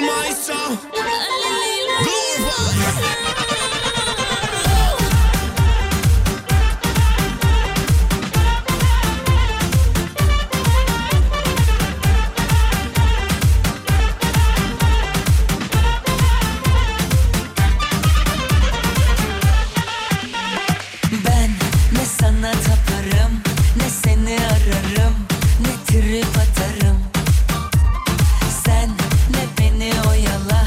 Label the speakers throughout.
Speaker 1: maestro. Groove.
Speaker 2: Ben ne sana taparım Ne seni ararım Ne trip atarım Sen ne beni oyala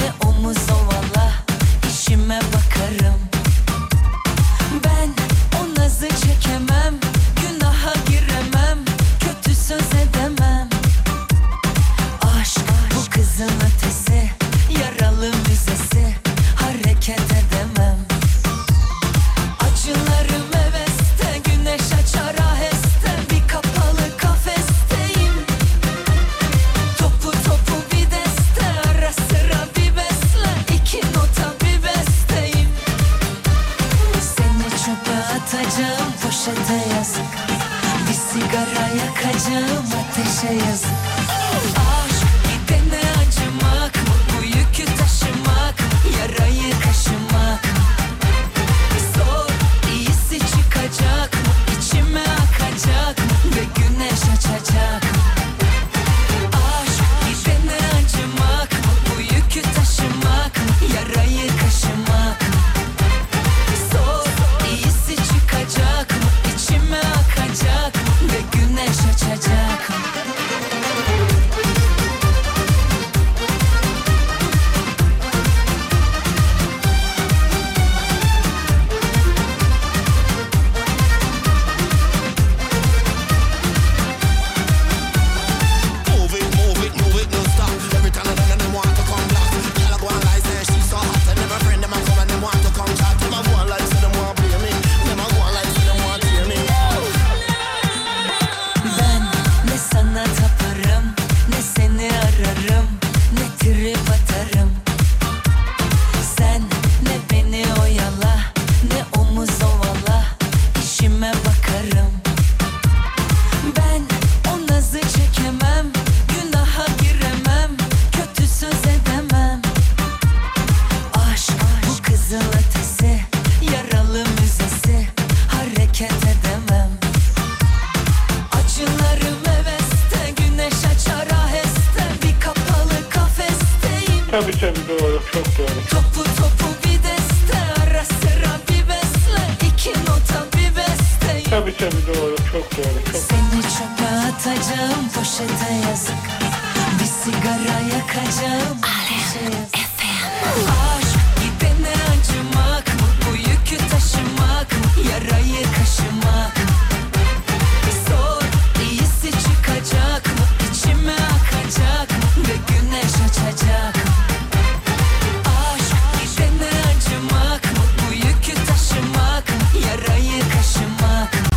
Speaker 2: Ne omuz ovala işime bakarım Ben o nazı çekemem Günaha giremem Kötü söz edemem Aşk bu kızın ötesi Yaralı müzesi Hareket edemem Acılarım heveste Güneş açar aheste Bir kapalı kafesteyim Topu topu bir deste Ara sıra bir besle iki nota bir besteyim Seni çöpe atacağım Poşete yazık Bir sigara yakacağım Ateşe yazık Aşk gidene acımak Bu yükü taşımak Yarayı kaşımak Zor, iyisi çıkacak mı? İçime akacak mı? Ve güneş açacak mı? Aşk gidene acımak mı? Bu yükü taşımak mı? Yarayı kaşımak mı? Zor, iyisi çıkacak mı? İçime akacak mı? Ve güneş açacak mı?
Speaker 1: Move it, move it, move it, no stop. Every time I bend, them want to come back. Girl, I go and lie, say she so hot, and every friend them a come and them want to come chat. Them a go and lie, say them want blame me. Them a go and lie, say them want tear me.
Speaker 2: Ben ne sana taparım Ne seni ararım Ne trip atarım Sen ne beni oyala Ne omuz ovala işime bakarım Ben o nazı çekemem Günaha giremem Kötü söz edemem Aşk bu kızıl ötesi Yaralı müzesi Hareket edemem Acılarım heveste Güneş açar aheste Bir kapalı kafesteyim
Speaker 3: Tabii tabii doğru, çok doğru.
Speaker 2: Topu topu bir deste Ara sıra bir besle iki nota bir besteyim
Speaker 3: Tabii tabii doğru, çok doğru, çok
Speaker 2: Seni çöpe atacağım poşete yazık Bir sigara yakacağım Alem Aşk gidene acımak mı? Bu yükü taşımak mı? Yarayı kaşımak mı? Zor iyisi çıkacak mı? İçime akacak mı? Ve güneş açacak mı? Aşk gidene acımak mı? Bu yükü taşımak mı? Yarayı kaşımak mı?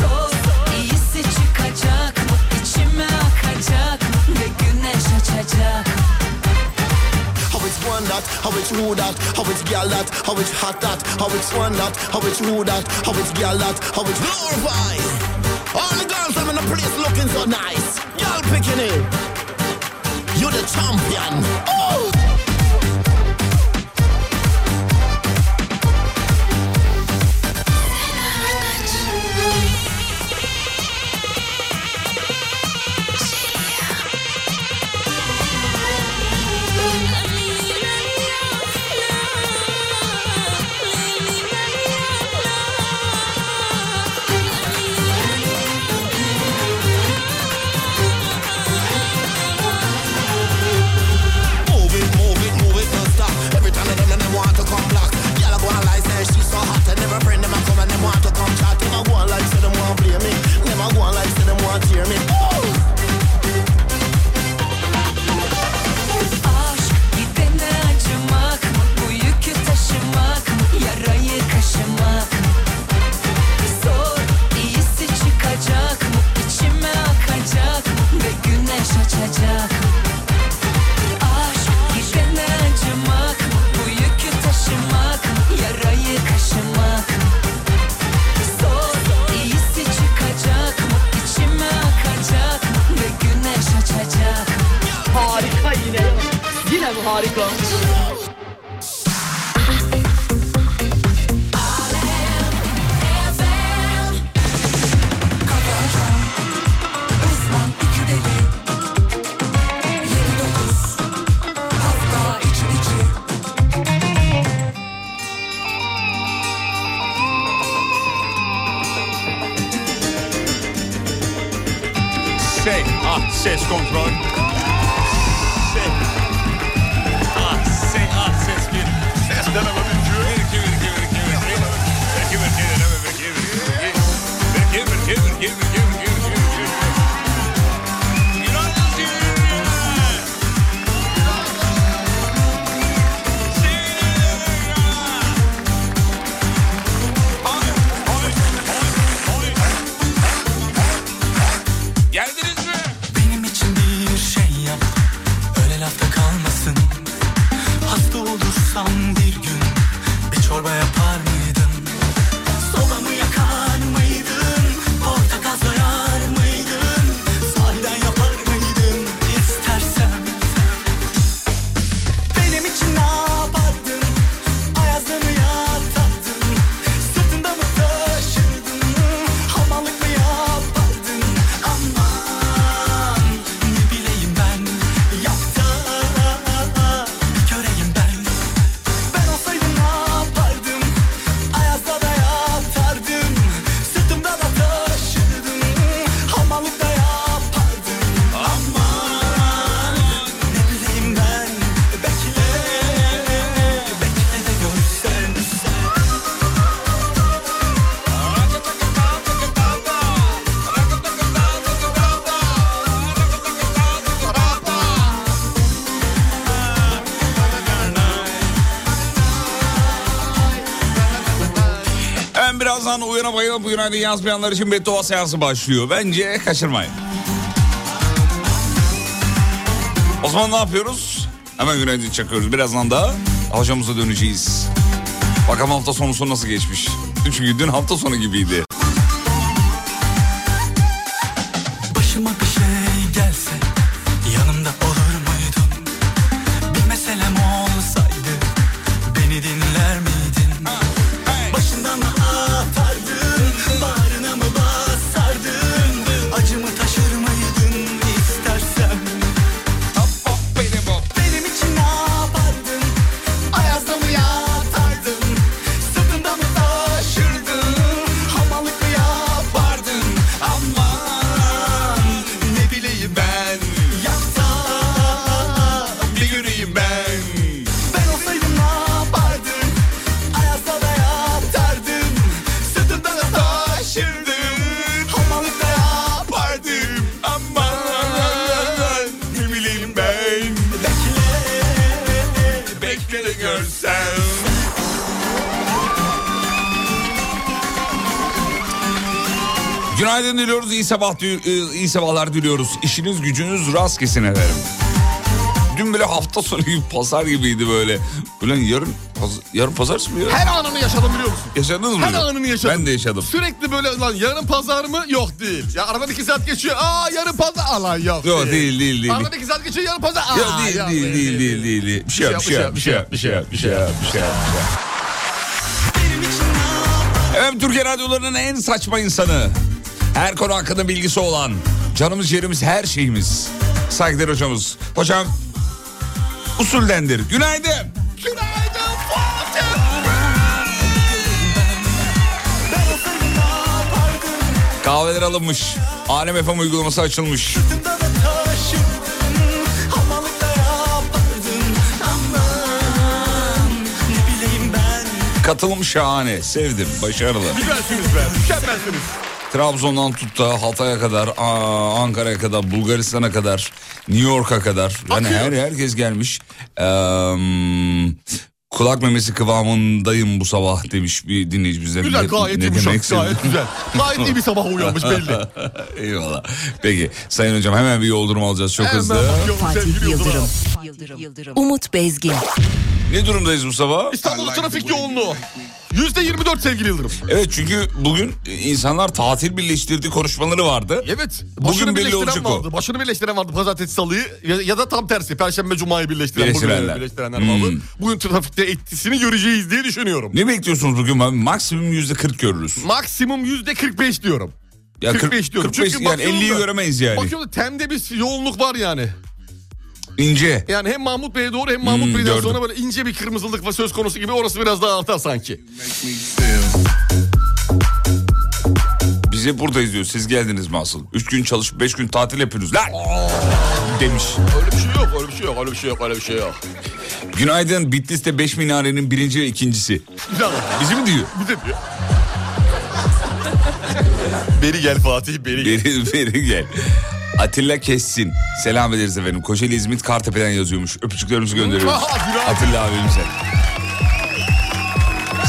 Speaker 2: Zor, iyisi çıkacak mı? İçime akacak mı? Ve güneş açacak mı?
Speaker 1: How it's one that, how it's rude that, how it's gal that, how it's hot that, how it's one that, how it's rude that, how it's gal that, how it's glorified. All the girls I'm in the place looking so nice. Y'all picking it. You're the champion. Oh!
Speaker 4: Thank you.
Speaker 2: Harika.
Speaker 4: Şey, ah ses kontrol. Şey. Ah, şey, ah ses bir. Ses deneme bir cü. Bir, iki, bir, iki, bir, iki, bir, iki. Bir, iki, bir, iki, deneme bir, iki, bir, iki, bir, iki. Bir, iki, bir, iki, bir, iki, bir, iki, bir, iki, bir, iki, bir. Günaydın sevgili dinleyiciler. Geldiniz mi?
Speaker 5: Benim için bir şey yap Öyle lafta kalmasın Hasta olursam bir gün Bir çorba yapar mıydın Solamı yakar mıydın Portakal soyar mıydın Sahiden yapar mıydın İstersen Benim için ne yapardın Ayazlarını yatardın Sırtında mı taşırdın Hamallık mı yapardın Aman ne bileyim ben Yapta bir köreyim ben Ben olsaydım ne yapardım Ayazda da yatardım Sırtımda da taşırdım Hamallık da yapardım Aman ne bileyim ben Bekle Bekle de görsen
Speaker 4: Ben birazdan uyana bayılıp uyanaydı yazmayanlar için beddua seansı başlıyor. Bence kaçırmayın. O zaman ne yapıyoruz? Hemen günaydın çakıyoruz. Birazdan da hocamıza döneceğiz. Bakalım hafta sonu nasıl geçmiş. Çünkü dün hafta sonu gibiydi.
Speaker 5: Başıma bir şey gelse yanımda olur muydun? Bir meselem olsaydı beni dinler miydin? Başından mı atardın, bağrına mı basardın? Acımı taşır mıydın istersen? Benim için ne yapardın? Ayazda mı yatardın? Sırtında mı taşırdın? Hamallık mı yapardın? Aman ne bileyim ben Yapsa
Speaker 4: Bir yürüyeyim ben.
Speaker 5: ben olsaydım ne yapardım? Ayazda da yatardım Sırtımda da taşırdım Hamallık da yapardım
Speaker 4: Aman ne bileyim ben.
Speaker 5: Bekle
Speaker 4: Bekle de görsem. Günaydın diliyoruz, iyi, sabah, dü- e, iyi sabahlar diliyoruz. İşiniz gücünüz rast kesin efendim. Dün böyle hafta sonu gibi pazar gibiydi böyle. Ulan yarın, paz- yarın pazartesi mi ya?
Speaker 6: Her anını yaşadım biliyor musun?
Speaker 4: Yaşadınız mı?
Speaker 6: Her
Speaker 4: bunu?
Speaker 6: anını yaşadım.
Speaker 4: Ben de yaşadım.
Speaker 6: Sürekli böyle lan yarın pazar mı? Yok değil. Ya aradan iki saat geçiyor. Aa yarın pazar. Alan yok.
Speaker 4: Yok değil değil değil.
Speaker 6: Aradan iki saat geçiyor yarın pazar. Aa,
Speaker 4: Ya değil,
Speaker 6: yok,
Speaker 4: değil, değil, değil, değil, değil. Bir şey yap, bir şey yap, bir şey yap, bir şey yap, bir şey yap, bir şey yap. bir şey yap. Efendim Türkiye radyolarının en saçma insanı. Her konu hakkında bilgisi olan. Canımız, yerimiz, her şeyimiz. Saygıdeğer hocamız. Hocam usuldendir. Günaydın.
Speaker 6: Günaydın Fatih.
Speaker 4: Kahveler alınmış. Alem FM uygulaması açılmış.
Speaker 5: Sırtımda da taşırdın Hamalıkta yapardın Aman ne bileyim ben
Speaker 4: Katılım şahane. Sevdim. Başarılı.
Speaker 6: Süpersiniz be. Mükemmelsiniz.
Speaker 4: Trabzon'dan tut da Hatay'a kadar, aa, Ankara'ya kadar, Bulgaristan'a kadar, New York'a kadar. Yani
Speaker 6: Akıyor.
Speaker 4: her herkes gelmiş. Eee, kulak memesi kıvamındayım bu sabah demiş bir dinleyici bize.
Speaker 6: Güzel gayet yumuşak.
Speaker 4: demekse-
Speaker 6: Gayet güzel. Gayet iyi bir sabah uyanmış belli.
Speaker 4: Eyvallah. Peki Sayın Hocam hemen bir yoldurum alacağız çok
Speaker 6: Hemen
Speaker 4: hızlı.
Speaker 6: bakıyorum sevgili
Speaker 7: Fatih
Speaker 6: Yıldırım.
Speaker 7: Yıldırım, Yıldırım, Umut Bezgin,
Speaker 4: Ne durumdayız bu sabah?
Speaker 6: İstanbul trafik yoğunluğu. Yüzde 24 sevgili Yıldırım.
Speaker 4: Evet çünkü bugün insanlar tatil birleştirdiği konuşmaları vardı.
Speaker 6: Evet.
Speaker 4: Bugün
Speaker 6: Başını
Speaker 4: belli
Speaker 6: birleştiren
Speaker 4: olacak o.
Speaker 6: vardı. Başını birleştiren vardı pazartesi salıyı ya, ya da tam tersi. Perşembe cumayı birleştiren. Bugün
Speaker 4: Birleştirenler.
Speaker 6: birleştirenler
Speaker 4: Hmm.
Speaker 6: vardı. Bugün trafikte etkisini göreceğiz diye düşünüyorum.
Speaker 4: Ne bekliyorsunuz bugün? abi? Maksimum yüzde 40 görürüz.
Speaker 6: Maksimum yüzde 45 diyorum.
Speaker 4: Ya
Speaker 6: 45 diyorum.
Speaker 4: 45
Speaker 6: Çünkü
Speaker 4: yani
Speaker 6: bakıyorum
Speaker 4: 50'yi
Speaker 6: da-
Speaker 4: göremeyiz yani.
Speaker 6: Bakıyorum da temde bir yoğunluk var yani.
Speaker 4: İnce.
Speaker 6: Yani hem Mahmut Bey'e doğru hem Mahmut
Speaker 4: Hmm,
Speaker 6: Bey'den
Speaker 4: gördüm.
Speaker 6: sonra böyle ince bir kırmızılık var söz konusu gibi orası biraz daha artar sanki.
Speaker 4: Biz hep buradayız diyor. Siz geldiniz mi asıl? 3 gün çalışıp 5 gün tatil yapıyorsunuz. Lan! Demiş.
Speaker 6: Öyle bir şey yok, öyle bir şey yok, öyle bir şey yok, öyle bir şey yok.
Speaker 4: Günaydın Bitlis'te 5 minarenin birinci ve ikincisi.
Speaker 6: Bir daha bak.
Speaker 4: Bizi mi diyor?
Speaker 6: Bir de diyor. Beri gel Fatih, beri gel.
Speaker 4: Beri, beri gel. Atilla Kessin. Selam ederiz efendim. Kocaeli İzmit Kartepe'den yazıyormuş. Öpücüklerimizi gönderiyoruz.
Speaker 6: Aa, günaydın.
Speaker 4: Atilla abimize.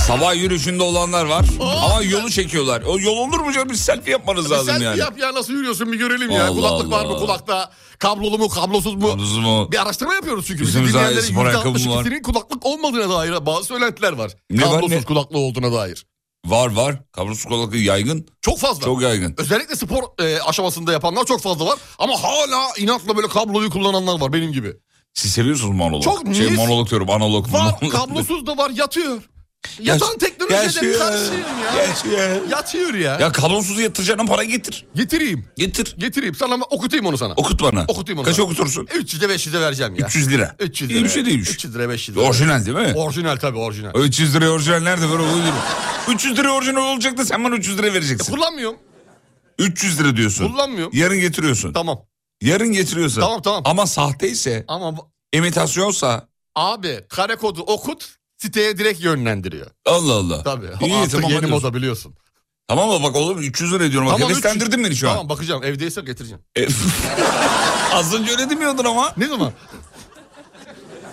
Speaker 4: Sabah yürüyüşünde olanlar var. Ama yolu çekiyorlar. O yol olur mu canım? Bir selfie yapmanız lazım
Speaker 6: Sen
Speaker 4: yani.
Speaker 6: yap ya nasıl yürüyorsun bir görelim ya.
Speaker 4: Allah
Speaker 6: Kulaklık var mı
Speaker 4: Allah.
Speaker 6: kulakta? Kablolu mu, kablosuz mu?
Speaker 4: Yalnız mı?
Speaker 6: Bir araştırma yapıyoruz çünkü.
Speaker 4: Bizim
Speaker 6: Bizim
Speaker 4: zaten spor ayakkabım
Speaker 6: %62'sinin kulaklık olmadığına dair bazı söylentiler var.
Speaker 4: Ne var,
Speaker 6: Kablosuz
Speaker 4: ne?
Speaker 6: kulaklı olduğuna dair.
Speaker 4: Var var. Kavrusuz kulaklığı yaygın.
Speaker 6: Çok fazla.
Speaker 4: Çok yaygın.
Speaker 6: Özellikle spor e, aşamasında yapanlar çok fazla var. Ama hala inatla böyle kabloyu kullananlar var benim gibi.
Speaker 4: Siz seviyorsunuz monolog.
Speaker 6: Çok
Speaker 4: Şey
Speaker 6: mis.
Speaker 4: monolog diyorum analog.
Speaker 6: Var
Speaker 4: monolog.
Speaker 6: kablosuz da var yatıyor. Yatan
Speaker 4: Yaş-
Speaker 6: teknolojiye de bir
Speaker 4: yaşıyor,
Speaker 6: karşıyım ya.
Speaker 4: yaşıyor.
Speaker 6: Yatıyor ya.
Speaker 4: Ya kablosuzu yatıracağına para getir.
Speaker 6: Getireyim.
Speaker 4: Getir.
Speaker 6: Getireyim. Sana ama okutayım onu sana.
Speaker 4: Okut bana.
Speaker 6: Okutayım onu
Speaker 4: Kaç
Speaker 6: sana.
Speaker 4: okutursun?
Speaker 6: 300'e 500'e vereceğim ya.
Speaker 4: 300 lira.
Speaker 6: 300
Speaker 4: İyi bir şey değilmiş.
Speaker 6: 300 lira 500 lira.
Speaker 4: Orijinal değil mi?
Speaker 6: Orijinal tabii orijinal.
Speaker 4: 300 lira orijinal nerede böyle olur? 300 lira orijinal olacak da sen bana 300 lira vereceksin.
Speaker 6: Kullanmıyorum.
Speaker 4: 300 lira diyorsun.
Speaker 6: Kullanmıyorum.
Speaker 4: Yarın getiriyorsun.
Speaker 6: Tamam.
Speaker 4: Yarın getiriyorsun.
Speaker 6: Tamam, tamam.
Speaker 4: Ama sahteyse,
Speaker 6: Ama bu-
Speaker 4: imitasyonsa
Speaker 6: abi kare kodu okut siteye direkt yönlendiriyor.
Speaker 4: Allah Allah.
Speaker 6: Tabii.
Speaker 4: İyi,
Speaker 6: Artık
Speaker 4: tamam,
Speaker 6: yeni
Speaker 4: hadi.
Speaker 6: moda biliyorsun.
Speaker 4: Tamam mı bak oğlum 300 lira diyorum. Bak
Speaker 6: Tamam,
Speaker 4: heveslendirdin beni şu an.
Speaker 6: Tamam bakacağım evdeyse getireceğim.
Speaker 4: E, Az önce öyle demiyordun ama.
Speaker 6: Ne zaman?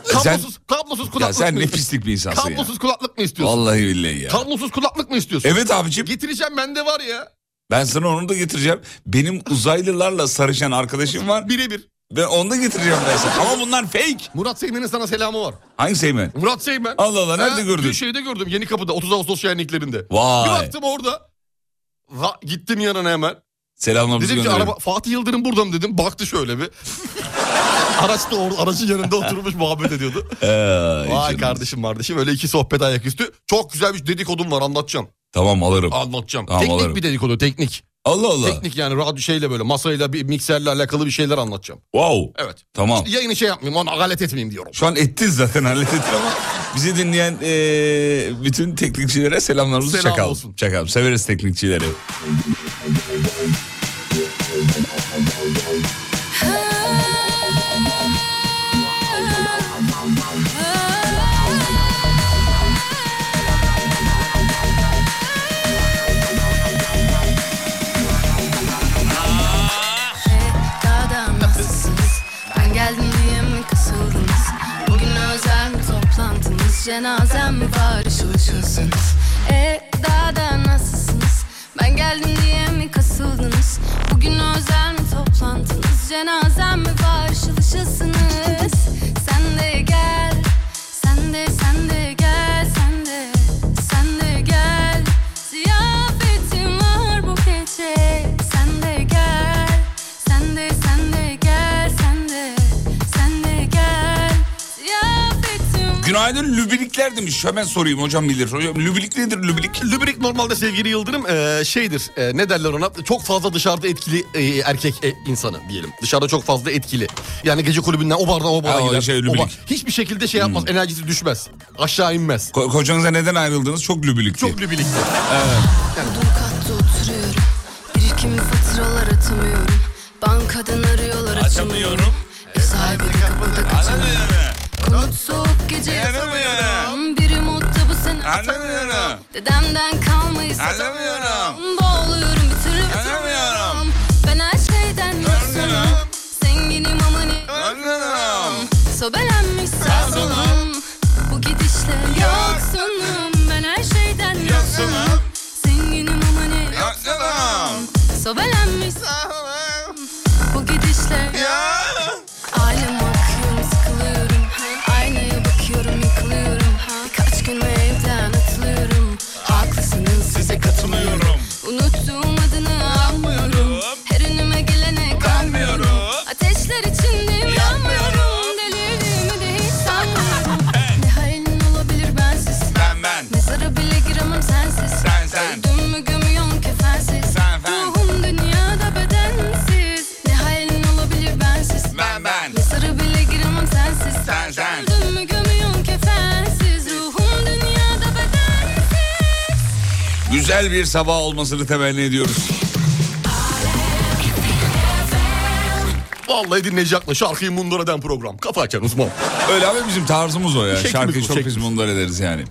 Speaker 4: sen-
Speaker 6: kablosuz, kablosuz kulaklık
Speaker 4: Ya sen
Speaker 6: mı
Speaker 4: ne
Speaker 6: istiyorsun?
Speaker 4: pislik bir insansın
Speaker 6: Kablosuz
Speaker 4: ya.
Speaker 6: kulaklık mı istiyorsun?
Speaker 4: Vallahi billahi ya.
Speaker 6: Kablosuz kulaklık mı istiyorsun?
Speaker 4: Evet abicim
Speaker 6: Getireceğim bende var ya.
Speaker 4: ben sana onu da getireceğim. Benim uzaylılarla sarışan arkadaşım var.
Speaker 6: Birebir.
Speaker 4: Ben onu da getireceğim ben sana. Ama bunlar fake.
Speaker 6: Murat Seymen'in sana selamı var.
Speaker 4: Hangi Seymen?
Speaker 6: Murat Seymen.
Speaker 4: Allah Allah, nerede gördün?
Speaker 6: Bir şeyde gördüm yeni kapıda 30 Ağustos şenliklerinde. Bir
Speaker 4: Vay.
Speaker 6: baktım orada. Va- gittim yanına hemen.
Speaker 4: Selamlarımızı
Speaker 6: Dedim ki
Speaker 4: gönderelim.
Speaker 6: araba, Fatih Yıldırım burada mı dedim. Baktı şöyle bir. Araç da or- aracın yanında oturmuş muhabbet ediyordu.
Speaker 4: Ee,
Speaker 6: Vay
Speaker 4: canım.
Speaker 6: kardeşim kardeşim öyle iki sohbet ayaküstü. Çok güzel bir dedikodum var anlatacağım.
Speaker 4: Tamam alırım.
Speaker 6: Anlatacağım.
Speaker 4: Tamam,
Speaker 6: teknik
Speaker 4: alırım.
Speaker 6: bir dedikodu teknik.
Speaker 4: Allah Allah.
Speaker 6: Teknik yani radyo şeyle böyle masayla bir mikserle alakalı bir şeyler anlatacağım.
Speaker 4: Wow.
Speaker 6: Evet.
Speaker 4: Tamam.
Speaker 6: Yayını şey yapmayayım ona galet etmeyeyim diyorum.
Speaker 4: Şu an ettiniz zaten hallettik ama bizi dinleyen ee, bütün teknikçilere selamlarımızı
Speaker 6: Selam
Speaker 4: çakalım.
Speaker 6: olsun.
Speaker 4: Çakalım. Severiz teknikçileri.
Speaker 8: Daha da nasılsınız? Ben geldim diye mi kasıldınız? Bugün özel mi toplantınız? Cenazem mi var ışıl ışılsınız? E daha da nasılsınız? Ben geldim diye mi kasıldınız? Bugün özel mi toplantınız? Cenazem mi var ışıl ışılsınız? Sen de gel, sen de sen de gel, sen de sen de gel. Ziyafetim var bu gece. Sen de gel, sen de sen de gel, sen de sen de gel. Ziyafetim
Speaker 4: Günaydın lübilikler demiş. Hemen sorayım hocam bilir. Hocam lübilik nedir lübilik?
Speaker 6: Lübrik normalde sevgili Yıldırım e, şeydir e, ne derler ona çok fazla dışarıda etkili e, erkek e, insanı diyelim. Dışarıda çok fazla etkili. Yani gece kulübünden o bardan o
Speaker 4: Ha,
Speaker 6: bara
Speaker 4: o
Speaker 6: gider.
Speaker 4: şey,
Speaker 6: o
Speaker 4: lübrik. Hmm.
Speaker 6: bar- hiçbir şekilde şey yapmaz enerjisi düşmez. Aşağı inmez.
Speaker 4: Ko- kocanıza neden ayrıldınız? Çok lübilikti.
Speaker 6: Çok lübrik.
Speaker 8: Odun katta oturuyorum Birikim faturalar atamıyorum Bankadan arıyorlar açamıyorum Ev sahibi de kapıda kaçamıyorum Konut soğuk gece yatamıyorum Biri modda bu sene
Speaker 4: Anlamıyorum.
Speaker 8: Dedemden kalmayı satamıyorum
Speaker 4: Anlamıyorum.
Speaker 8: Boğuluyorum bir türlü
Speaker 4: Anlamıyorum.
Speaker 8: tutamıyorum Ben her şeyden yoksunum
Speaker 4: Anlamıyorum.
Speaker 8: Zenginim ama ne
Speaker 4: Anlamıyorum.
Speaker 8: Sobelenmiş sazonum Bu gidişle yoksunum Ben her şeyden yoksunum Zenginim ama ne
Speaker 4: Anlamıyorum.
Speaker 8: Sobelenmiş sazonum Bu gidişle Alem bakıyorum sıkılıyorum Aynaya bakıyorum yıkılıyorum Birkaç gün evden atılıyorum
Speaker 4: güzel bir sabah olmasını temenni ediyoruz.
Speaker 6: Vallahi dinleyici aklı şarkıyı mundur eden program. Kafa açan uzman.
Speaker 4: Öyle ama bizim tarzımız o ya.
Speaker 6: Şeklimiz
Speaker 4: Şarkıyı
Speaker 6: bu,
Speaker 4: çok biz
Speaker 6: şeklimiz.
Speaker 4: bunlar ederiz yani.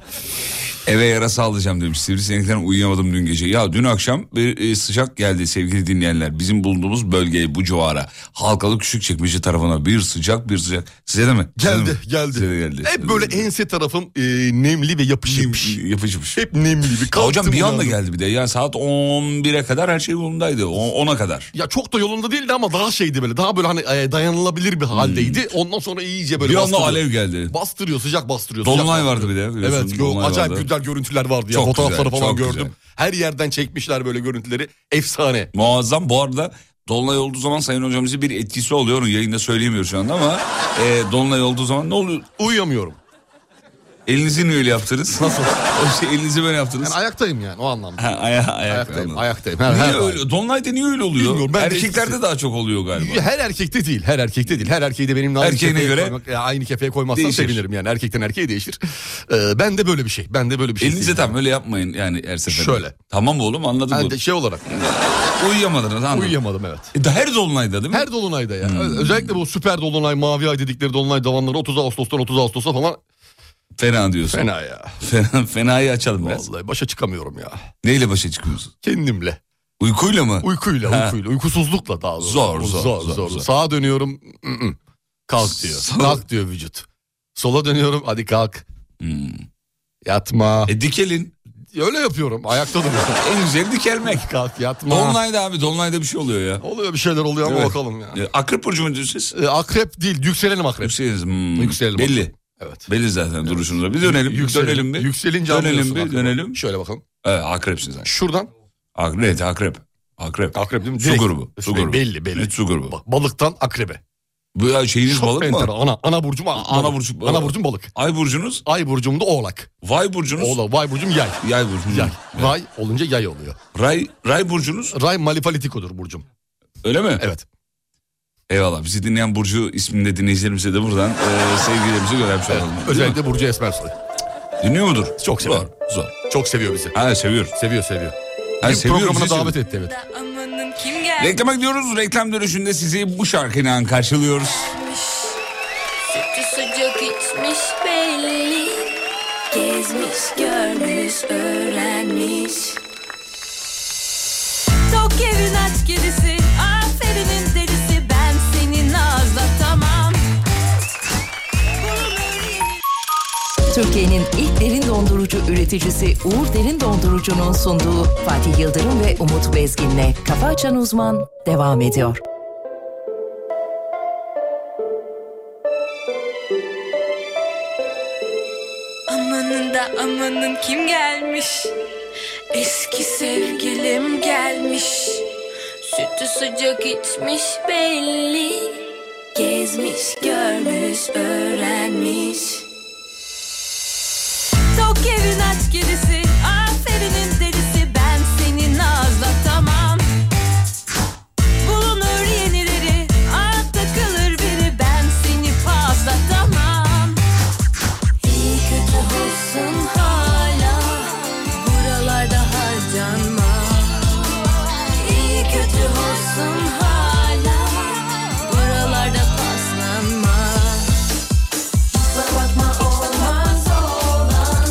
Speaker 4: Eve yarası alacağım demiş. Sivrisinekten uyuyamadım dün gece. Ya dün akşam bir e, sıcak geldi sevgili dinleyenler. Bizim bulunduğumuz bölgeye, bu civara. Halkalı Küçükçekmece tarafına bir sıcak bir sıcak. Size de mi? Size de mi?
Speaker 6: Geldi geldi.
Speaker 4: Size de geldi.
Speaker 6: Hep
Speaker 4: Hmm.
Speaker 6: böyle ense tarafım e, nemli ve yapışık.
Speaker 4: yapışmış.
Speaker 6: Hep nemli bir
Speaker 4: Ya hocam bir anda
Speaker 6: geldi.
Speaker 4: geldi bir de. Ya saat 11'e kadar her şey yolundaydı. O- 10'a kadar.
Speaker 6: Ya çok da yolunda değildi ama daha şeydi böyle. Daha böyle hani e, dayanılabilir bir haldeydi. Ondan sonra iyice böyle
Speaker 4: Hmm. Bir anda
Speaker 6: bastırıyor.
Speaker 4: alev geldi.
Speaker 6: Bastırıyor sıcak bastırıyor. sıcak
Speaker 4: Dolunay vardı
Speaker 6: bastırıyor.
Speaker 4: bir de. biliyorsun,
Speaker 6: Evet gö-
Speaker 4: dolunay
Speaker 6: acayip
Speaker 4: vardı.
Speaker 6: güzel görüntüler vardı ya.
Speaker 4: Çok
Speaker 6: Fotoğrafları
Speaker 4: güzel,
Speaker 6: falan
Speaker 4: çok
Speaker 6: gördüm.
Speaker 4: güzel.
Speaker 6: Her yerden çekmişler böyle görüntüleri. Efsane.
Speaker 4: Muazzam. Bu arada Dolunay olduğu zaman Sayın Hocamızın bir etkisi oluyor. Onu yayında söyleyemiyoruz şu anda ama e, Dolunay olduğu zaman ne oluyor?
Speaker 6: Uyuyamıyorum.
Speaker 4: Elinizi niye öyle yaptınız? Nasıl? o şey, elinizi böyle yaptınız.
Speaker 6: Yani ayaktayım yani o anlamda.
Speaker 4: ha, aya, ayak,
Speaker 6: ayaktayım,
Speaker 4: anladım.
Speaker 6: ayaktayım. Her,
Speaker 4: Niye
Speaker 6: her,
Speaker 4: öyle? Dolunay'da niye öyle oluyor?
Speaker 6: Bilmiyorum, ben de
Speaker 4: Erkeklerde
Speaker 6: etkisi.
Speaker 4: daha çok oluyor galiba.
Speaker 6: her erkekte değil, her erkekte değil. Her erkeği de benimle aynı
Speaker 4: Erkeğine
Speaker 6: kefeye
Speaker 4: göre
Speaker 6: koymak- ya aynı kefeye koymazsan
Speaker 4: değişir.
Speaker 6: sevinirim yani. Erkekten erkeğe değişir. Ee, ben de böyle bir şey. Ben de böyle bir şey.
Speaker 4: Elinize
Speaker 6: değil.
Speaker 4: tam öyle yapmayın yani her seferinde.
Speaker 6: Şöyle.
Speaker 4: Tamam oğlum anladım.
Speaker 6: Ben
Speaker 4: bunu.
Speaker 6: de şey olarak
Speaker 4: Uyuyamadınız anladım.
Speaker 6: uyuyamadım evet.
Speaker 4: E, da- her Dolunay'da değil mi? Hmm.
Speaker 6: Her dolunayda ya. Ö- Özellikle bu süper dolunay, mavi ay dedikleri dolunay davanları 30 Ağustos'tan 30 Ağustos'a falan
Speaker 4: Fena diyorsun.
Speaker 6: fena ya.
Speaker 4: Fena, fenayı açalım biraz.
Speaker 6: Vallahi başa çıkamıyorum ya.
Speaker 4: Neyle başa çıkıyorsun?
Speaker 6: Kendimle.
Speaker 4: Uykuyla mı?
Speaker 6: Uykuyla,
Speaker 4: Ha.
Speaker 6: uykuyla, uykusuzlukla daha doğrusu.
Speaker 4: Zor, zor,
Speaker 6: zor,
Speaker 4: zor, zor.
Speaker 6: Sağa dönüyorum. ı-ı. Kalk diyor.
Speaker 4: Sola-
Speaker 6: Kalk diyor vücut. Sola dönüyorum. Hadi kalk.
Speaker 4: Hmm.
Speaker 6: Yatma.
Speaker 4: E dikelin.
Speaker 6: Öyle yapıyorum. Ayakta duruyorum.
Speaker 4: En güzeli dikelmek.
Speaker 6: kalk yatma.
Speaker 4: Dolunay'da abi Dolunay'da bir şey oluyor ya.
Speaker 6: Oluyor bir şeyler oluyor ama
Speaker 4: Evet.
Speaker 6: bakalım ya.
Speaker 4: E, Akrep burcu mu diyorsun siz?
Speaker 6: Ee, akrep değil. Yükselenim akrep.
Speaker 4: Yükseliriz. Hmm.
Speaker 6: Yükselelim
Speaker 4: Belli.
Speaker 6: bakalım. Evet.
Speaker 4: Belli zaten duruşunuzda. Bir dönelim. Dönelim bir.
Speaker 6: Yükselince
Speaker 4: Dönelim
Speaker 6: anlıyorsun
Speaker 4: bir,
Speaker 6: akrebi.
Speaker 4: dönelim.
Speaker 6: Şöyle bakalım.
Speaker 4: Evet, akrepsiniz. abi.
Speaker 6: Şuradan.
Speaker 4: Akrep, evet, akrep. Akrep.
Speaker 6: Akrep değil mi?
Speaker 4: Su
Speaker 6: Direkt. şey,
Speaker 4: grubu. Su grubu.
Speaker 6: Belli belli.
Speaker 4: Evet, su grubu.
Speaker 6: Bak, balıktan akrebe.
Speaker 4: Bu ya şeyiniz
Speaker 6: Çok
Speaker 4: balık mı?
Speaker 6: enteresan. Ana, ana burcum balık.
Speaker 4: ana burcu-
Speaker 6: Ana burcum balık.
Speaker 4: Ay burcunuz,
Speaker 6: Ay burcum da oğlak.
Speaker 4: vay burcunuz, Hmm.
Speaker 6: Oğlak. Vay burcum yay.
Speaker 4: yay burcunuz.
Speaker 6: Yay. Ray olunca yay oluyor.
Speaker 4: Ray, ray burcunuz
Speaker 6: Ray malifalitikodur burcum.
Speaker 4: öyle mi?
Speaker 6: Evet.
Speaker 4: Eyvallah. Bizi dinleyen Burcu isminde dinleyicilerimize de buradan e, sevgilerimizi göndermiş olalım. Değil mi?
Speaker 6: Özellikle Burcu Esmersoy.
Speaker 4: Dinliyor mudur?
Speaker 6: Çok
Speaker 4: Zor,
Speaker 6: severim.
Speaker 4: zor.
Speaker 6: Çok seviyor bizi.
Speaker 4: Ha seviyor.
Speaker 6: Seviyor seviyor.
Speaker 4: Ha,
Speaker 6: Bir
Speaker 4: seviyor,
Speaker 6: programına
Speaker 4: bizi
Speaker 6: davet etti evet.
Speaker 9: Amanın kim geldi?
Speaker 4: Reklama gidiyoruz. Reklam dönüşünde sizi bu şarkıyla karşılıyoruz.
Speaker 9: Sütü sıcak içmiş belli Gezmiş, görmüş, öğrenmiş Tok evin aç gerisi Aferinin delisi Ben senin ağızda tamam Bulun öğrenin.
Speaker 7: Türkiye'nin ilk derin dondurucu üreticisi Uğur Derin Dondurucu'nun sunduğu Fatih Yıldırım ve Umut Bezgin'le Kafa Açan Uzman devam ediyor.
Speaker 9: Amanın da amanın kim gelmiş? Eski sevgilim gelmiş. Sütü sıcak içmiş belli. Gezmiş, görmüş, öğrenmiş. Tok evin aç gerisi, aferinin delisi. Ben senin ağızda tamam. Bulunur yenileri, artta kalır biri. Ben seni fazla tamam. İyi kötü olsun hala Buralarda harcanma İyi kötü olsun hala Buralarda paslanma Kusura bakma olmaz olan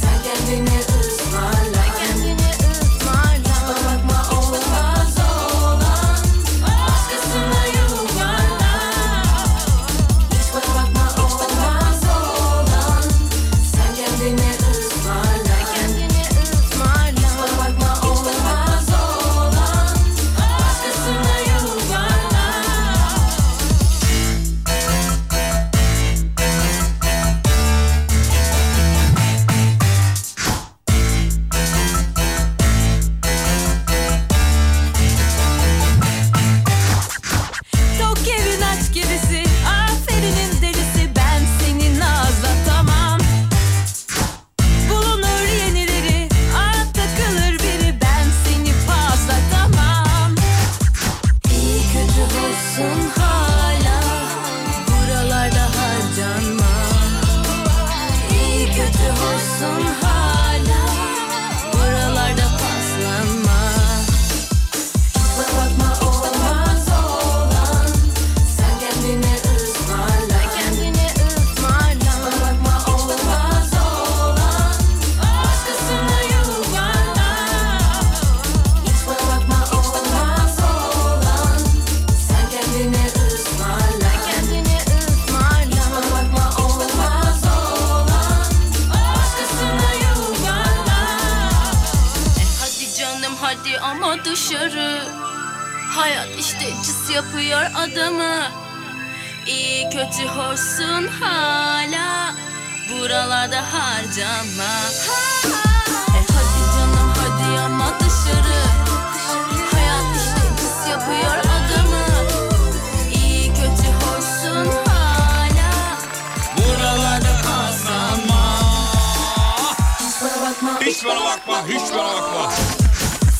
Speaker 9: Sen kendini
Speaker 8: Hayat işte cis yapıyor adamı İyi kötü hoşsun hala Buralarda harcama Ha, E hadi canım hadi ama dışarı Hayat işte cis yapıyor adamı İyi kötü hoşsun hala
Speaker 10: Hiç bana bakma, hiç bana bakma.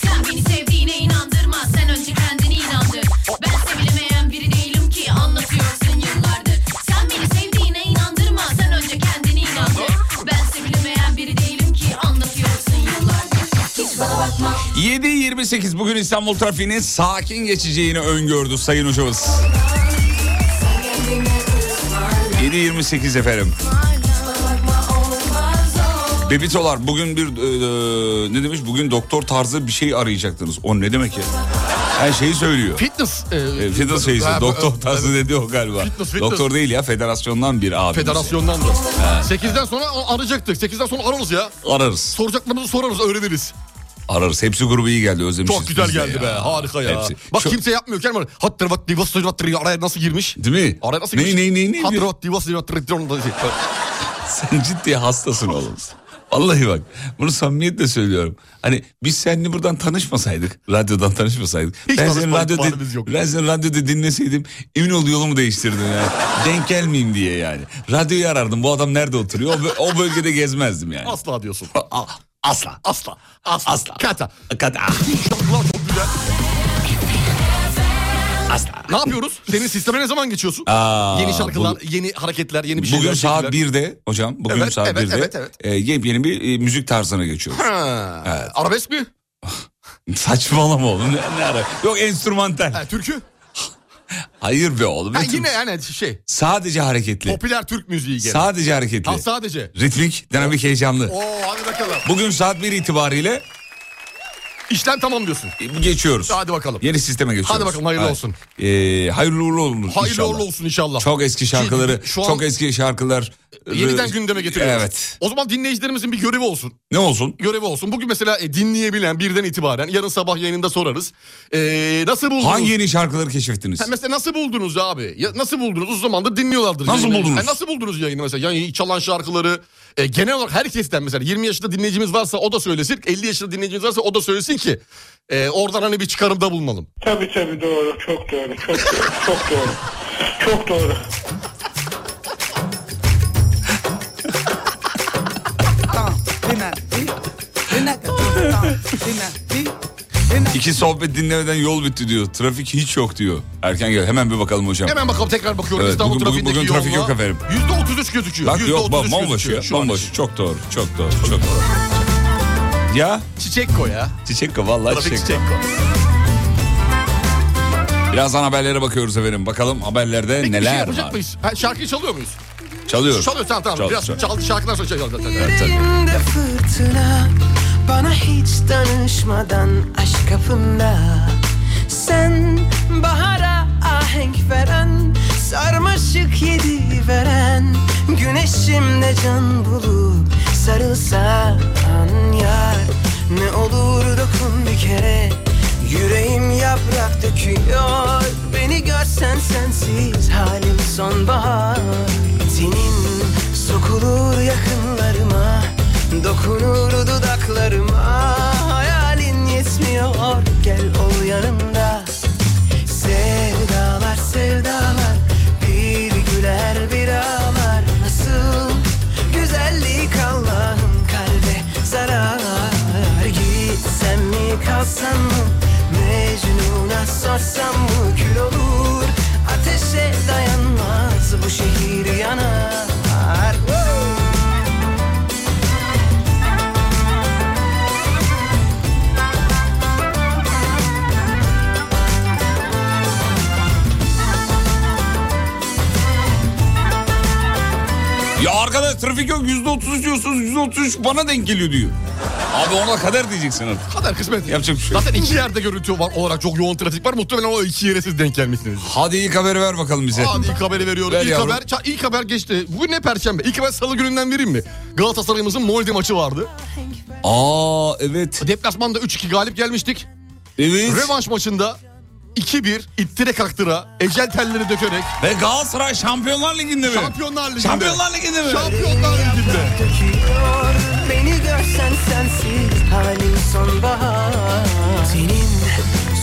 Speaker 9: Sen beni sevdiğine inandırma Sen önce kendini inandır Ben sevilemeyen biri değilim ki Anlatıyorsun yıllardır Sen beni sevdiğine inandırma Sen önce kendini inandır Ben sevilemeyen biri değilim ki Anlatıyorsun yıllardır Hiç bana bakma
Speaker 4: 7.28 bugün İstanbul trafiğinin sakin geçeceğini öngördü sayın hocamız. 7.28 efendim. Bebitolar bugün bir e, e, ne demiş bugün doktor tarzı bir şey arayacaktınız. O ne demek ya? Her şeyi söylüyor.
Speaker 6: Fitness. e,
Speaker 4: E, Fitness şeysi
Speaker 6: Ha, e, bu-
Speaker 4: doktor tarzı dedi o galiba.
Speaker 6: Fitness, fitness.
Speaker 4: Doktor değil ya federasyondan bir abi.
Speaker 6: Federasyondan da. 8'den sonra o- arayacaktık. 8'den sonra ararız ya.
Speaker 4: Ararız.
Speaker 6: Soracaklarımızı sorarız öğreniriz.
Speaker 4: Ararız. Hepsi grubu iyi geldi özlemişiz.
Speaker 6: Çok güzel
Speaker 4: biz de
Speaker 6: geldi
Speaker 4: ya.
Speaker 6: be. Harika ya.
Speaker 4: Hepsi.
Speaker 6: Bak
Speaker 4: Şu-
Speaker 6: kimse yapmıyor. Kerem Hattır vat divas vat araya nasıl girmiş?
Speaker 4: Değil mi?
Speaker 6: Araya nasıl
Speaker 4: Ne
Speaker 6: girmiş?
Speaker 4: ne ne ne?
Speaker 6: Hattır
Speaker 4: diyor?
Speaker 6: vat divas vat
Speaker 4: Sen ciddi hastasın oğlum. Vallahi bak bunu samimiyetle söylüyorum. Hani biz seninle buradan tanışmasaydık, radyodan tanışmasaydık.
Speaker 6: Hiç
Speaker 4: ben seni
Speaker 6: tanışmadık,
Speaker 4: radyoda,
Speaker 6: bağrımız yok.
Speaker 4: ben seni radyoda dinleseydim emin ol yolumu değiştirdim yani. Denk gelmeyeyim diye yani. Radyoyu arardım bu adam nerede oturuyor o, bö- o bölgede gezmezdim yani.
Speaker 6: Asla diyorsun.
Speaker 4: A- Asla.
Speaker 6: Asla. Asla.
Speaker 4: Asla.
Speaker 6: Kata.
Speaker 4: Hakikaten.
Speaker 6: Şarkılar çok güzel.
Speaker 4: Asla.
Speaker 6: Ne yapıyoruz? Senin sisteme ne zaman geçiyorsun?
Speaker 4: Aa,
Speaker 6: yeni şarkılar,
Speaker 4: bu-
Speaker 6: yeni hareketler, yeni bir şeyler.
Speaker 4: Bugün saat
Speaker 6: şekiller.
Speaker 4: 1'de hocam. Bugün
Speaker 6: Evet,
Speaker 4: saat
Speaker 6: evet,
Speaker 4: 1'de
Speaker 6: evet, evet.
Speaker 4: e, yepyeni bir e, müzik tarzına geçiyoruz.
Speaker 6: Ha, Arabesk mi?
Speaker 4: Saçmalama oğlum. Ne, ne ara? Yok enstrümantal.
Speaker 6: Ha, türkü?
Speaker 4: Hayır be oğlum.
Speaker 6: Ha,
Speaker 4: ne tür-
Speaker 6: yine yani şey.
Speaker 4: Sadece hareketli.
Speaker 6: Popüler Türk müziği gene.
Speaker 4: Sadece hareketli.
Speaker 6: Ha, sadece.
Speaker 4: Ritmik, dinamik, heyecanlı.
Speaker 6: Oo hadi bakalım.
Speaker 4: Bugün saat 1 itibariyle E,
Speaker 6: İşlem tamam diyorsun.
Speaker 4: geçiyoruz.
Speaker 6: Hadi bakalım.
Speaker 4: Yeni sisteme geçiyoruz.
Speaker 6: Hadi bakalım, hayırlı
Speaker 4: Evet.
Speaker 6: olsun.
Speaker 4: Ee, hayırlı uğurlu olsun
Speaker 6: Hayırlı
Speaker 4: inşallah.
Speaker 6: uğurlu olsun inşallah.
Speaker 4: Çok eski şarkıları,
Speaker 6: Şu an-
Speaker 4: çok eski şarkılar.
Speaker 6: Yeniden gündeme getiriyoruz.
Speaker 4: Ee, Evet.
Speaker 6: O zaman dinleyicilerimizin bir görevi olsun.
Speaker 4: Ne olsun?
Speaker 6: Görevi olsun. Bugün mesela e, dinleyebilen birden itibaren yarın sabah yayınında sorarız. Ee, nasıl buldunuz?
Speaker 4: Hangi yeni şarkıları keşfettiniz?
Speaker 6: Ha, Mesela nasıl buldunuz abi? Ya, nasıl buldunuz? Uzun zamandır dinliyorlardır.
Speaker 4: Nasıl
Speaker 6: yayını.
Speaker 4: buldunuz?
Speaker 6: Ha, nasıl buldunuz yayını mesela? Yani çalan şarkıları. e, genel olarak herkesten mesela 20 yaşında dinleyicimiz varsa o da söylesin. 50 yaşında dinleyicimiz varsa o da söylesin ki. e, oradan hani bir çıkarımda bulunalım.
Speaker 5: Tabii tabii doğru. Çok doğru. Çok doğru. Çok doğru. Çok doğru.
Speaker 4: İki sohbet dinlemeden yol bitti diyor. Trafik hiç yok diyor. Erken gel. Hemen bir bakalım hocam.
Speaker 6: Hemen bakalım tekrar bakıyorum
Speaker 4: Evet,
Speaker 6: İstanbul
Speaker 4: bugün- bugün-
Speaker 6: trafiğindeki
Speaker 4: bugün trafik
Speaker 6: yoğunluğa.
Speaker 4: yok efendim.
Speaker 6: %33 gözüküyor.
Speaker 4: Bak yok bak
Speaker 6: %33
Speaker 4: bomboş
Speaker 6: gözüküyor
Speaker 4: ya.
Speaker 6: şu an
Speaker 4: Bomboş.
Speaker 6: için.
Speaker 4: Çok doğru. Çok doğru. Çok doğru. Ya
Speaker 6: Çiçek koy ya.
Speaker 4: çiçek o, vallahi
Speaker 6: Trafik
Speaker 4: çiçek.
Speaker 6: çiçek koy.
Speaker 4: Birazdan haberlere bakıyoruz efendim. Bakalım haberlerde
Speaker 6: Peki bir şey
Speaker 4: neler
Speaker 6: yapacak
Speaker 4: var.
Speaker 6: mıyız? Ha, şarkıyı çalıyor muyuz?
Speaker 4: Çalıyoruz.
Speaker 6: Çalıyoruz tamam tamam.
Speaker 4: Çal,
Speaker 6: Biraz
Speaker 4: çal.
Speaker 6: çal, şarkıdan sonra çalacağız.
Speaker 4: Evet, tabii.
Speaker 11: Yüreğimde fırtına Bana hiç danışmadan aşk kapında Sen bahara ahenk veren Sarmaşık yedi veren Güneşimde can bulup sarılsan yar Ne olur dokun bir kere Yüreğim yaprak döküyor Beni görsen sensiz halim sonbahar Tenin sokulur yakınlarıma Dokunur dudaklarıma Hayalin yetmiyor gel ol yanımda Sevdalar sevdalar Bir güler bir ağlar Nasıl güzellik Allah'ım kalbe zarar Gitsem mi kalsam mı Mecnun'a sorsam mı Kül olur ateşe dayanmaz Bu şehir yanar Wow!
Speaker 4: Ya arkadaş trafik yok yüzde otuz diyorsunuz yüzde otuz bana denk geliyor diyor. Abi ona kader diyeceksin artık.
Speaker 6: Kadar kısmet.
Speaker 4: Yapacak bir şey yok.
Speaker 6: Zaten iki yerde görüntü var olarak çok yoğun trafik var. Muhtemelen o iki yere siz denk gelmişsiniz.
Speaker 4: Hadi ilk haberi ver bakalım bize.
Speaker 6: Hadi ilk haberi veriyorum.
Speaker 4: Ver
Speaker 6: ilk
Speaker 4: yavrum.
Speaker 6: haber, ça- ilk haber geçti. Bugün ne perşembe? İlk haber salı gününden vereyim mi? Galatasaray'ımızın Molde maçı vardı.
Speaker 4: Aa evet.
Speaker 6: Deplasmanda 3-2 galip gelmiştik.
Speaker 4: Evet.
Speaker 6: Revanş maçında 2-1 ittire kaktıra ecel telleri dökerek
Speaker 4: Ve Galatasaray Şampiyonlar Ligi'nde mi?
Speaker 6: Şampiyonlar Ligi'nde.
Speaker 4: Şampiyonlar Ligi'nde mi?
Speaker 6: Şampiyonlar Ligi'nde.
Speaker 12: döküyor Beni görsen sensiz halin sonbahar Senin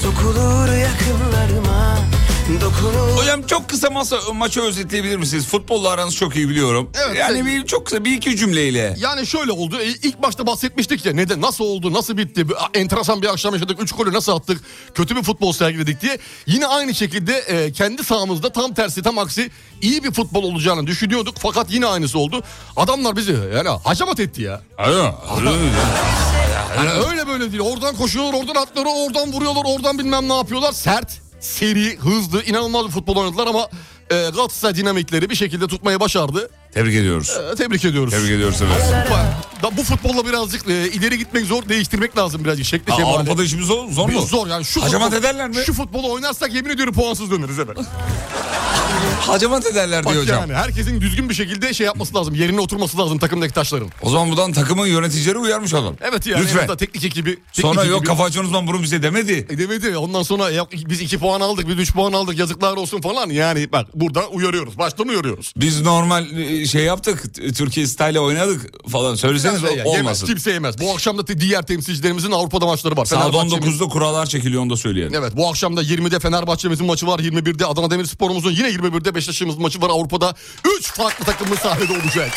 Speaker 12: sokulur yakınlarıma Dokunur
Speaker 4: Hocam çok kısa masa, maçı özetleyebilir misiniz? Futbolla aranız çok iyi biliyorum.
Speaker 6: Evet,
Speaker 4: yani
Speaker 6: sen-
Speaker 4: bir, çok kısa bir iki cümleyle.
Speaker 6: Yani şöyle oldu. E, İlk başta bahsetmiştik ya. Neden? Nasıl oldu? Nasıl bitti? Bir- a- Enteresan bir akşam yaşadık. Üç golü nasıl attık? Kötü bir futbol sergiledik diye. Yine aynı şekilde e, kendi sahamızda tam tersi tam aksi iyi bir futbol olacağını düşünüyorduk. Fakat yine aynısı oldu. Adamlar bizi yani hacamat etti ya.
Speaker 4: Alo.
Speaker 6: Yani öyle böyle değil. Oradan koşuyorlar, oradan atlıyorlar, oradan vuruyorlar, oradan bilmem ne yapıyorlar. Sert, seri, hızlı, inanılmaz bir futbol oynadılar ama e, Galatasaray dinamikleri bir şekilde tutmayı başardı.
Speaker 4: Tebrik ediyoruz.
Speaker 6: E, tebrik ediyoruz.
Speaker 4: Tebrik ediyoruz efendim.
Speaker 6: Avrupa- da bu futbolla birazcık e, ileri gitmek zor, değiştirmek lazım birazcık şekli
Speaker 4: Aa,
Speaker 6: şemali.
Speaker 4: Avrupa'da işimiz zor, zor mu?
Speaker 6: Biz zor yani şu
Speaker 4: Hacamat
Speaker 6: futbol-
Speaker 4: ederler mi?
Speaker 6: Şu futbolu oynarsak yemin ediyorum puansız döneriz hemen.
Speaker 4: Hacamat ederler
Speaker 6: Bak
Speaker 4: diyor hocam.
Speaker 6: yani herkesin düzgün bir şekilde şey yapması lazım. Yerine oturması lazım takımdaki taşların.
Speaker 4: O zaman buradan takımın yöneticileri uyarmış olalım.
Speaker 6: Evet yani en
Speaker 4: Lütfen.
Speaker 6: azından teknik ekibi. Teknik
Speaker 4: Sonra yok
Speaker 6: ekibi-
Speaker 4: kafa açan uzman bunu bize demedi.
Speaker 6: E demedi. Ondan sonra ya biz 2 puan aldık, biz 3 puan aldık. Yazıklar olsun falan. Yani bak burada uyarıyoruz. Baştan uyarıyoruz.
Speaker 4: Biz normal e, şey yaptık. t- Türkiye style oynadık falan. Söyleseniz
Speaker 6: Yani
Speaker 4: o-
Speaker 6: yemez,
Speaker 4: olmasın.
Speaker 6: kimse yemez. Bu akşam da te- diğer temsilcilerimizin Avrupa'da maçları var.
Speaker 4: Saat
Speaker 6: Fenerbahçe'miz-
Speaker 4: 19'da kurallar çekiliyor onu da söyleyelim.
Speaker 6: Evet bu akşam da 20'de Fenerbahçe'mizin maçı var. 21'de Adana Demirspor'umuzun yine 21'de Beşiktaş'ımızın maçı var. Avrupa'da 3 farklı takımın sahnede olacak.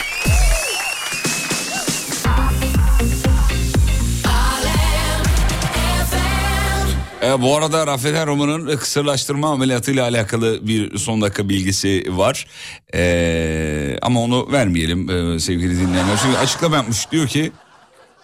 Speaker 4: E, bu arada Rafael Roman'ın kısırlaştırma ameliyatıyla alakalı bir son dakika bilgisi var. E, ama onu vermeyelim e, sevgili dinleyenler. Çünkü açıklama yapmış diyor ki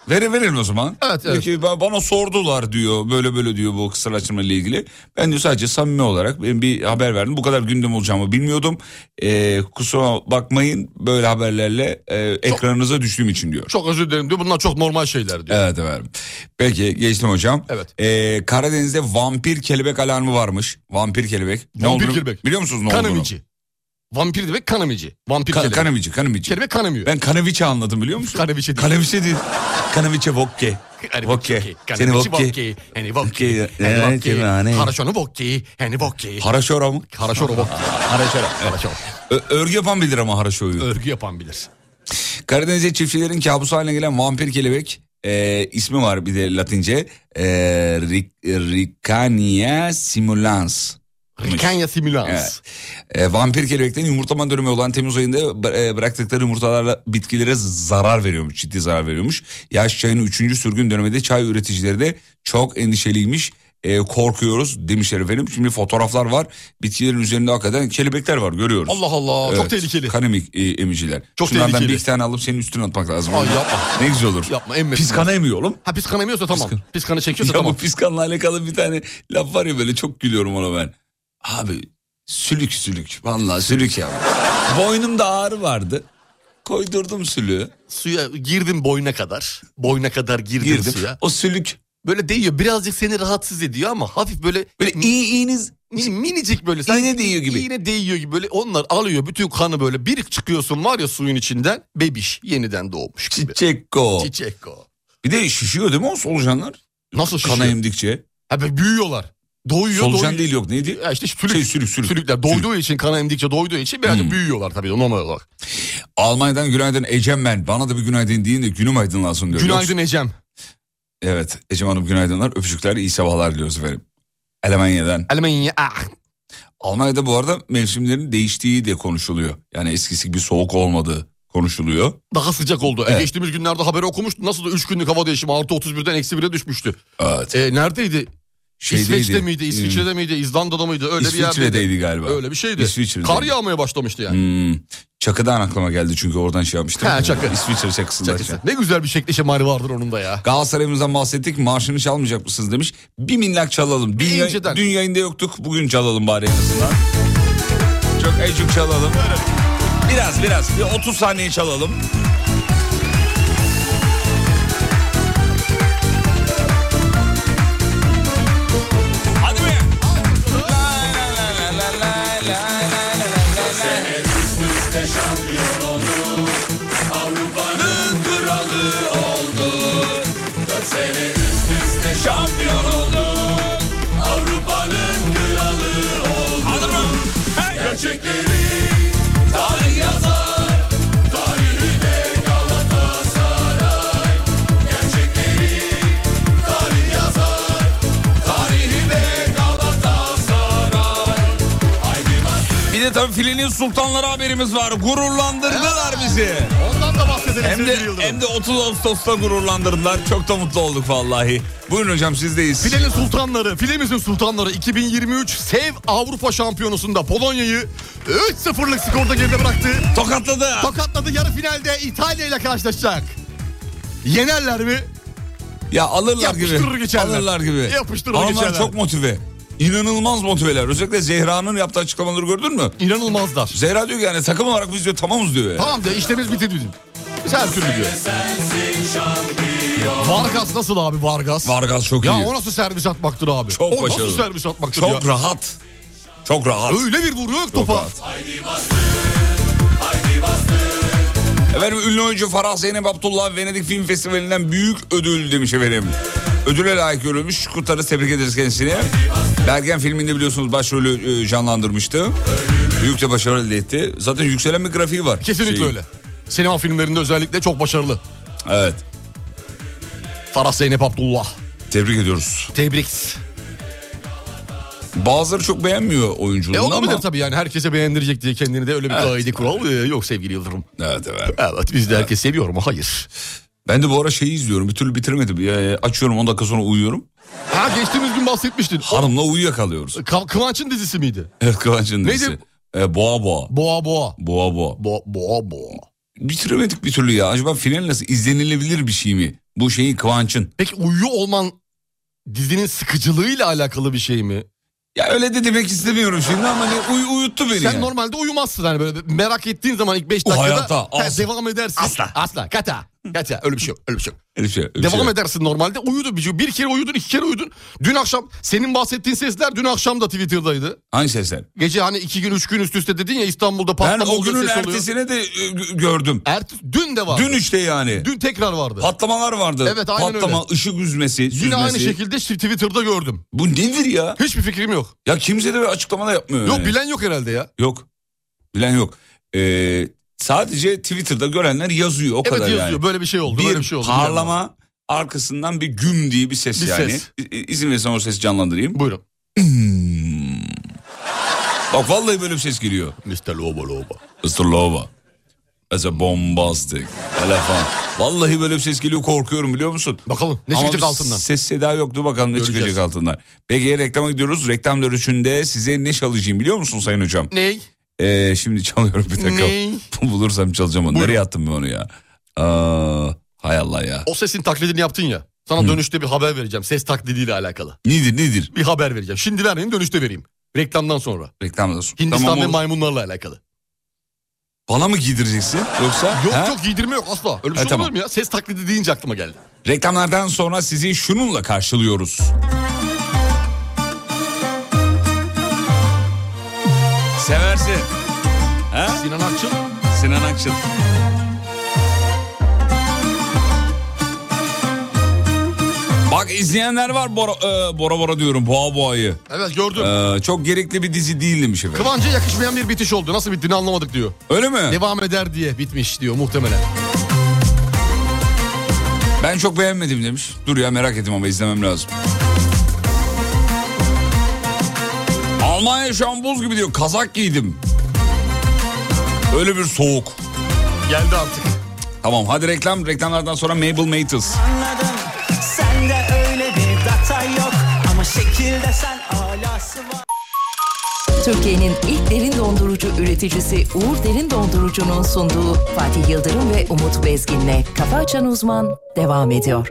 Speaker 4: verin verin o zaman.
Speaker 6: Evet,
Speaker 4: Diyor
Speaker 6: evet.
Speaker 4: ki, "Ba- bana sordular diyor böyle böyle diyor bu kısırlaştırma ile ilgili. Ben diyor sadece samimi olarak ben bir haber verdim. Bu kadar gündem olacağımı bilmiyordum. E, kusura bakmayın böyle haberlerle e, ekranınıza düştüğüm için diyor.
Speaker 6: Çok özür dilerim diyor. Bunlar çok normal şeyler diyor.
Speaker 4: Evet efendim. Peki geçtim hocam.
Speaker 6: Evet.
Speaker 4: Ee, Karadeniz'de vampir kelebek alarmı varmış. Vampir kelebek. Ne
Speaker 6: Vampir
Speaker 4: olduğunu
Speaker 6: kelebek.
Speaker 4: Biliyor musunuz ne olduğunu?
Speaker 6: kanamici. Vampir demek kanamici. Vampir
Speaker 4: Ka-
Speaker 6: kelebek.
Speaker 4: kanamici. Kanamici.
Speaker 6: kelebek kanamıyor.
Speaker 4: Ben kanaviçe anladım biliyor musun?
Speaker 6: Kanaviçe değil.
Speaker 4: Kanaviçe değil. Kanaviçe vokke.
Speaker 6: Hani
Speaker 4: Vokke. Seni
Speaker 6: Seni
Speaker 4: vokke.
Speaker 6: vokki. Hani vokki.
Speaker 4: Vokki.
Speaker 6: Hani
Speaker 4: Evet,
Speaker 6: vokki.
Speaker 4: yani.
Speaker 6: Haraşonu vokki. Hani vokki.
Speaker 4: Haraşora mı?
Speaker 6: Haraşoru vokki.
Speaker 4: Haraşora.
Speaker 6: Haraşoru.
Speaker 4: Ö- örgü yapan bilir ama haraşoyu.
Speaker 6: Örgü yapan bilir.
Speaker 4: Karadeniz'de çiftçilerin kabusu haline gelen vampir kelebek e, ismi var bir de latince. E, Ric- e, Ricania simulans.
Speaker 6: Rikanya simulans.
Speaker 4: Evet. E, vampir kelebeklerin yumurtlama dönemi olan Temmuz ayında bı- e, bıraktıkları yumurtalarla bitkilere zarar veriyormuş. Ciddi zarar veriyormuş. Yaş çayının 3. sürgün döneminde çay üreticileri de çok endişeliymiş. E, korkuyoruz demişler efendim. Şimdi fotoğraflar var. Bitkilerin üzerinde hakikaten kelebekler var görüyoruz.
Speaker 6: Allah Allah.
Speaker 4: Evet.
Speaker 6: Çok tehlikeli.
Speaker 4: Kanemik e, emiciler.
Speaker 6: Çok
Speaker 4: Şunlardan
Speaker 6: tehlikeli.
Speaker 4: bir iki tane alıp senin üstüne atmak lazım.
Speaker 6: Ay yapma.
Speaker 4: Ne güzel olur.
Speaker 6: Yapma, emmesin.
Speaker 4: Pis kana emiyor oğlum.
Speaker 6: Ha pis kanamıyorsa tamam.
Speaker 4: Pis kan-
Speaker 6: Pis kanı çekiyorsa
Speaker 4: Ya
Speaker 6: tamam.
Speaker 4: bu piskanla alakalı bir tane laf var ya böyle çok gülüyorum ona ben. Abi sülük sülük. Vallahi sülük ya. Boynumda ağrı vardı. Koydurdum sülüğü.
Speaker 6: Suya girdim boyuna kadar. Boyuna kadar girdim,
Speaker 4: Girdim.
Speaker 6: suya.
Speaker 4: O sülük.
Speaker 6: Böyle değiyor. Birazcık seni rahatsız ediyor ama hafif böyle...
Speaker 4: Böyle iyi iğniz.
Speaker 6: Mini- minicik böyle.
Speaker 4: İğne değiyor gibi.
Speaker 6: İğne değiyor gibi böyle onlar alıyor bütün kanı böyle bir çıkıyorsun var ya suyun içinden bebiş yeniden doğmuş gibi.
Speaker 4: Çiçekko.
Speaker 6: Çiçek o.
Speaker 4: Bir de şişiyor değil mi o solucanlar?
Speaker 6: Nasıl şişiyor?
Speaker 4: Kana emdikçe.
Speaker 6: Ha böyle büyüyorlar. Doyuyor
Speaker 4: Solucan
Speaker 6: doyuyor.
Speaker 4: değil yok neydi?
Speaker 6: Ya işte sülük,
Speaker 4: Şey, sülük, sülük. Hmm.
Speaker 6: sülükler doyduğu için kana emdikçe doyduğu için birazcık büyüyorlar tabii normal olarak.
Speaker 4: Almanya'dan günaydın Ecem ben. Bana da bir günaydın deyin de günüm aydınlansın diyor.
Speaker 6: Günaydın
Speaker 4: Yoksa-
Speaker 6: Ecem.
Speaker 4: Evet Ecem Hanım günaydınlar. Öpücükler iyi sabahlar diliyoruz efendim. Almanya'dan.
Speaker 6: Almanya. Ah.
Speaker 4: Almanya'da bu arada mevsimlerin değiştiği de konuşuluyor. Yani eskisi gibi soğuk olmadığı konuşuluyor.
Speaker 6: Daha sıcak oldu. E,
Speaker 4: Evet.
Speaker 6: geçtiğimiz günlerde haberi okumuştu. Nasıl da 3 günlük hava değişimi artı 31'den eksi 1'e düşmüştü.
Speaker 4: Evet.
Speaker 6: E, neredeydi?
Speaker 4: Şeydeydi,
Speaker 6: İsveç'te miydi?
Speaker 4: hmm,
Speaker 6: İsviçre'de miydi? İzlanda'da mıydı? Öyle bir yerdeydi.
Speaker 4: İsviçre'deydi galiba.
Speaker 6: Öyle bir şeydi.
Speaker 4: İsviçre'deydi.
Speaker 6: Kar yağmaya başlamıştı yani.
Speaker 4: Hmm, Çakı'dan aklıma geldi çünkü oradan şey yapmıştım.
Speaker 6: Ha, Çakı.
Speaker 4: İsviçre çakısında.
Speaker 6: Çakısı. Ne güzel bir şekli şemali vardır onun da ya.
Speaker 4: Galatasaray'ımızdan bahsettik marşını çalmayacak mısınız demiş. Bir minnak çalalım. Dün, yay-
Speaker 6: inceden.
Speaker 4: dün yayında yoktuk bugün çalalım bari en azından. Çok ecik çalalım. Biraz biraz bir 30 saniye çalalım. Hadi be. şampiyon oldu. Avrupa'nın
Speaker 13: gerçekleri tarih yazar. Tarihi de Galatasaray. Gerçekleri tarih yazar. Tarihi de Galatasaray.
Speaker 4: Bir de tabii filenin sultanları haberimiz var. Gururlandırdılar bizi.
Speaker 6: Ondan da bahsedelim
Speaker 4: Hem de,
Speaker 6: sevgili Yıldırım.
Speaker 4: hem de 30 Ağustos'ta gururlandırdılar. Çok da mutlu olduk vallahi. Buyurun hocam sizdeyiz.
Speaker 6: Filenin sultanları, filemizin sultanları 2023 Sev Avrupa Şampiyonası'nda Polonya'yı 3-0'lık skorda geride bıraktı.
Speaker 4: Tokatladı.
Speaker 6: Tokatladı yarı finalde İtalya ile karşılaşacak. Yenerler mi?
Speaker 4: Ya alırlar
Speaker 6: Yapıştırır
Speaker 4: gibi.
Speaker 6: geçerler.
Speaker 4: Alırlar gibi.
Speaker 6: Yapıştırır
Speaker 4: Ama onlar
Speaker 6: geçerler.
Speaker 4: çok motive. İnanılmaz motiveler. Özellikle Zehra'nın yaptığı açıklamaları gördün mü?
Speaker 6: İnanılmazlar.
Speaker 4: Zehra diyor ki yani takım olarak biz diyor tamamız diyor. ya.
Speaker 6: Tamam de işlerimiz bitirdi bizim. Biz her türlü diyor. Vargas nasıl abi Vargas?
Speaker 4: Vargas çok
Speaker 6: ya
Speaker 4: iyi.
Speaker 6: o nasıl servis atmaktır abi?
Speaker 4: Çok
Speaker 6: o
Speaker 4: başarılı.
Speaker 6: nasıl servis atmaktır
Speaker 4: Çok
Speaker 6: ya?
Speaker 4: rahat. Çok rahat.
Speaker 6: Öyle bir vuruyor ki
Speaker 4: Çok
Speaker 6: topa.
Speaker 4: rahat. Efendim ünlü oyuncu Farah Zeynep Abdullah Venedik Film Festivali'nden büyük ödül demiş efendim. Ödüle layık görülmüş. Kurtarız tebrik ederiz kendisini. Bergen filminde biliyorsunuz başrolü e, canlandırmıştı. Büyük de başarı elde etti. Zaten yükselen bir grafiği var.
Speaker 6: Kesinlikle
Speaker 4: Şeyin.
Speaker 6: öyle. Sinema filmlerinde özellikle çok başarılı.
Speaker 4: Evet.
Speaker 6: Farah Zeynep Abdullah.
Speaker 4: Tebrik ediyoruz.
Speaker 6: Tebrik.
Speaker 4: Bazıları çok beğenmiyor
Speaker 6: E
Speaker 4: oyunculuğunu
Speaker 6: olabilir
Speaker 4: ama.
Speaker 6: tabii yani herkese beğendirecek diye kendini de öyle bir kaide kural e, yok sevgili Yıldırım.
Speaker 4: Evet evet.
Speaker 6: Evet biz de herkes seviyor mu? Hayır.
Speaker 4: Ben de bu ara şeyi izliyorum. Bir türlü bitiremedim. Ya, açıyorum 10 dakika sonra uyuyorum.
Speaker 6: Ha geçtiğimiz gün bahsetmiştin.
Speaker 4: Hanımla uyuyakalıyoruz.
Speaker 6: Ka- Kıvanç'ın dizisi miydi?
Speaker 4: Evet Kıvanç'ın
Speaker 6: Neydi?
Speaker 4: dizisi. E, boğa boğa.
Speaker 6: Boğa boğa.
Speaker 4: Boğa boğa.
Speaker 6: Boğa boğa. boğa.
Speaker 4: Bitiremedik bir türlü ya. Acaba final nasıl? İzlenilebilir bir şey mi? Bu şeyin Kıvanç'ın.
Speaker 6: Peki uyuyor olman dizinin sıkıcılığıyla alakalı bir şey mi?
Speaker 4: Ya öyle de demek istemiyorum şimdi ama ne, uy- uyuttu beni.
Speaker 6: Sen
Speaker 4: yani.
Speaker 6: normalde uyumazsın hani böyle merak ettiğin zaman ilk 5
Speaker 4: O
Speaker 6: dakikada
Speaker 4: hayata
Speaker 6: ha,
Speaker 4: asla.
Speaker 6: devam edersin. Asla. Asla. Kata. Kata. Öyle bir şey yok. Öyle bir şey yok.
Speaker 4: Öyle bir şey, öyle bir şey
Speaker 6: Devam
Speaker 4: yok.
Speaker 6: edersin normalde. Uyudun bir, bir kere uyudun, iki kere uyudun. Dün akşam senin bahsettiğin sesler dün akşam da Twitter'daydı.
Speaker 4: Hangi sesler?
Speaker 6: Gece hani iki gün, üç gün üst üste dedin ya İstanbul'da
Speaker 4: Ben
Speaker 6: patlama
Speaker 4: o
Speaker 6: oldu,
Speaker 4: günün
Speaker 6: ses oluyor.
Speaker 4: ertesine de e, gö- gördüm.
Speaker 6: Ertesi- dün de vardı.
Speaker 4: Dün işte yani.
Speaker 6: Dün tekrar vardı.
Speaker 4: Patlamalar vardı.
Speaker 6: Evet, aynen
Speaker 4: Patlama,
Speaker 6: öyle.
Speaker 4: ışık üzmesi,
Speaker 6: Yine
Speaker 4: süzmesi.
Speaker 6: aynı şekilde şi- Twitter'da gördüm.
Speaker 4: Bu nedir ya?
Speaker 6: Hiçbir fikrim yok.
Speaker 4: Ya kimse de bir açıklama da yapmıyor.
Speaker 6: Yok
Speaker 4: yani.
Speaker 6: bilen yok herhalde ya.
Speaker 4: Yok. Bilen yok. Ee, sadece Twitter'da görenler yazıyor o
Speaker 6: evet
Speaker 4: kadar
Speaker 6: yazıyor
Speaker 4: yani.
Speaker 6: böyle bir şey oldu. böyle
Speaker 4: bir
Speaker 6: bir şey oldu.
Speaker 4: parlama arkasından bir güm diye bir ses
Speaker 6: Bir
Speaker 4: yani.
Speaker 6: ses.
Speaker 4: İ- İzin verirsen o sesi canlandırayım.
Speaker 6: Buyurun.
Speaker 4: Bak vallahi böyle bir ses geliyor.
Speaker 6: Mr. Lobo Lobo.
Speaker 4: Istrlova. As a bombastic. Hele falan. Vallahi böyle bir ses geliyor korkuyorum biliyor musun?
Speaker 6: Bakalım ne
Speaker 4: Ama
Speaker 6: çıkacak
Speaker 4: bir
Speaker 6: altından.
Speaker 4: Ses seda yoktu bakalım ne
Speaker 6: Göreceğiz.
Speaker 4: çıkacak altından. Peki reklama gidiyoruz. Reklam dönüşünde size ne çalacağım biliyor musun Sayın Hocam?
Speaker 6: Ney?
Speaker 4: Ee, şimdi çalıyorum bir dakika.
Speaker 6: Ney?
Speaker 4: Bulursam çalacağım onu.
Speaker 6: Buyurun.
Speaker 4: Nereye attım ben onu ya? Aa, hay Allah ya.
Speaker 6: O sesin taklidini yaptın ya. Sana dönüşte bir haber vereceğim. Ses taklidiyle alakalı.
Speaker 4: Nedir nedir?
Speaker 6: Bir haber vereceğim. Şimdi vermeyeyim dönüşte vereyim. Reklamdan sonra.
Speaker 4: Reklamda
Speaker 6: Hindistan
Speaker 4: Tamam,
Speaker 6: ve
Speaker 4: olur.
Speaker 6: maymunlarla alakalı.
Speaker 4: Bana mı giydireceksin yoksa?
Speaker 6: Yok
Speaker 4: ha?
Speaker 6: yok giydirme yok asla. Öyle bir
Speaker 4: Ha,
Speaker 6: şey
Speaker 4: tamam.
Speaker 6: olur mu ya? Ses taklidi deyince aklıma geldi.
Speaker 4: Reklamlardan sonra sizi şununla karşılıyoruz. Seversin
Speaker 6: Sinan Akçıl.
Speaker 4: Sinan Akçıl. Bak izleyenler var Bora e, Bora, Bora diyorum Boğa Boğa'yı.
Speaker 6: Evet gördüm.
Speaker 4: E, çok gerekli bir şey. dizi değil demiş efendim.
Speaker 6: Kıvancı yakışmayan bir bitiş oldu. Nasıl bittiğini anlamadık diyor.
Speaker 4: Öyle mi?
Speaker 6: Devam eder diye bitmiş diyor muhtemelen.
Speaker 4: Ben çok beğenmedim demiş. Dur ya merak ettim ama izlemem lazım. Almanya şu an buz gibi diyor. Kazak giydim. Öyle bir soğuk.
Speaker 6: Geldi artık.
Speaker 4: Tamam hadi reklam. Reklamlardan sonra Mabel Matus.
Speaker 12: Anladım sende öyle bir data yok Ama şekilde sen alası var
Speaker 7: Türkiye'nin ilk derin dondurucu üreticisi Uğur Derin Dondurucu'nun sunduğu Fatih Yıldırım ve Umut Bezgin'le Kafa Açan Uzman devam ediyor.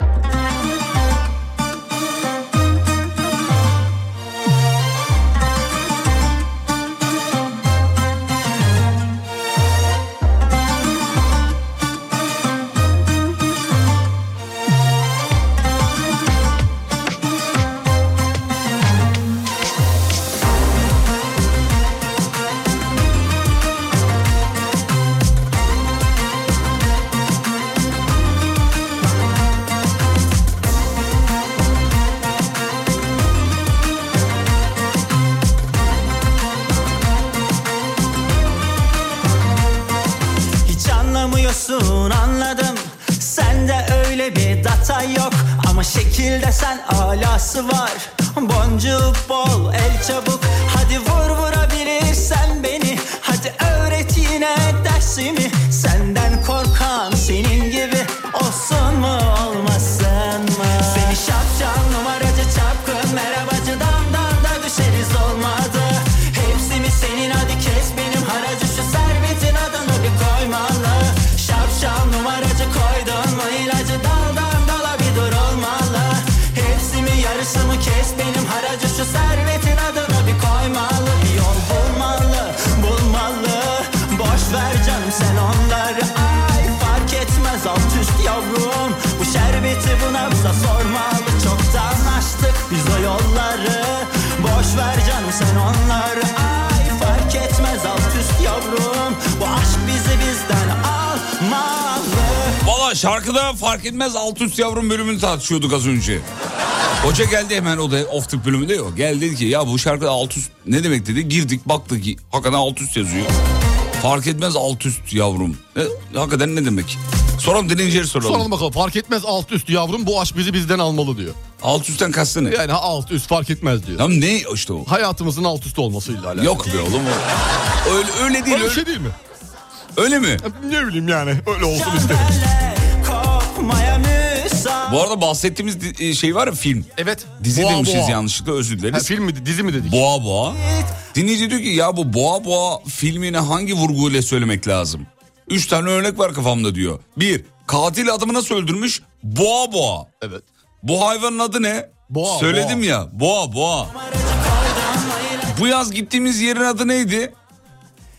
Speaker 12: oynuyorsun anladım Sende öyle bir data yok Ama şekilde sen alası var Boncuğu bol el çabuk Hadi vur vurabilirsen beni Hadi öğret yine dersimi Senden korkan senin gibi Olsun mu olmasın mı Seni şapşal numaracı çapkın Merhabacı damdan da düşeriz olmadı Hepsi mi senin hadi kes benim haracı Şu servetin adını bir koymalı Şapşal numaracı koydun mu ilacı Daldan dala bir dur olmalı Hepsi mi yarısı mı kes benim haracı Şu servetin adını bir koymalı Bir yol bulmalı bulmalı Boş ver canım sen onları Ay fark etmez alt üst yavrum Bu şerbeti buna bize sormalı Çoktan açtık biz o yolları Boş ver canım sen onları Ay fark etmez alt üst yavrum Bu aşk bizi bizden almalı
Speaker 4: Valla şarkıda fark etmez alt üst yavrum bölümünü tartışıyorduk az önce. Hoca geldi hemen o da off tip bölümünde yok. Geldi dedi ki ya bu şarkıda alt üst ne demek dedi. Girdik baktık ki hakikaten alt üst yazıyor. Fark etmez alt üst yavrum. E, hakikaten ne demek? Soralım dinleyicileri soralım.
Speaker 6: Soralım bakalım fark etmez alt üst yavrum bu aşk bizi bizden almalı diyor.
Speaker 4: Alt üstten kastı ne?
Speaker 6: Yani alt üst fark etmez diyor.
Speaker 4: Ya ne işte o?
Speaker 6: Hayatımızın alt üst olmasıyla alakalı.
Speaker 4: Yok be oğlum o. Öyle, öyle değil.
Speaker 6: Öyle bir
Speaker 4: Öyle,
Speaker 6: şey değil mi?
Speaker 4: öyle mi?
Speaker 6: Ne bileyim yani öyle olsun isterim.
Speaker 12: Çemberle kopmaya müsait
Speaker 4: Bu arada bahsettiğimiz di- şey var ya film.
Speaker 6: Evet.
Speaker 4: Dizi
Speaker 6: Boğa
Speaker 4: demişiz
Speaker 6: boğa.
Speaker 4: yanlışlıkla özür
Speaker 6: Ha,
Speaker 4: dileriz.
Speaker 6: film mi dizi mi dedik?
Speaker 4: Boğa boğa. Dinleyici diyor ki ya bu boğa boğa filmini hangi vurguyla söylemek lazım? Üç tane örnek var kafamda diyor. Bir, katil adamı nasıl öldürmüş? Boğa boğa.
Speaker 6: Evet.
Speaker 4: Bu hayvanın adı ne?
Speaker 6: Boğa,
Speaker 4: Söyledim
Speaker 6: boğa.
Speaker 4: ya. Boğa boğa. Bu yaz gittiğimiz yerin adı neydi?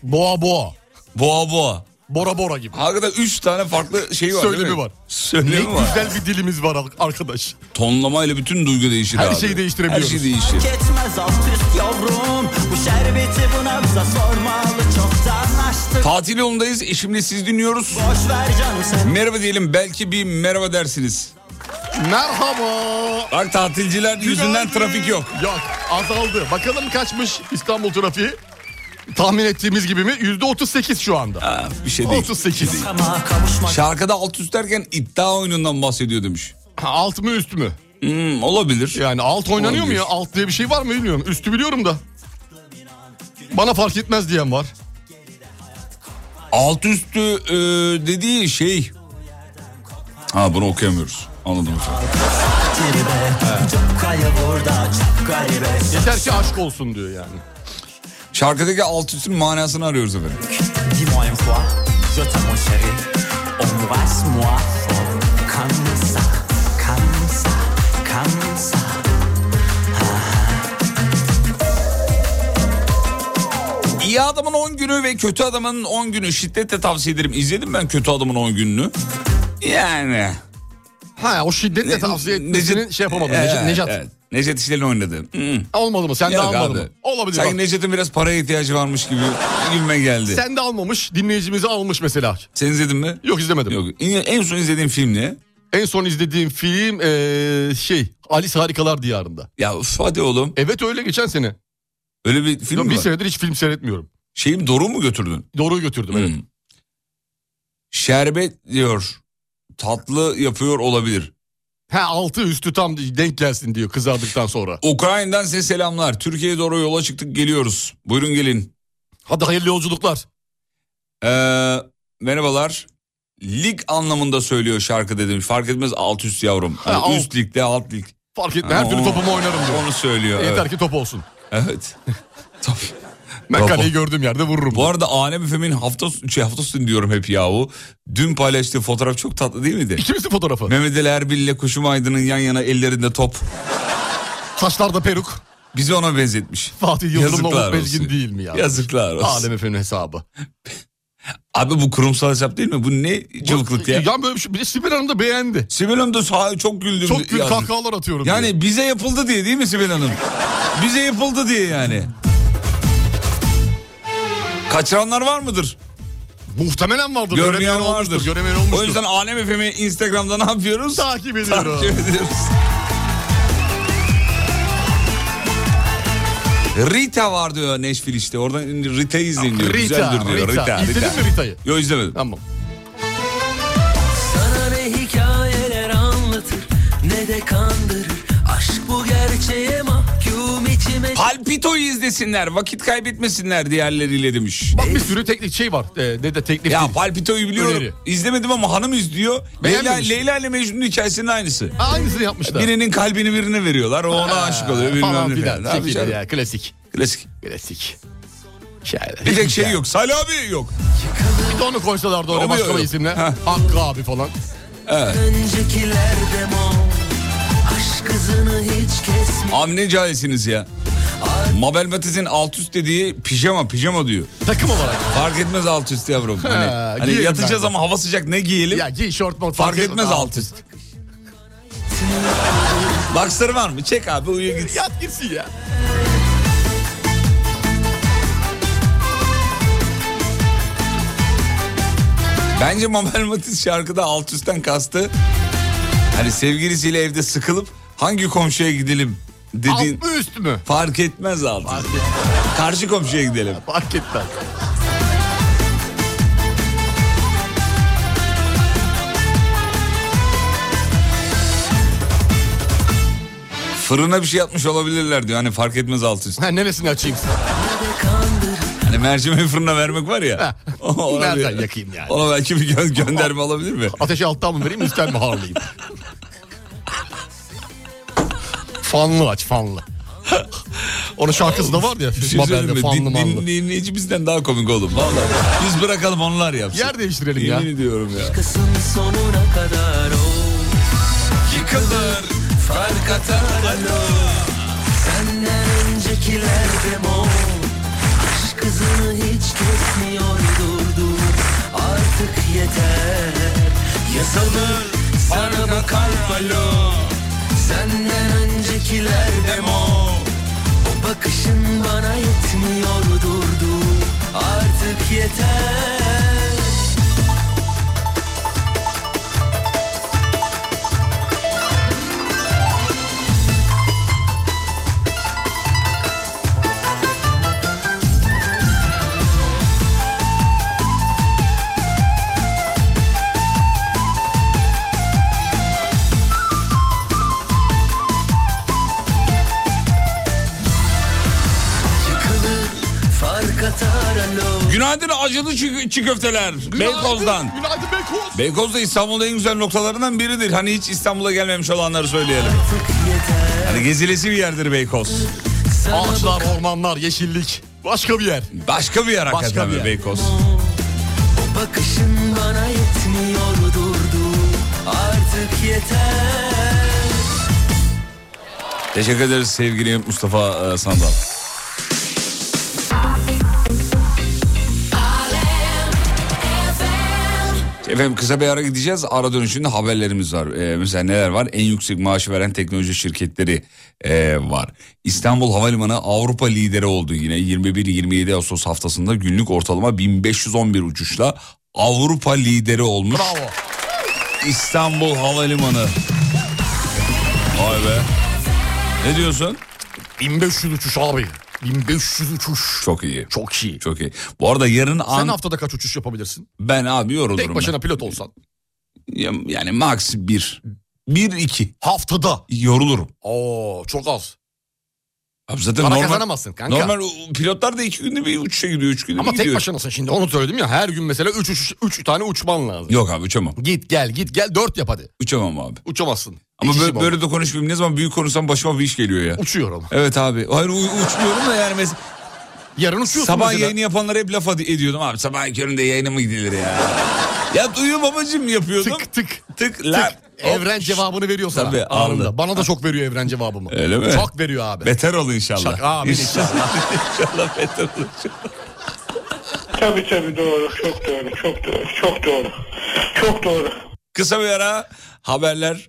Speaker 6: Boğa boğa.
Speaker 4: Boğa boğa.
Speaker 6: Bora bora gibi.
Speaker 4: Hakikaten üç tane farklı şey var değil
Speaker 6: Söylemi
Speaker 4: mi?
Speaker 6: var. Ne
Speaker 4: Söylemi var.
Speaker 6: güzel bir dilimiz var arkadaş.
Speaker 4: Tonlamayla bütün duygu değişir
Speaker 6: Her
Speaker 4: abi.
Speaker 6: şeyi değiştirebiliyoruz.
Speaker 4: Her şey değişir.
Speaker 12: Geçmez alt üst yavrum Bu şerbeti buna bize sormalı Çoktan açtık
Speaker 4: Tatil yolundayız. Eşimle siz dinliyoruz.
Speaker 12: Boş ver canım sen
Speaker 4: Merhaba diyelim. Belki bir merhaba dersiniz.
Speaker 6: Merhaba.
Speaker 4: Bak tatilciler yüzünden trafik yok.
Speaker 6: Yok azaldı. Bakalım kaçmış İstanbul trafiği. Tahmin ettiğimiz gibi mi? Yüzde 38 şu anda.
Speaker 4: Ha, bir şey değil.
Speaker 6: 38.
Speaker 12: Ama kavuşmak
Speaker 4: Şarkıda alt üst derken iddia oyunundan bahsediyor demiş.
Speaker 6: Ha, Alt mı üst mü?
Speaker 4: Hmm, olabilir.
Speaker 6: Yani alt oynanıyor mu ya?
Speaker 4: Olabilir.
Speaker 6: Alt diye bir şey var mı bilmiyorum. Üstü biliyorum da. Bana fark etmez diyen var.
Speaker 4: Alt üstü e, dediği şey... Ha bunu okuyamıyoruz. Anladım efendim.
Speaker 12: Kaya burada çok garibe
Speaker 6: Yeter ki aşk olsun diyor yani.
Speaker 4: Şarkıdaki alt üstün manasını arıyoruz efendim.
Speaker 12: Dis-moi une fois, je t'aime mon chéri. Embrasse-moi fort. Comme ça, comme ça, comme ça.
Speaker 4: İyi adamın 10 günü ve kötü adamın 10 günü şiddetle tavsiye ederim. İzledim ben kötü adamın 10 gününü. Yani...
Speaker 6: Ha o şiddetle tavsiye etmesinin şey yapamadım.
Speaker 4: Evet,
Speaker 6: Necdet, Necat.
Speaker 4: evet. Necdet İşler'in oynadı. Hmm.
Speaker 6: Olmadı mı? Sen de
Speaker 4: Yok
Speaker 6: almadın
Speaker 4: abi.
Speaker 6: mı? Olabilir.
Speaker 4: Sanki
Speaker 6: bak.
Speaker 4: Necdet'in biraz paraya ihtiyacı varmış gibi gibime geldi. Sen,
Speaker 6: Sen de almamış. Dinleyicimizi almış mesela.
Speaker 4: izledin mi?
Speaker 6: Yok izlemedim.
Speaker 4: Yok. En- En son izlediğin film ne?
Speaker 6: En son izlediğim film eee, şey Alice Harikalar Diyarında.
Speaker 4: Ya üf, hadi oğlum.
Speaker 6: Evet öyle geçen sene.
Speaker 4: Öyle bir film mi
Speaker 6: bir
Speaker 4: var?
Speaker 6: senedir hiç film seyretmiyorum.
Speaker 4: Şeyim Doruk'u mu götürdün?
Speaker 6: Doğruyu götürdüm. Evet.
Speaker 4: Hmm. Şerbet diyor. Tatlı yapıyor olabilir.
Speaker 6: Ha altı üstü tam denk gelsin diyor kızardıktan sonra.
Speaker 4: Ukrayna'dan size selamlar. Türkiye'ye doğru yola çıktık geliyoruz. Buyurun gelin.
Speaker 6: Hadi hayırlı yolculuklar.
Speaker 4: Ee, merhabalar. Lig anlamında söylüyor şarkı dedim. Fark etmez alt üst yavrum.
Speaker 6: Ha,
Speaker 4: Hani
Speaker 6: alt.
Speaker 4: üst ligde alt lig.
Speaker 6: Fark etme her türlü
Speaker 4: Onu-
Speaker 6: topumu oynarım diyor.
Speaker 4: Onu söylüyor.
Speaker 6: Yeter
Speaker 4: Evet.
Speaker 6: ki top olsun.
Speaker 4: evet. Tabii.
Speaker 6: Ben
Speaker 4: Topu.
Speaker 6: kaleyi gördüğüm yerde vururum.
Speaker 4: Bu arada Alem Efem'in hafta, şey, hafta sonu diyorum hep yahu. Dün paylaştığı fotoğraf çok tatlı değil miydi?
Speaker 6: İkimizin fotoğrafı.
Speaker 4: Mehmet Ali Erbil ile Kuşum Aydın'ın yan yana ellerinde top.
Speaker 6: Saçlarda peruk.
Speaker 4: Bizi ona benzetmiş.
Speaker 6: Fatih Yıldırım'la
Speaker 4: Yazıklar
Speaker 6: Umut Bezgin
Speaker 4: olsun.
Speaker 6: değil mi ya?
Speaker 4: Yazıklar olsun.
Speaker 6: Alem Efe'nin hesabı.
Speaker 4: Abi bu kurumsal hesap değil mi? Bu ne cıvıklık ya?
Speaker 6: Ya böyle bir şey. Bir de Sibel Hanım da beğendi.
Speaker 4: Sibel Hanım da sağ- çok güldüm.
Speaker 6: Çok gül
Speaker 4: yazdı.
Speaker 6: kahkahalar atıyorum. diyor.
Speaker 4: Yani bize yapıldı diye değil mi Sibel Hanım? bize yapıldı diye yani. Kaçıranlar var mıdır?
Speaker 6: Muhtemelen vardır.
Speaker 4: Görmeyen
Speaker 6: göremeyen olmuştur,
Speaker 4: vardır.
Speaker 6: Göremeyen olmuştur.
Speaker 4: O yüzden Alem Efem'i Instagram'da ne yapıyoruz?
Speaker 6: takip ediyorum.
Speaker 4: Takip ediyoruz. Rita var diyor Neşfil işte. Oradan Rita'yı izleyin diyor.
Speaker 6: Rita,
Speaker 4: Güzeldir diyor. Rita.
Speaker 6: Rita. İzledin mi Rita'yı?
Speaker 4: Yok izlemedim.
Speaker 6: Tamam.
Speaker 14: bile kandırır Aşk bu gerçeğe mahkum içime
Speaker 4: Palpito'yu izlesinler vakit kaybetmesinler diğerleriyle demiş.
Speaker 6: Bak bir sürü teknik şey var. Ee, ne de teknik
Speaker 4: Ya
Speaker 6: değil.
Speaker 4: Palpito'yu biliyorum.
Speaker 6: Öneri.
Speaker 4: İzlemedim ama hanım izliyor. Leyla,
Speaker 6: Beğenmemiş.
Speaker 4: Leyla ile Mecnun'un hikayesinin aynısı.
Speaker 6: Ha, Aynısını yapmışlar.
Speaker 4: Birinin kalbini birine veriyorlar. O ona aşık oluyor. bilmem
Speaker 6: falan
Speaker 4: ne
Speaker 6: filan.
Speaker 4: falan. Ne
Speaker 6: Şekilde
Speaker 4: yapacağız?
Speaker 6: ya, klasik.
Speaker 4: Klasik.
Speaker 6: Klasik. Şöyle.
Speaker 4: Bir tek şey yok. Salih abi yok.
Speaker 6: Bir de onu koysalardı oraya
Speaker 4: Oluyor
Speaker 6: başka bir
Speaker 4: öyle.
Speaker 6: isimle.
Speaker 4: Ha.
Speaker 6: Hakkı abi falan.
Speaker 14: Öncekiler demo Aşk hızını hiç kesme
Speaker 4: Amne cahilsiniz ya. Mabel Matiz'in alt üst dediği pijama pijama diyor.
Speaker 6: Takım olarak.
Speaker 4: Fark etmez alt üst yavrum. Hani,
Speaker 6: Ha,
Speaker 4: hani
Speaker 6: giyelim
Speaker 4: yatacağız
Speaker 6: ben de.
Speaker 4: ama hava sıcak ne giyelim?
Speaker 6: Ya giy short mod
Speaker 4: fark etmez alt üst. Boxer var mı? Çek abi uyu git.
Speaker 6: Yat gitsin ya.
Speaker 4: Bence Mabel Matiz şarkıda alt üstten kastı. Hani sevgilisiyle evde sıkılıp hangi komşuya gidelim dediğin
Speaker 6: Alt mı üst mü?
Speaker 4: fark etmez alt üst. Karşı komşuya gidelim.
Speaker 6: Fark etmez.
Speaker 4: Fırına bir şey atmış olabilirler diyor. Hani fark etmez alt üst.
Speaker 6: Ha, neresini açayım?
Speaker 4: Hani mercimeği fırına vermek var ya. ona
Speaker 6: Nereden
Speaker 4: bir-
Speaker 6: yakayım yani?
Speaker 4: Ona belki bir gö- gönderme alabilir mi?
Speaker 6: Ateşi alttan mı vereyim üstten mi harlayayım? fanlı aç fanlı. Onun şarkısı da var ya.
Speaker 4: Bir şey
Speaker 6: Mabel'de
Speaker 4: söyleyeyim mi?
Speaker 6: fanlı
Speaker 4: Din-
Speaker 6: manlı.
Speaker 4: din- Dinleyici bizden daha komik oğlum. Vallahi. Biz bırakalım onlar yapsın.
Speaker 6: Yer değiştirelim ya.
Speaker 4: Yemin ediyorum ya.
Speaker 14: Kısım sonuna kadar o
Speaker 4: Yıkılır, fark atar,
Speaker 14: Senden öncekiler demo Aşk hızını hiç kesmiyor durdu Artık yeter Yazılır sana bakar balo Senden öncekiler demo O bakışın bana yetmiyor durdu Artık yeter Yıkılır fark atar alo
Speaker 4: Günaydın acılı çiğ, çiğ köfteler. Beykoz'dan.
Speaker 6: Günaydın Beykoz.
Speaker 4: Beykoz da İstanbul'un en güzel noktalarından biridir. Hani hiç İstanbul'a gelmemiş olanları söyleyelim. Hani gezilesi bir yerdir Beykoz.
Speaker 6: Ağaçlar, ormanlar, yeşillik. Başka bir yer.
Speaker 4: Başka bir yer hakikaten
Speaker 6: bir yer.
Speaker 4: Beykoz.
Speaker 14: Bakışın bana yetmiyor durdu artık yeter
Speaker 4: Teşekkür ederiz sevgili Mustafa e, Sandal. Efendim kısa bir ara gideceğiz. Ara dönüşünde haberlerimiz var. Ee, mesela neler var? En yüksek maaşı veren teknoloji şirketleri e, var. İstanbul Havalimanı Avrupa lideri oldu yine. 21-27 Ağustos haftasında günlük ortalama 1511 uçuşla Avrupa lideri olmuş.
Speaker 6: Bravo.
Speaker 4: İstanbul Havalimanı. Vay be. Ne diyorsun?
Speaker 6: 1500 uçuş abi. 1500 uçuş.
Speaker 4: Çok iyi.
Speaker 6: Çok iyi.
Speaker 4: Çok iyi. Bu arada yarın an...
Speaker 6: Sen haftada kaç uçuş yapabilirsin?
Speaker 4: Ben abi yorulurum.
Speaker 6: Tek başına
Speaker 4: ben.
Speaker 6: pilot olsan.
Speaker 4: Ya- Yani max 1. 1 2
Speaker 6: Haftada.
Speaker 4: yorulurum.
Speaker 6: Oo çok az.
Speaker 4: Abi zaten
Speaker 6: Para
Speaker 4: normal
Speaker 6: kazanamazsın kanka.
Speaker 4: normal u- pilotlar da 2 günde bir uçuşa gidiyor, 3 günde
Speaker 6: Ama
Speaker 4: bir
Speaker 6: tek
Speaker 4: gidiyor.
Speaker 6: başınasın şimdi onu söyledim ya. Her gün mesela 3 üç, üç tane uçman lazım.
Speaker 4: Yok abi uçamam.
Speaker 6: Git gel git gel 4 yap hadi.
Speaker 4: Uçamam abi.
Speaker 6: Uçamazsın.
Speaker 4: Ama
Speaker 6: İki
Speaker 4: böyle,
Speaker 6: kişi bu.
Speaker 4: böyle de konuşmayayım. Ne zaman büyük konuşsam başıma bir iş geliyor ya.
Speaker 6: uçuyor ama.
Speaker 4: Evet abi. Hayır u- uçmuyorum da yani mesela
Speaker 6: Yarın uçuyorsun
Speaker 4: sabah
Speaker 6: mesela.
Speaker 4: yayını yapanlara hep laf ad- ediyordum abi. Sabah köründe yayına mı gidilir ya? ya duyuyor babacım yapıyordum.
Speaker 6: Tık tık.
Speaker 4: Tık lan. Hop.
Speaker 6: Evren cevabını veriyor sana.
Speaker 4: Tabii, aldı.
Speaker 6: Anında. Bana da çok veriyor evren cevabımı.
Speaker 4: Öyle mi?
Speaker 6: Çok veriyor abi.
Speaker 4: Beter ol inşallah.
Speaker 6: Şaka, amin
Speaker 4: inşallah. inşallah beter ol.
Speaker 3: Tabii tabii doğru. Çok doğru. Çok doğru. Çok doğru. Çok doğru.
Speaker 4: Kısa bir ara haberler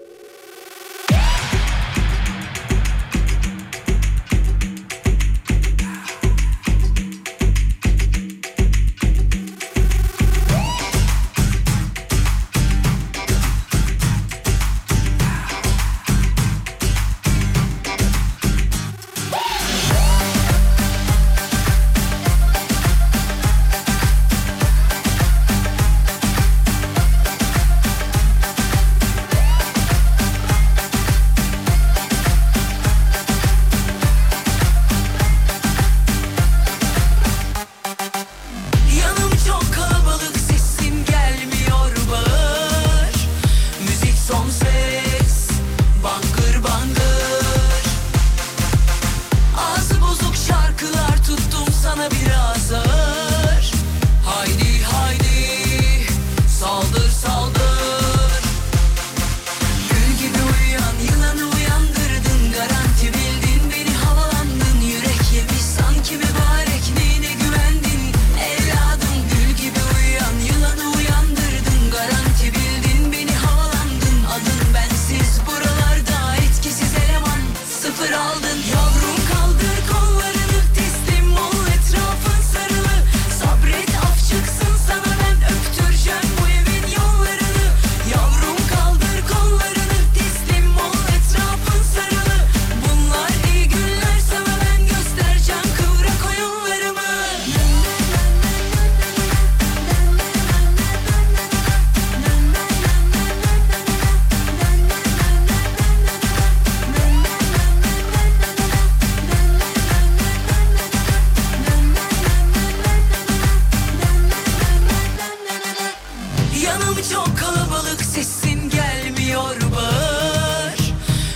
Speaker 14: Yanım çok kalabalık sesin gelmiyor bağır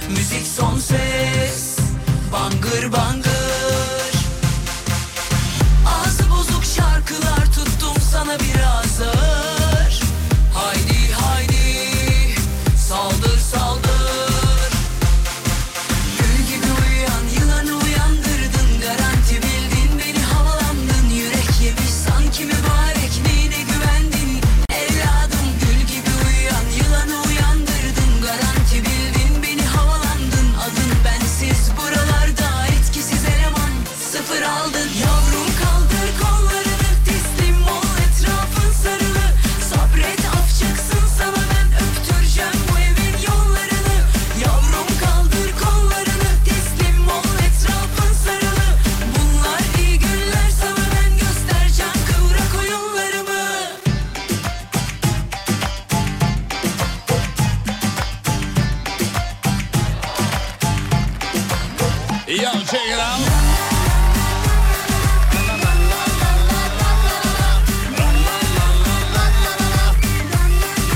Speaker 14: Müzik son ses bangır bangır Ağzı bozuk şarkılar tuttum sana biraz ağır Haydi haydi saldır saldır Gül gibi uyuyan yılanı uyandırdın Garanti bildin beni havalandın Yürek yemiş sanki mübarek neyine güvendin Evladım gül gibi uyuyan yılanı uyandırdın Garanti bildin beni havalandın Adın bensiz buralarda etkisiz eleman Sıfır aldın yavrum kaldır kollarını Teslim ol etrafın sarılı Sabret af çıksın sana ben öptüreceğim bu evin yollarını Yavrum kaldır kollarını teslim ol etrafın sarılı Bunlar iyi günler sana ben göstereceğim kıvrak oyunlarımı
Speaker 13: Yo, check it out.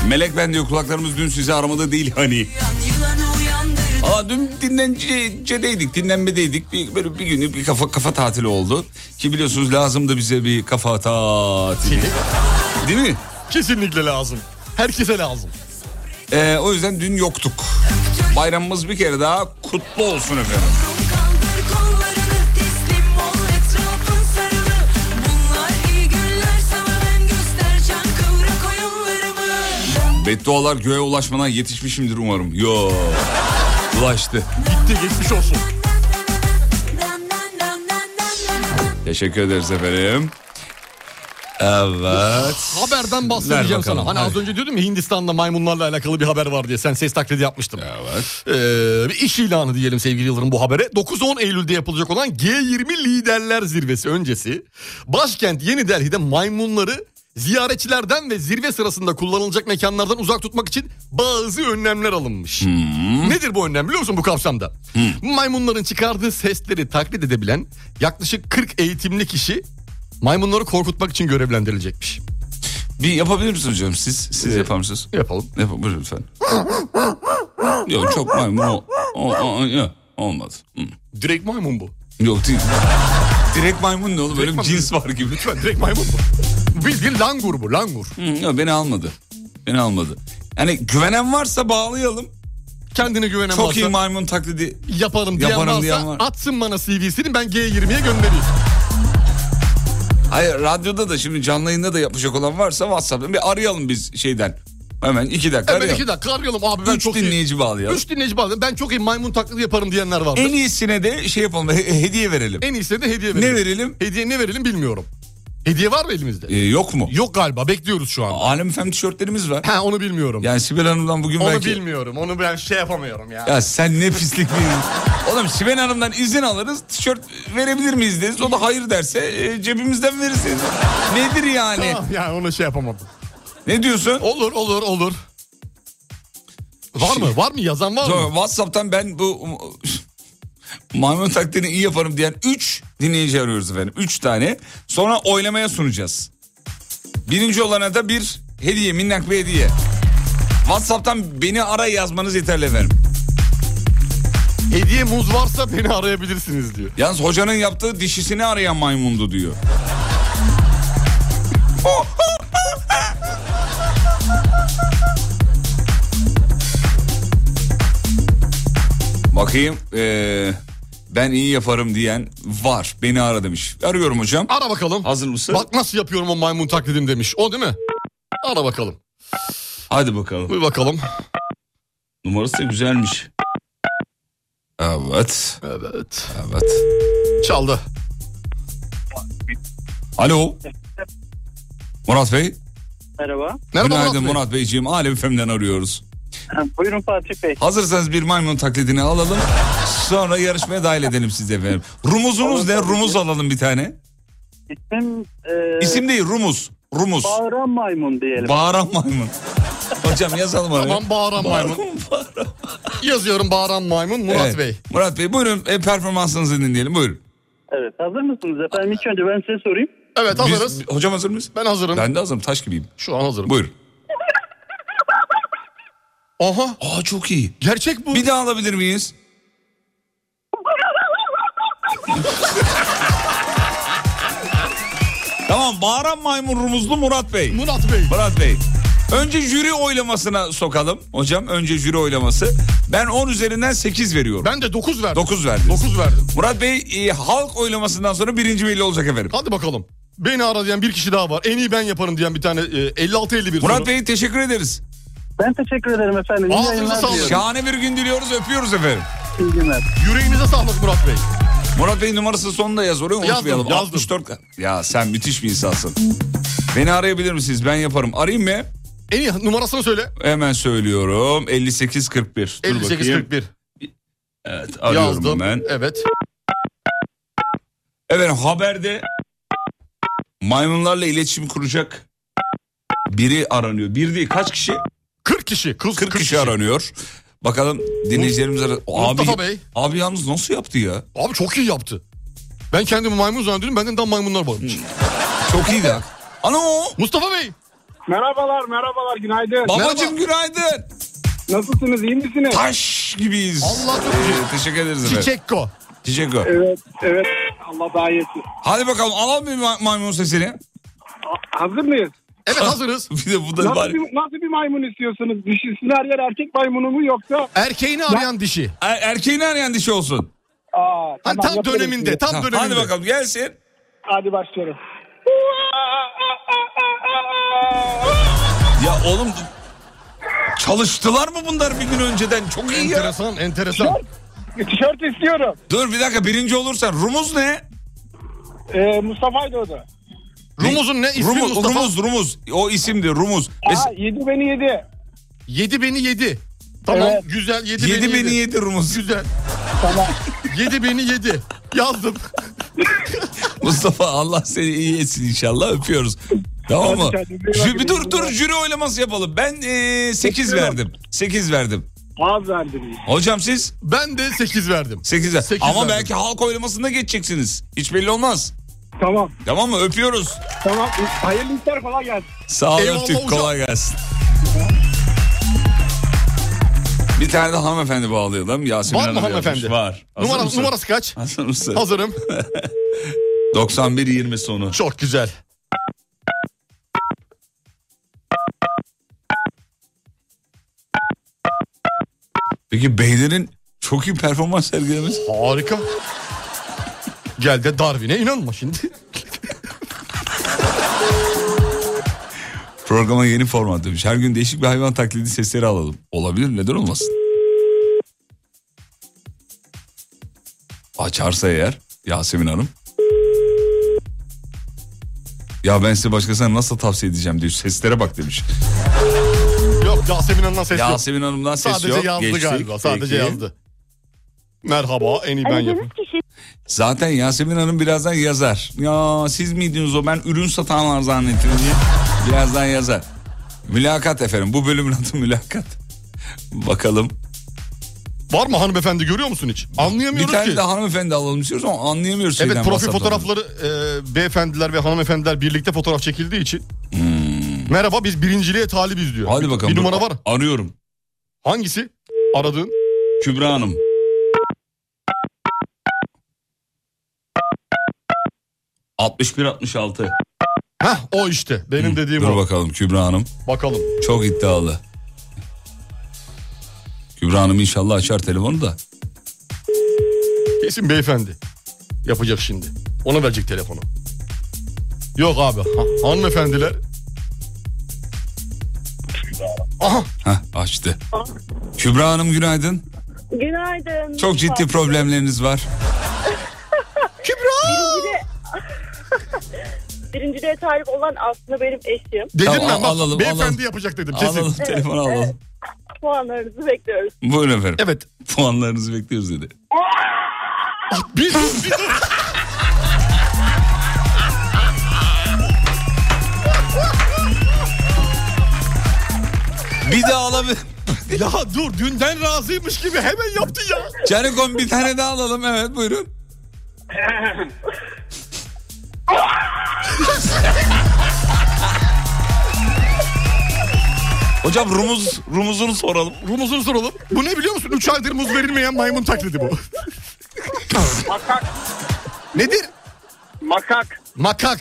Speaker 4: Melek ben diyor kulaklarımız dün sizi aramada değil hani. Aa dün dinlencedeydik, dinlenmedeydik. Bir, böyle bir günlük bir kafa kafa tatili oldu. Ki biliyorsunuz lazım da bize bir kafa tatili. Değil mi?
Speaker 6: Kesinlikle lazım. Herkese lazım.
Speaker 4: Ee, o yüzden dün yoktuk. Bayramımız bir kere daha kutlu olsun efendim.
Speaker 14: Etrafın sarılı Bunlar iyi günler sana ben göstereceğim kıvrak oyunlarımı
Speaker 4: Beddualar göğe ulaşmadan yetişmişimdir umarım. Yo. Ulaştı.
Speaker 6: Gitti geçmiş olsun.
Speaker 4: Teşekkür ederiz efendim. Evet.
Speaker 6: Haberden
Speaker 4: Ver
Speaker 6: bahsedeceğim
Speaker 4: bakalım.
Speaker 6: sana. Hani az
Speaker 4: Hadi.
Speaker 6: önce diyordum ya Hindistan'la maymunlarla alakalı bir haber var diye. Sen ses taklidi yapmıştın.
Speaker 4: Evet.
Speaker 6: Ee, bir iş ilanı diyelim sevgili Yıldırım bu habere. 9-10 Eylül'de yapılacak olan G20 Liderler Zirvesi öncesi başkent Yeni Delhi'de maymunları ziyaretçilerden ve zirve sırasında kullanılacak mekanlardan uzak tutmak için bazı önlemler alınmış.
Speaker 4: Hmm.
Speaker 6: Nedir bu önlem biliyor musun bu kapsamda? Maymunların çıkardığı sesleri taklit edebilen yaklaşık 40 eğitimli kişi maymunları korkutmak için görevlendirilecekmiş.
Speaker 4: Bir yapabilir misiniz hocam? Siz siz yapar mısınız?
Speaker 6: Yapalım.
Speaker 4: Yap, buyurun lütfen. Yok çok maymun ol, ol, ol- yok, olmadı. Hı.
Speaker 6: Direkt maymun bu.
Speaker 4: Yok değil. Direkt maymun ne oğlum? Böyle bir cins var gibi.
Speaker 6: Lütfen direkt maymun bu. Bir, bir langur bu langur.
Speaker 4: Hı, yok, beni almadı. Beni almadı. Yani güvenen varsa bağlayalım.
Speaker 6: Kendine güvenen
Speaker 4: Çok
Speaker 6: varsa-
Speaker 4: iyi maymun taklidi.
Speaker 6: yaparım diyen
Speaker 4: Yaparım
Speaker 6: varsa
Speaker 4: diyen var.
Speaker 6: atsın bana CV'sini ben G20'ye göndereyim.
Speaker 4: Hayır radyoda da şimdi canlı yayında da yapacak olan varsa WhatsApp'tan bir arayalım biz şeyden. Hemen iki dakika
Speaker 6: Hemen
Speaker 4: arayalım.
Speaker 6: iki dakika arayalım abi ben
Speaker 4: Üç
Speaker 6: çok
Speaker 4: dinleyici
Speaker 6: iyi.
Speaker 4: bağlayalım.
Speaker 6: Üç dinleyici bağlayalım. Ben çok iyi maymun taklidi yaparım diyenler var.
Speaker 4: En iyisine de şey yapalım he- hediye verelim.
Speaker 6: En iyisi de hediye
Speaker 4: Ne
Speaker 6: verelim.
Speaker 4: verelim?
Speaker 6: Hediye ne verelim bilmiyorum. Hediye var mı elimizde?
Speaker 4: Ee, yok mu?
Speaker 6: Yok galiba bekliyoruz şu an.
Speaker 4: Alem Efendim tişörtlerimiz var.
Speaker 6: Ha onu bilmiyorum.
Speaker 4: Yani Sibel Hanım'dan bugün
Speaker 6: onu
Speaker 4: belki...
Speaker 6: bilmiyorum. Onu ben şey yapamıyorum ya.
Speaker 4: Ya sen ne pislik bir... Oğlum Sibel Hanım'dan izin alırız tişört verebilir miyiz deriz. O da hayır derse e, cebimizden verirsiniz. Nedir yani?
Speaker 6: Tamam yani onu şey yapamadım.
Speaker 4: Ne diyorsun?
Speaker 6: Olur olur olur. Var
Speaker 4: Şey-
Speaker 6: mı? Var mı? Yazan var
Speaker 4: Sonra
Speaker 6: mı?
Speaker 4: Whatsapp'tan ben bu um, maymun taklidini iyi yaparım diyen 3 dinleyici arıyoruz efendim. 3 tane. Sonra oylamaya sunacağız. Birinci olana da bir hediye, minnak bir hediye. Whatsapp'tan beni ara yazmanız yeterli efendim.
Speaker 6: Hediye muz varsa beni arayabilirsiniz diyor.
Speaker 4: Yalnız hocanın yaptığı dişisini arayan maymundu diyor. Bakayım eee, ben iyi yaparım diyen var. Beni ara demiş. Arıyorum hocam.
Speaker 6: Ara bakalım.
Speaker 4: Hazır mısın?
Speaker 6: Bak nasıl yapıyorum o maymun taklidini demiş. O değil mi? Ara bakalım.
Speaker 4: Hadi bakalım.
Speaker 6: Bir bakalım.
Speaker 4: Numarası da güzelmiş. Evet.
Speaker 6: Evet.
Speaker 4: Evet.
Speaker 6: Çaldı.
Speaker 4: Alo. Murat Bey.
Speaker 15: Merhaba.
Speaker 6: Merhaba
Speaker 4: Günaydın
Speaker 6: Murat Bey.
Speaker 4: Murat Beyciğim. Alem FM'den arıyoruz.
Speaker 15: Buyurun Fatih Bey.
Speaker 4: Hazırsanız bir maymun taklidini alalım. Sonra yarışmaya dahil edelim sizi efendim. Rumuzunuz ne? Rumuz alalım bir tane.
Speaker 15: İsmim e,
Speaker 4: İsim değil Rumuz. Rumuz.
Speaker 15: Bağıran Maymun diyelim.
Speaker 4: Bağıran maymun. Hocam yazalım oraya.
Speaker 6: Tamam Hani bağıran maymun. Yazıyorum bağıran maymun Murat
Speaker 4: Evet.
Speaker 6: Bey.
Speaker 4: Murat Bey buyurun e, performansınızı dinleyelim buyurun.
Speaker 15: evet hazır mısınız efendim? İlk önce ben size sorayım.
Speaker 6: Evet
Speaker 4: Biz-
Speaker 6: hazırız.
Speaker 4: hocam hazır mısınız?
Speaker 6: Ben hazırım.
Speaker 4: Ben de hazırım taş gibiyim.
Speaker 6: Şu an hazırım.
Speaker 4: Buyurun.
Speaker 6: Aha.
Speaker 4: Aa çok iyi.
Speaker 6: Gerçek bu.
Speaker 4: Bir daha alabilir miyiz? tamam bağıran maymun rumuzlu Murat Bey.
Speaker 6: Murat Bey.
Speaker 4: Murat Bey. Önce jüri oylamasına sokalım hocam. Önce jüri oylaması. Ben 10 üzerinden 8 veriyorum.
Speaker 6: Ben de 9 verdim.
Speaker 4: 9 verdim.
Speaker 6: 9 verdim.
Speaker 4: Murat Bey e, halk oylamasından sonra birinci belli olacak efendim.
Speaker 6: Hadi bakalım. Beni ara diyen bir kişi daha var. En iyi ben yaparım diyen bir tane e, 56-51
Speaker 4: Murat
Speaker 6: soru.
Speaker 4: Bey teşekkür ederiz.
Speaker 15: Ben teşekkür ederim efendim. İyi
Speaker 6: Ağzınıza
Speaker 15: yayınlar
Speaker 6: sağlık.
Speaker 15: diliyorum.
Speaker 4: Şahane bir gün diliyoruz öpüyoruz efendim.
Speaker 15: İyi günler.
Speaker 6: Yüreğinize sağlık Murat Bey.
Speaker 4: Murat Bey numarası sonunda yaz oraya
Speaker 6: Yazdım,
Speaker 4: unutmayalım.
Speaker 6: yazdım.
Speaker 4: 64. Ya sen müthiş bir insansın. Beni arayabilir misiniz? Ben yaparım. Arayayım mı?
Speaker 6: En iyi numarasını söyle.
Speaker 4: Hemen söylüyorum. 5841. Dur bakayım.
Speaker 6: 58-41.
Speaker 4: Evet arıyorum
Speaker 6: Yazdım.
Speaker 4: hemen.
Speaker 6: Evet.
Speaker 4: Efendim haberde maymunlarla iletişim kuracak biri aranıyor. Bir değil kaç kişi?
Speaker 6: 40 kişi. 40,
Speaker 4: 40 kişi aranıyor. Bakalım dinleyicilerimiz ara- Abi,
Speaker 6: Mustafa Bey.
Speaker 4: abi yalnız nasıl yaptı ya?
Speaker 6: Abi çok iyi yaptı. Ben kendimi maymun zannediyorum. Benden daha maymunlar varmış.
Speaker 4: Çok iyiydi. ha. Ano
Speaker 6: Mustafa Bey.
Speaker 3: Merhabalar merhabalar günaydın.
Speaker 4: babacım günaydın.
Speaker 3: Nasılsınız iyi misiniz?
Speaker 4: Taş gibiyiz.
Speaker 6: Allah çok güzel.
Speaker 4: Ee, teşekkür ederiz efendim.
Speaker 6: Çiçekko.
Speaker 4: Teşekkür.
Speaker 3: Evet evet Allah daha iyi etsin.
Speaker 4: Hadi bakalım alalım bir ma- maymun sesini.
Speaker 3: Hazır mıyız?
Speaker 6: Evet hazırız.
Speaker 4: Bir de bu da
Speaker 3: Nasıl
Speaker 4: bari.
Speaker 3: bir, nasıl bir maymun istiyorsunuz? Dişisini her yer erkek maymunu mu yoksa?
Speaker 6: Erkeğini arayan dişi.
Speaker 4: Er- erkeğini arayan dişi olsun.
Speaker 3: Aa,
Speaker 6: Hani
Speaker 3: tamam,
Speaker 6: tam
Speaker 3: yaparız
Speaker 6: döneminde.
Speaker 3: diye.
Speaker 6: Tam
Speaker 4: Tamam,
Speaker 6: döneminde.
Speaker 4: Hadi bakalım gelsin.
Speaker 3: Hadi başlıyorum.
Speaker 4: Ya oğlum çalıştılar mı bunlar bir gün önceden? Çok iyi ya.
Speaker 6: Enteresan enteresan.
Speaker 3: Tişört istiyorum.
Speaker 4: Dur bir dakika birinci olursan rumuz ne?
Speaker 3: Ee, Mustafa'ydı o da.
Speaker 6: Rumuz'un ne ismi
Speaker 4: Rumuz,
Speaker 6: Mustafa?
Speaker 4: rumuz, rumuz. O isimdi rumuz.
Speaker 3: Aa, yedi beni yedi.
Speaker 6: Yedi beni yedi. Tamam
Speaker 3: Evet.
Speaker 6: güzel yedi,
Speaker 4: yedi beni yedi rumuz.
Speaker 6: Güzel.
Speaker 3: Tamam.
Speaker 6: Yedi beni yedi. Yazdım.
Speaker 4: Mustafa Allah seni iyi etsin inşallah öpüyoruz. Tamam mı?
Speaker 3: Hadi kendinize iyi
Speaker 4: Jü-
Speaker 3: bakın.
Speaker 4: bir dur dur jüri oylaması yapalım. Ben 8 verdim. 8 verdim.
Speaker 3: Az verdiniz.
Speaker 4: Hocam siz
Speaker 6: Ben de sekiz verdim.
Speaker 4: 8 ver.
Speaker 6: Sekiz
Speaker 4: Ama
Speaker 6: verdim.
Speaker 4: belki halk oylamasında geçeceksiniz. Hiç belli olmaz.
Speaker 3: Tamam.
Speaker 4: Tamam mı? Öpüyoruz.
Speaker 3: Tamam. Hayırlı işler kolay gelsin.
Speaker 4: Sağ ol
Speaker 6: Eyvallah
Speaker 4: öptük.
Speaker 6: hocam.
Speaker 4: Kolay gelsin. Bir tane de hanımefendi bağlayalım. Yasemin
Speaker 6: Var mı
Speaker 4: Hanım yazmış.
Speaker 6: hanımefendi?
Speaker 4: Var. Hazır
Speaker 6: Numara,
Speaker 4: mısın?
Speaker 6: numarası kaç?
Speaker 4: Hazır mısın?
Speaker 6: Hazırım.
Speaker 4: 91-20 sonu.
Speaker 6: Çok güzel.
Speaker 4: Peki beylerin çok iyi performans sergilemesi.
Speaker 6: Harika. Gel de Darwin'e inanma şimdi.
Speaker 4: Programa yeni format demiş. Her gün değişik bir hayvan taklidi sesleri alalım. Olabilir neden olmasın? Açarsa eğer Yasemin Hanım. Ya ben size başkasına nasıl tavsiye edeceğim diyor. Seslere bak demiş.
Speaker 6: yok Yasemin Hanım'dan ses yok.
Speaker 4: Yasemin Hanım'dan ses
Speaker 6: Sadece
Speaker 4: yok.
Speaker 6: yazdı
Speaker 4: Geçtik.
Speaker 6: galiba. Sadece
Speaker 4: Peki.
Speaker 6: yazdı. Merhaba en iyi ben yapayım.
Speaker 4: Zaten Yasemin Hanım birazdan yazar. Ya siz miydiniz o ben ürün satanlar zannettim diye. Birazdan yazar. Mülakat efendim bu bölümün adı mülakat. Bakalım.
Speaker 6: Var mı hanımefendi görüyor musun hiç?
Speaker 4: Bir
Speaker 6: Anlayamıyoruz
Speaker 4: tane
Speaker 6: ki.
Speaker 4: de hanımefendi alalım istiyoruz ama anlayamıyoruz.
Speaker 6: Evet
Speaker 4: şeyden,
Speaker 6: profil
Speaker 4: WhatsApp'tan.
Speaker 6: fotoğrafları e, beyefendiler ve hanımefendiler birlikte fotoğraf çekildiği için. Merhaba biz birinciliğe talibiz diyor.
Speaker 4: Hmm. Hadi bakalım.
Speaker 6: Bir
Speaker 4: dur.
Speaker 6: numara var.
Speaker 4: Arıyorum.
Speaker 6: Hangisi? Aradığın.
Speaker 4: Kübra Hanım. ...61-66.
Speaker 6: Heh o işte benim dediğim
Speaker 4: Dur
Speaker 6: o.
Speaker 4: bakalım Kübra Hanım.
Speaker 6: Bakalım.
Speaker 4: Çok iddialı. Kübra Hanım inşallah açar telefonu da.
Speaker 6: Kesin beyefendi. Yapacak şimdi. Ona verecek telefonu. Yok abi ha- hanımefendiler. Aha
Speaker 4: Heh, açtı. Kübra Hanım günaydın.
Speaker 16: Günaydın.
Speaker 4: Çok ciddi problemleriniz var.
Speaker 16: Birinci de talip olan aslında benim eşim.
Speaker 6: dedim
Speaker 4: Tamam,
Speaker 6: ben bak şey
Speaker 4: alalım,
Speaker 6: beyefendi
Speaker 4: alalım.
Speaker 6: yapacak dedim kesin.
Speaker 4: Alalım telefonu alalım.
Speaker 16: Puanlarınızı bekliyoruz.
Speaker 4: Buyurun efendim.
Speaker 6: Evet.
Speaker 4: Puanlarınızı bekliyoruz dedi.
Speaker 6: Bir dur bir dur.
Speaker 4: Bir daha alabilir.
Speaker 6: ya dur dünden razıymış gibi hemen yaptı ya.
Speaker 4: Canikom bir tane daha alalım. Evet buyurun. Hocam rumuz rumuzunu soralım.
Speaker 6: Rumuzunu soralım. Bu ne biliyor musun? 3 aydır muz verilmeyen maymun taklidi bu.
Speaker 17: Makak.
Speaker 6: Nedir?
Speaker 17: Makak.
Speaker 6: Makak.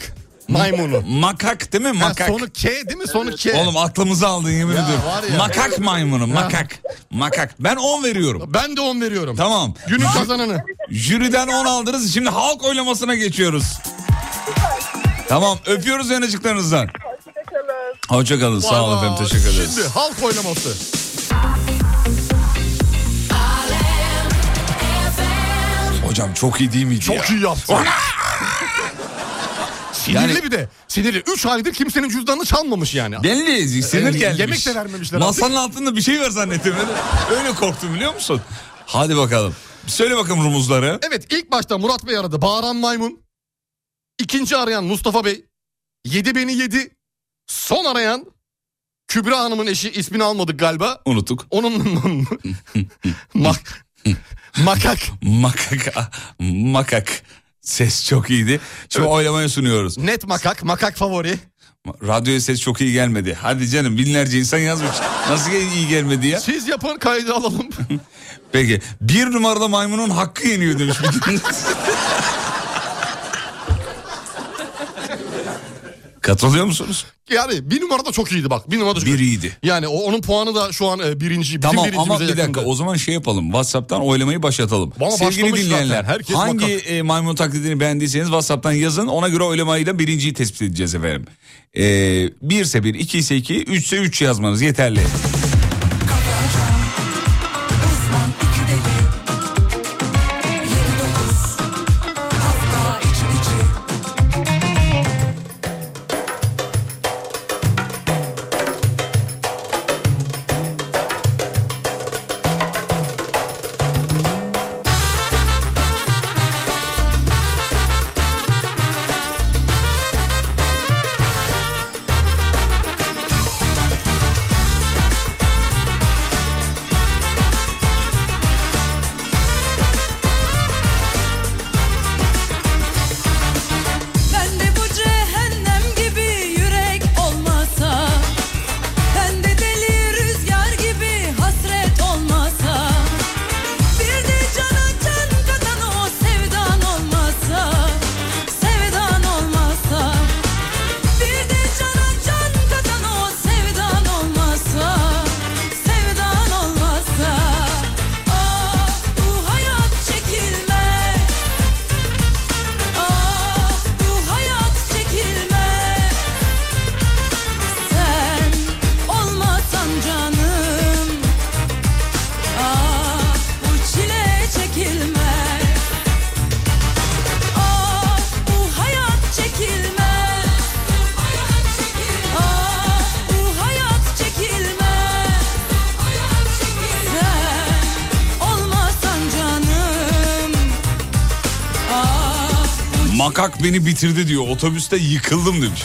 Speaker 6: Maymunu.
Speaker 4: Makak değil mi? Makak.
Speaker 6: sonu K değil mi? Sonu K.
Speaker 4: Oğlum aklımızı aldın yemin
Speaker 6: Ya
Speaker 4: ediyorum.
Speaker 6: var ya.
Speaker 4: Makak maymunu
Speaker 6: Ya.
Speaker 4: makak. Makak. Ben 10 veriyorum.
Speaker 6: Ben de 10 veriyorum.
Speaker 4: Tamam.
Speaker 6: Günün kazananı.
Speaker 4: Jüriden 10 aldınız. Şimdi halk oylamasına geçiyoruz. Tamam öpüyoruz yanıcıklarınızdan. Hoşçakalın. Sağ olun efendim teşekkür ederiz.
Speaker 6: Şimdi halk oylaması.
Speaker 4: Hocam çok iyi değil miydi ya?
Speaker 6: Çok iyi yaptı. Sinirli
Speaker 4: Yani-
Speaker 6: bir de. Sinirli. 3 aydır kimsenin cüzdanını çalmamış yani.
Speaker 4: Belli sinir
Speaker 6: Ee,
Speaker 4: gelmiş.
Speaker 6: Yemek de vermemişler.
Speaker 4: Masanın
Speaker 6: artık.
Speaker 4: altında bir şey var zannettim. Öyle korktum biliyor musun? Hadi bakalım. Söyle bakalım rumuzları.
Speaker 6: Evet ilk başta Murat Bey aradı. Bağıran maymun. İkinci arayan Mustafa Bey. Yedi beni yedi. Son arayan Kübra Hanım'ın eşi ismini almadık galiba.
Speaker 4: Unuttuk.
Speaker 6: Onun Mak makak.
Speaker 4: Makak. ah, Makak. Ses çok iyiydi. Şimdi oylamaya sunuyoruz.
Speaker 6: Net makak. Makak favori.
Speaker 4: Radyoya ses çok iyi gelmedi. Hadi canım binlerce insan yazmış. Nasıl iyi gelmedi ya?
Speaker 6: Siz yapın kaydı alalım.
Speaker 4: Peki. Bir numaralı maymunun hakkı yeniyor demiş. bir tanesi. Katılıyor musunuz?
Speaker 6: Yani bir numarada çok iyiydi bak. Bir numarada çok
Speaker 4: Bir iyiydi.
Speaker 6: Yani o, onun puanı da şu an e, birinci. bizim
Speaker 4: Tamam ama
Speaker 6: birincimize
Speaker 4: bir
Speaker 6: yakın.
Speaker 4: dakika o zaman şey yapalım. WhatsApp'tan oylamayı başlatalım.
Speaker 6: Ama
Speaker 4: Sevgili
Speaker 6: başlamış
Speaker 4: dinleyenler
Speaker 6: zaten. Herkes
Speaker 4: hangi
Speaker 6: bakar.
Speaker 4: e, maymun taklidini beğendiyseniz WhatsApp'tan yazın. Ona göre oylamayla birinciyi tespit edeceğiz efendim. Ee, 1 ise 1, 2 ise 2, 3 ise 3 yazmanız yeterli.
Speaker 9: Ben de bu cehennem gibi yürek olmasa Ben de deli rüzgar gibi hasret olmasa Bir de cana can katan o sevdan olmasa Sevdan olmasa Bir de cana can katan o sevdan olmasa Sevdan olmasa Ah bu hayat çekilmez Ah bu hayat çekilmez Sen olmasan canım Ah bu çile çekilmez Ah bu hayat çekilmez Ah bu hayat çekilmez Sen olmasan canım Ah
Speaker 4: Makak beni bitirdi diyor. Otobüste yıkıldım demiş.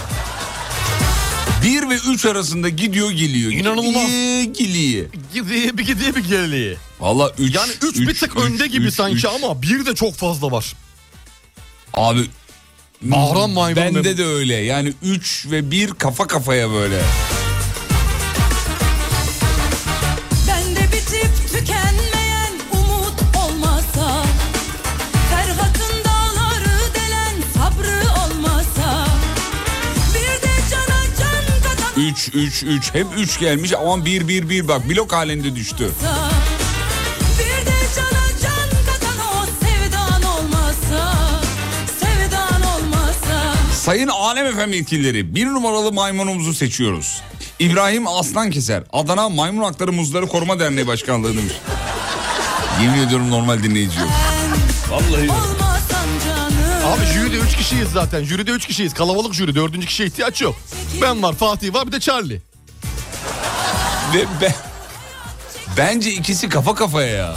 Speaker 4: 1 ve 3 arasında gidiyor geliyor.
Speaker 6: İnanılmaz.
Speaker 4: Gidiyor geliyor.
Speaker 6: Gidiye bir gidiye bir geriye.
Speaker 4: Valla 3.
Speaker 6: Yani 3 bir tık önde gibi sanki ama bir de çok fazla var.
Speaker 4: Abi
Speaker 6: Bahram maymun
Speaker 4: Bende
Speaker 6: dedim.
Speaker 4: de öyle. Yani 3 ve 1 kafa kafaya böyle.
Speaker 9: Ben de bitip tükenmeyen umut olmasa Ferhat'ın dağları delen sabrı olmasa Bir de cana can katan
Speaker 4: 3 3 3 hep 3 gelmiş ama 1 1 1 bak blok halinde düştü.
Speaker 9: olmasa Bir de cana can katan o sevdan olmasa Sevdan olmasa
Speaker 4: Sayın Alem Efem yetkilileri bir numaralı maymunumuzu seçiyoruz. İbrahim Aslan Keser Adana Maymun Hakları Muzları Koruma Derneği Başkanlığı demiş. Yemin ediyorum normal dinleyici yok. Vallahi.
Speaker 9: Olmasan canım
Speaker 6: Abi jüride 3 kişiyiz zaten. Jüride 3 kişiyiz. Kalabalık jüri. 4. kişiye ihtiyaç yok. Ben var, Fatih var, bir de Charlie.
Speaker 4: Ve ben... Bence ikisi kafa kafaya ya.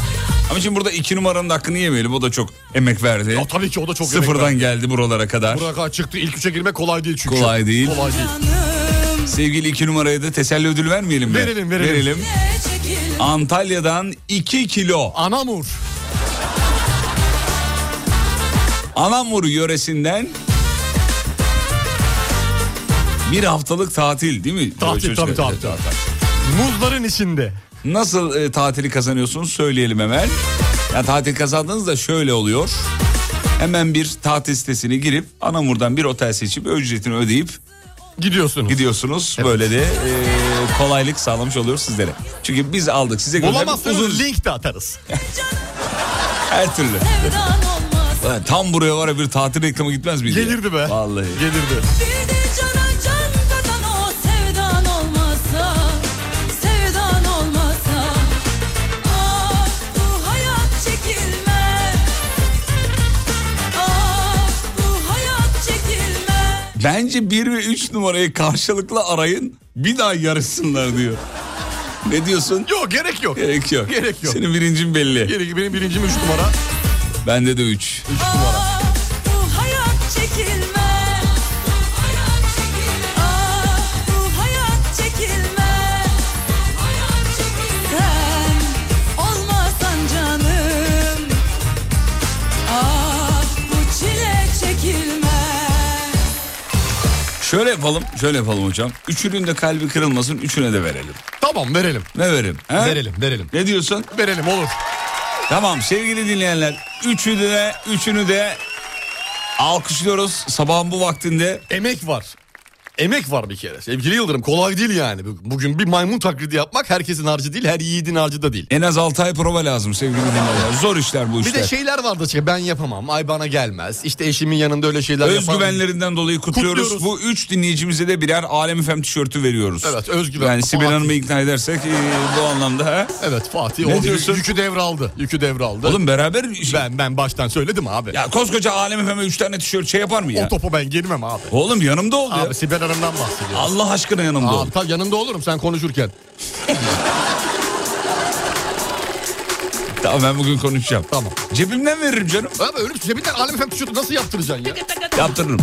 Speaker 4: Ama şimdi burada iki numaranın hakkını yemeyelim. O da çok emek verdi.
Speaker 6: Ya tabii ki o da çok emek
Speaker 4: Sıfırdan
Speaker 6: verdi.
Speaker 4: geldi buralara kadar.
Speaker 6: Buraya kadar çıktı. İlk üçe girmek kolay değil çünkü.
Speaker 4: Kolay değil.
Speaker 6: Kolay değil.
Speaker 4: Sevgili iki numaraya da teselli ödülü vermeyelim mi?
Speaker 6: Verelim, verelim.
Speaker 4: Antalya'dan 2 kilo.
Speaker 6: Anamur.
Speaker 4: Anamur yöresinden bir haftalık tatil değil mi?
Speaker 6: Tatil,
Speaker 4: Çocuklar?
Speaker 6: tabii, tabii,
Speaker 4: Evet,
Speaker 6: tabii. Muzların içinde.
Speaker 4: Nasıl e, tatili kazanıyorsunuz söyleyelim hemen. Ya tatil kazandığınızda şöyle oluyor. Hemen bir tatil sitesine girip Anamur'dan bir otel seçip ücretini ödeyip
Speaker 6: gidiyorsunuz.
Speaker 4: Gidiyorsunuz. Böyle de e, kolaylık sağlamış oluyoruz sizlere. Çünkü biz aldık size
Speaker 6: Bulamazsanız link de atarız.
Speaker 4: Her türlü. Lan Tam buraya var ya bir tatil reklamı gitmez miydi? Gelirdi be. Vallahi.
Speaker 6: Gelirdi.
Speaker 9: Bir de cana can katan o sevdan olmasa, sevdan olmasa Ah bu hayat çekilmez Ah bu hayat çekilmez
Speaker 4: Bence 1 ve 3 numarayı karşılıklı arayın bir daha yarışsınlar diyor. Ne diyorsun?
Speaker 6: Yok gerek yok.
Speaker 4: Gerek yok.
Speaker 6: Gerek yok.
Speaker 4: Senin birincin belli.
Speaker 6: Gerek, benim birincim 3 numara.
Speaker 4: Bende de 3.
Speaker 9: Bu Ah, hayat çekilmez Bu hayat çekilmez Ah bu hayat çekilmez Bu hayat çekilmez Sen olmasan canım Ah bu çile çekilmez
Speaker 4: Şöyle yapalım, şöyle yapalım hocam. Üçünün de kalbi kırılmasın, üçüne de verelim.
Speaker 6: Tamam verelim.
Speaker 4: Ne verelim? he?
Speaker 6: Verelim, verelim.
Speaker 4: Ne diyorsun?
Speaker 6: Verelim olur.
Speaker 4: Tamam sevgili dinleyenler, üçünü de, üçünü de alkışlıyoruz sabahın bu vaktinde.
Speaker 6: Emek var. Emek var bir kere. Sevgili Yıldırım kolay değil yani. Bu- Bugün bir maymun taklidi yapmak herkesin harcı değil, her yiğidin harcı da değil.
Speaker 4: En az 6 ay prova lazım sevgili dinleyenler. Zor işler bu
Speaker 6: Bir
Speaker 4: işler.
Speaker 6: de şeyler vardı şey ben yapamam. Ay bana gelmez. İşte eşimin yanında öyle şeyler yapamam.
Speaker 4: Özgüvenlerinden dolayı kutluyoruz.
Speaker 6: Kutluyoruz.
Speaker 4: Bu üç dinleyicimize de birer Alem FM tişörtü veriyoruz.
Speaker 6: Evet, özgüven.
Speaker 4: Yani Sibel
Speaker 6: Fatih.
Speaker 4: Hanım'ı ikna edersek e, bu anlamda. ha?
Speaker 6: Evet Fatih
Speaker 4: Ne
Speaker 6: oldu.
Speaker 4: diyorsun?
Speaker 6: Yükü devraldı. Yükü devraldı.
Speaker 4: Oğlum beraber...
Speaker 6: Ben ben baştan söyledim abi.
Speaker 4: Ya koskoca Alem FM'e üç tane tişört şey yapar mı ya?
Speaker 6: O topa ben girmem abi.
Speaker 4: Oğlum yanımda oldu ya.
Speaker 6: Abi Sibel Hanım'dan bahsediyorum.
Speaker 4: Allah aşkına yanımda ol.
Speaker 6: Abi tabii yanında olurum sen konuşurken.
Speaker 4: Ah, Tamam ben bugün konuşacağım.
Speaker 6: Tamam.
Speaker 4: Cebimden veririm canım.
Speaker 6: Abi ölüp cebinden Alem Efem tişörtü nasıl yaptıracaksın ya?
Speaker 4: Yaptırırım.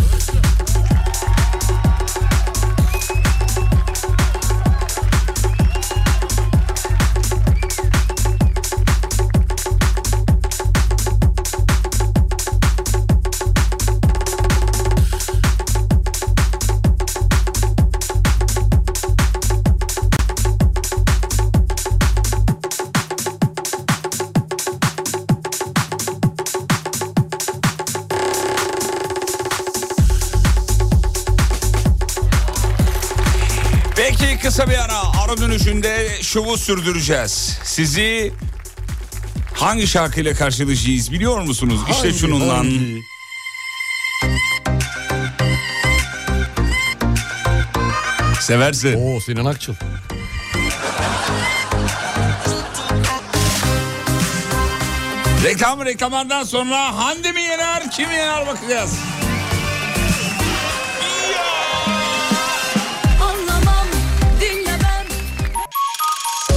Speaker 4: Peki kısa bir ara ara dönüşünde şovu sürdüreceğiz. Sizi hangi şarkıyla karşılaşacağız biliyor musunuz? işte
Speaker 13: Hangi,
Speaker 4: şununla.
Speaker 13: hangi?
Speaker 4: Seversin.
Speaker 6: Oo Sinan Akçıl.
Speaker 4: Reklam reklamlardan sonra Hande mi yener kim yener bakacağız.
Speaker 9: Anlamam dünya ben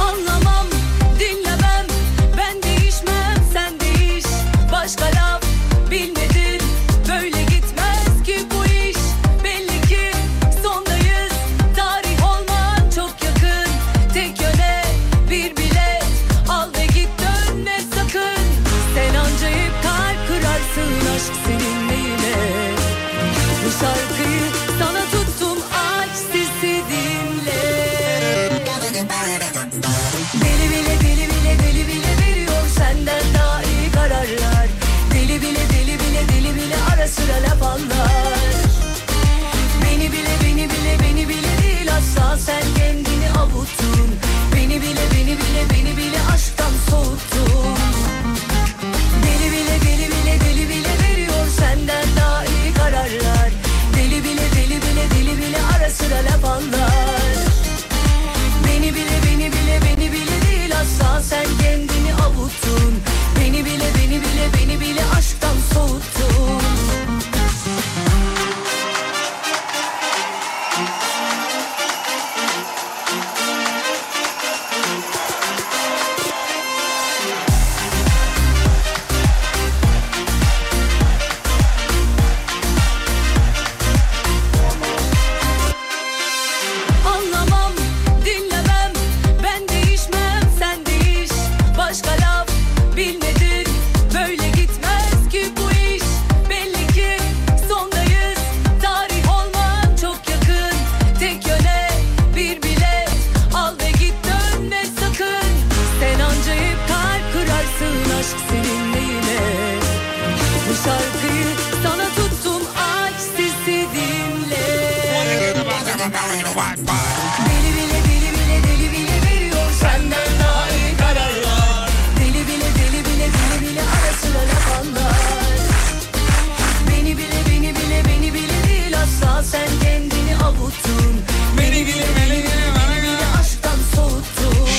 Speaker 9: Anlamam, dinlemem, ben değişmem, sen değiş. Başka laf bilmedim, böyle gitmez ki bu iş. Belli ki sondayız, tarih olman çok yakın. Tek yöne bir bilet, al ve git dönme sakın. Sen anca hep kalp kırarsın aşk senin neyine. Bu şarkıyı sana tuttum aç sesi dinle. Deli bile deli bile deli bile veriyor senden daha iyi kararlar Deli bile deli bile deli bile ara sıra laf anlar Beni bile beni bile beni bile değil asla sen kendini avutun ah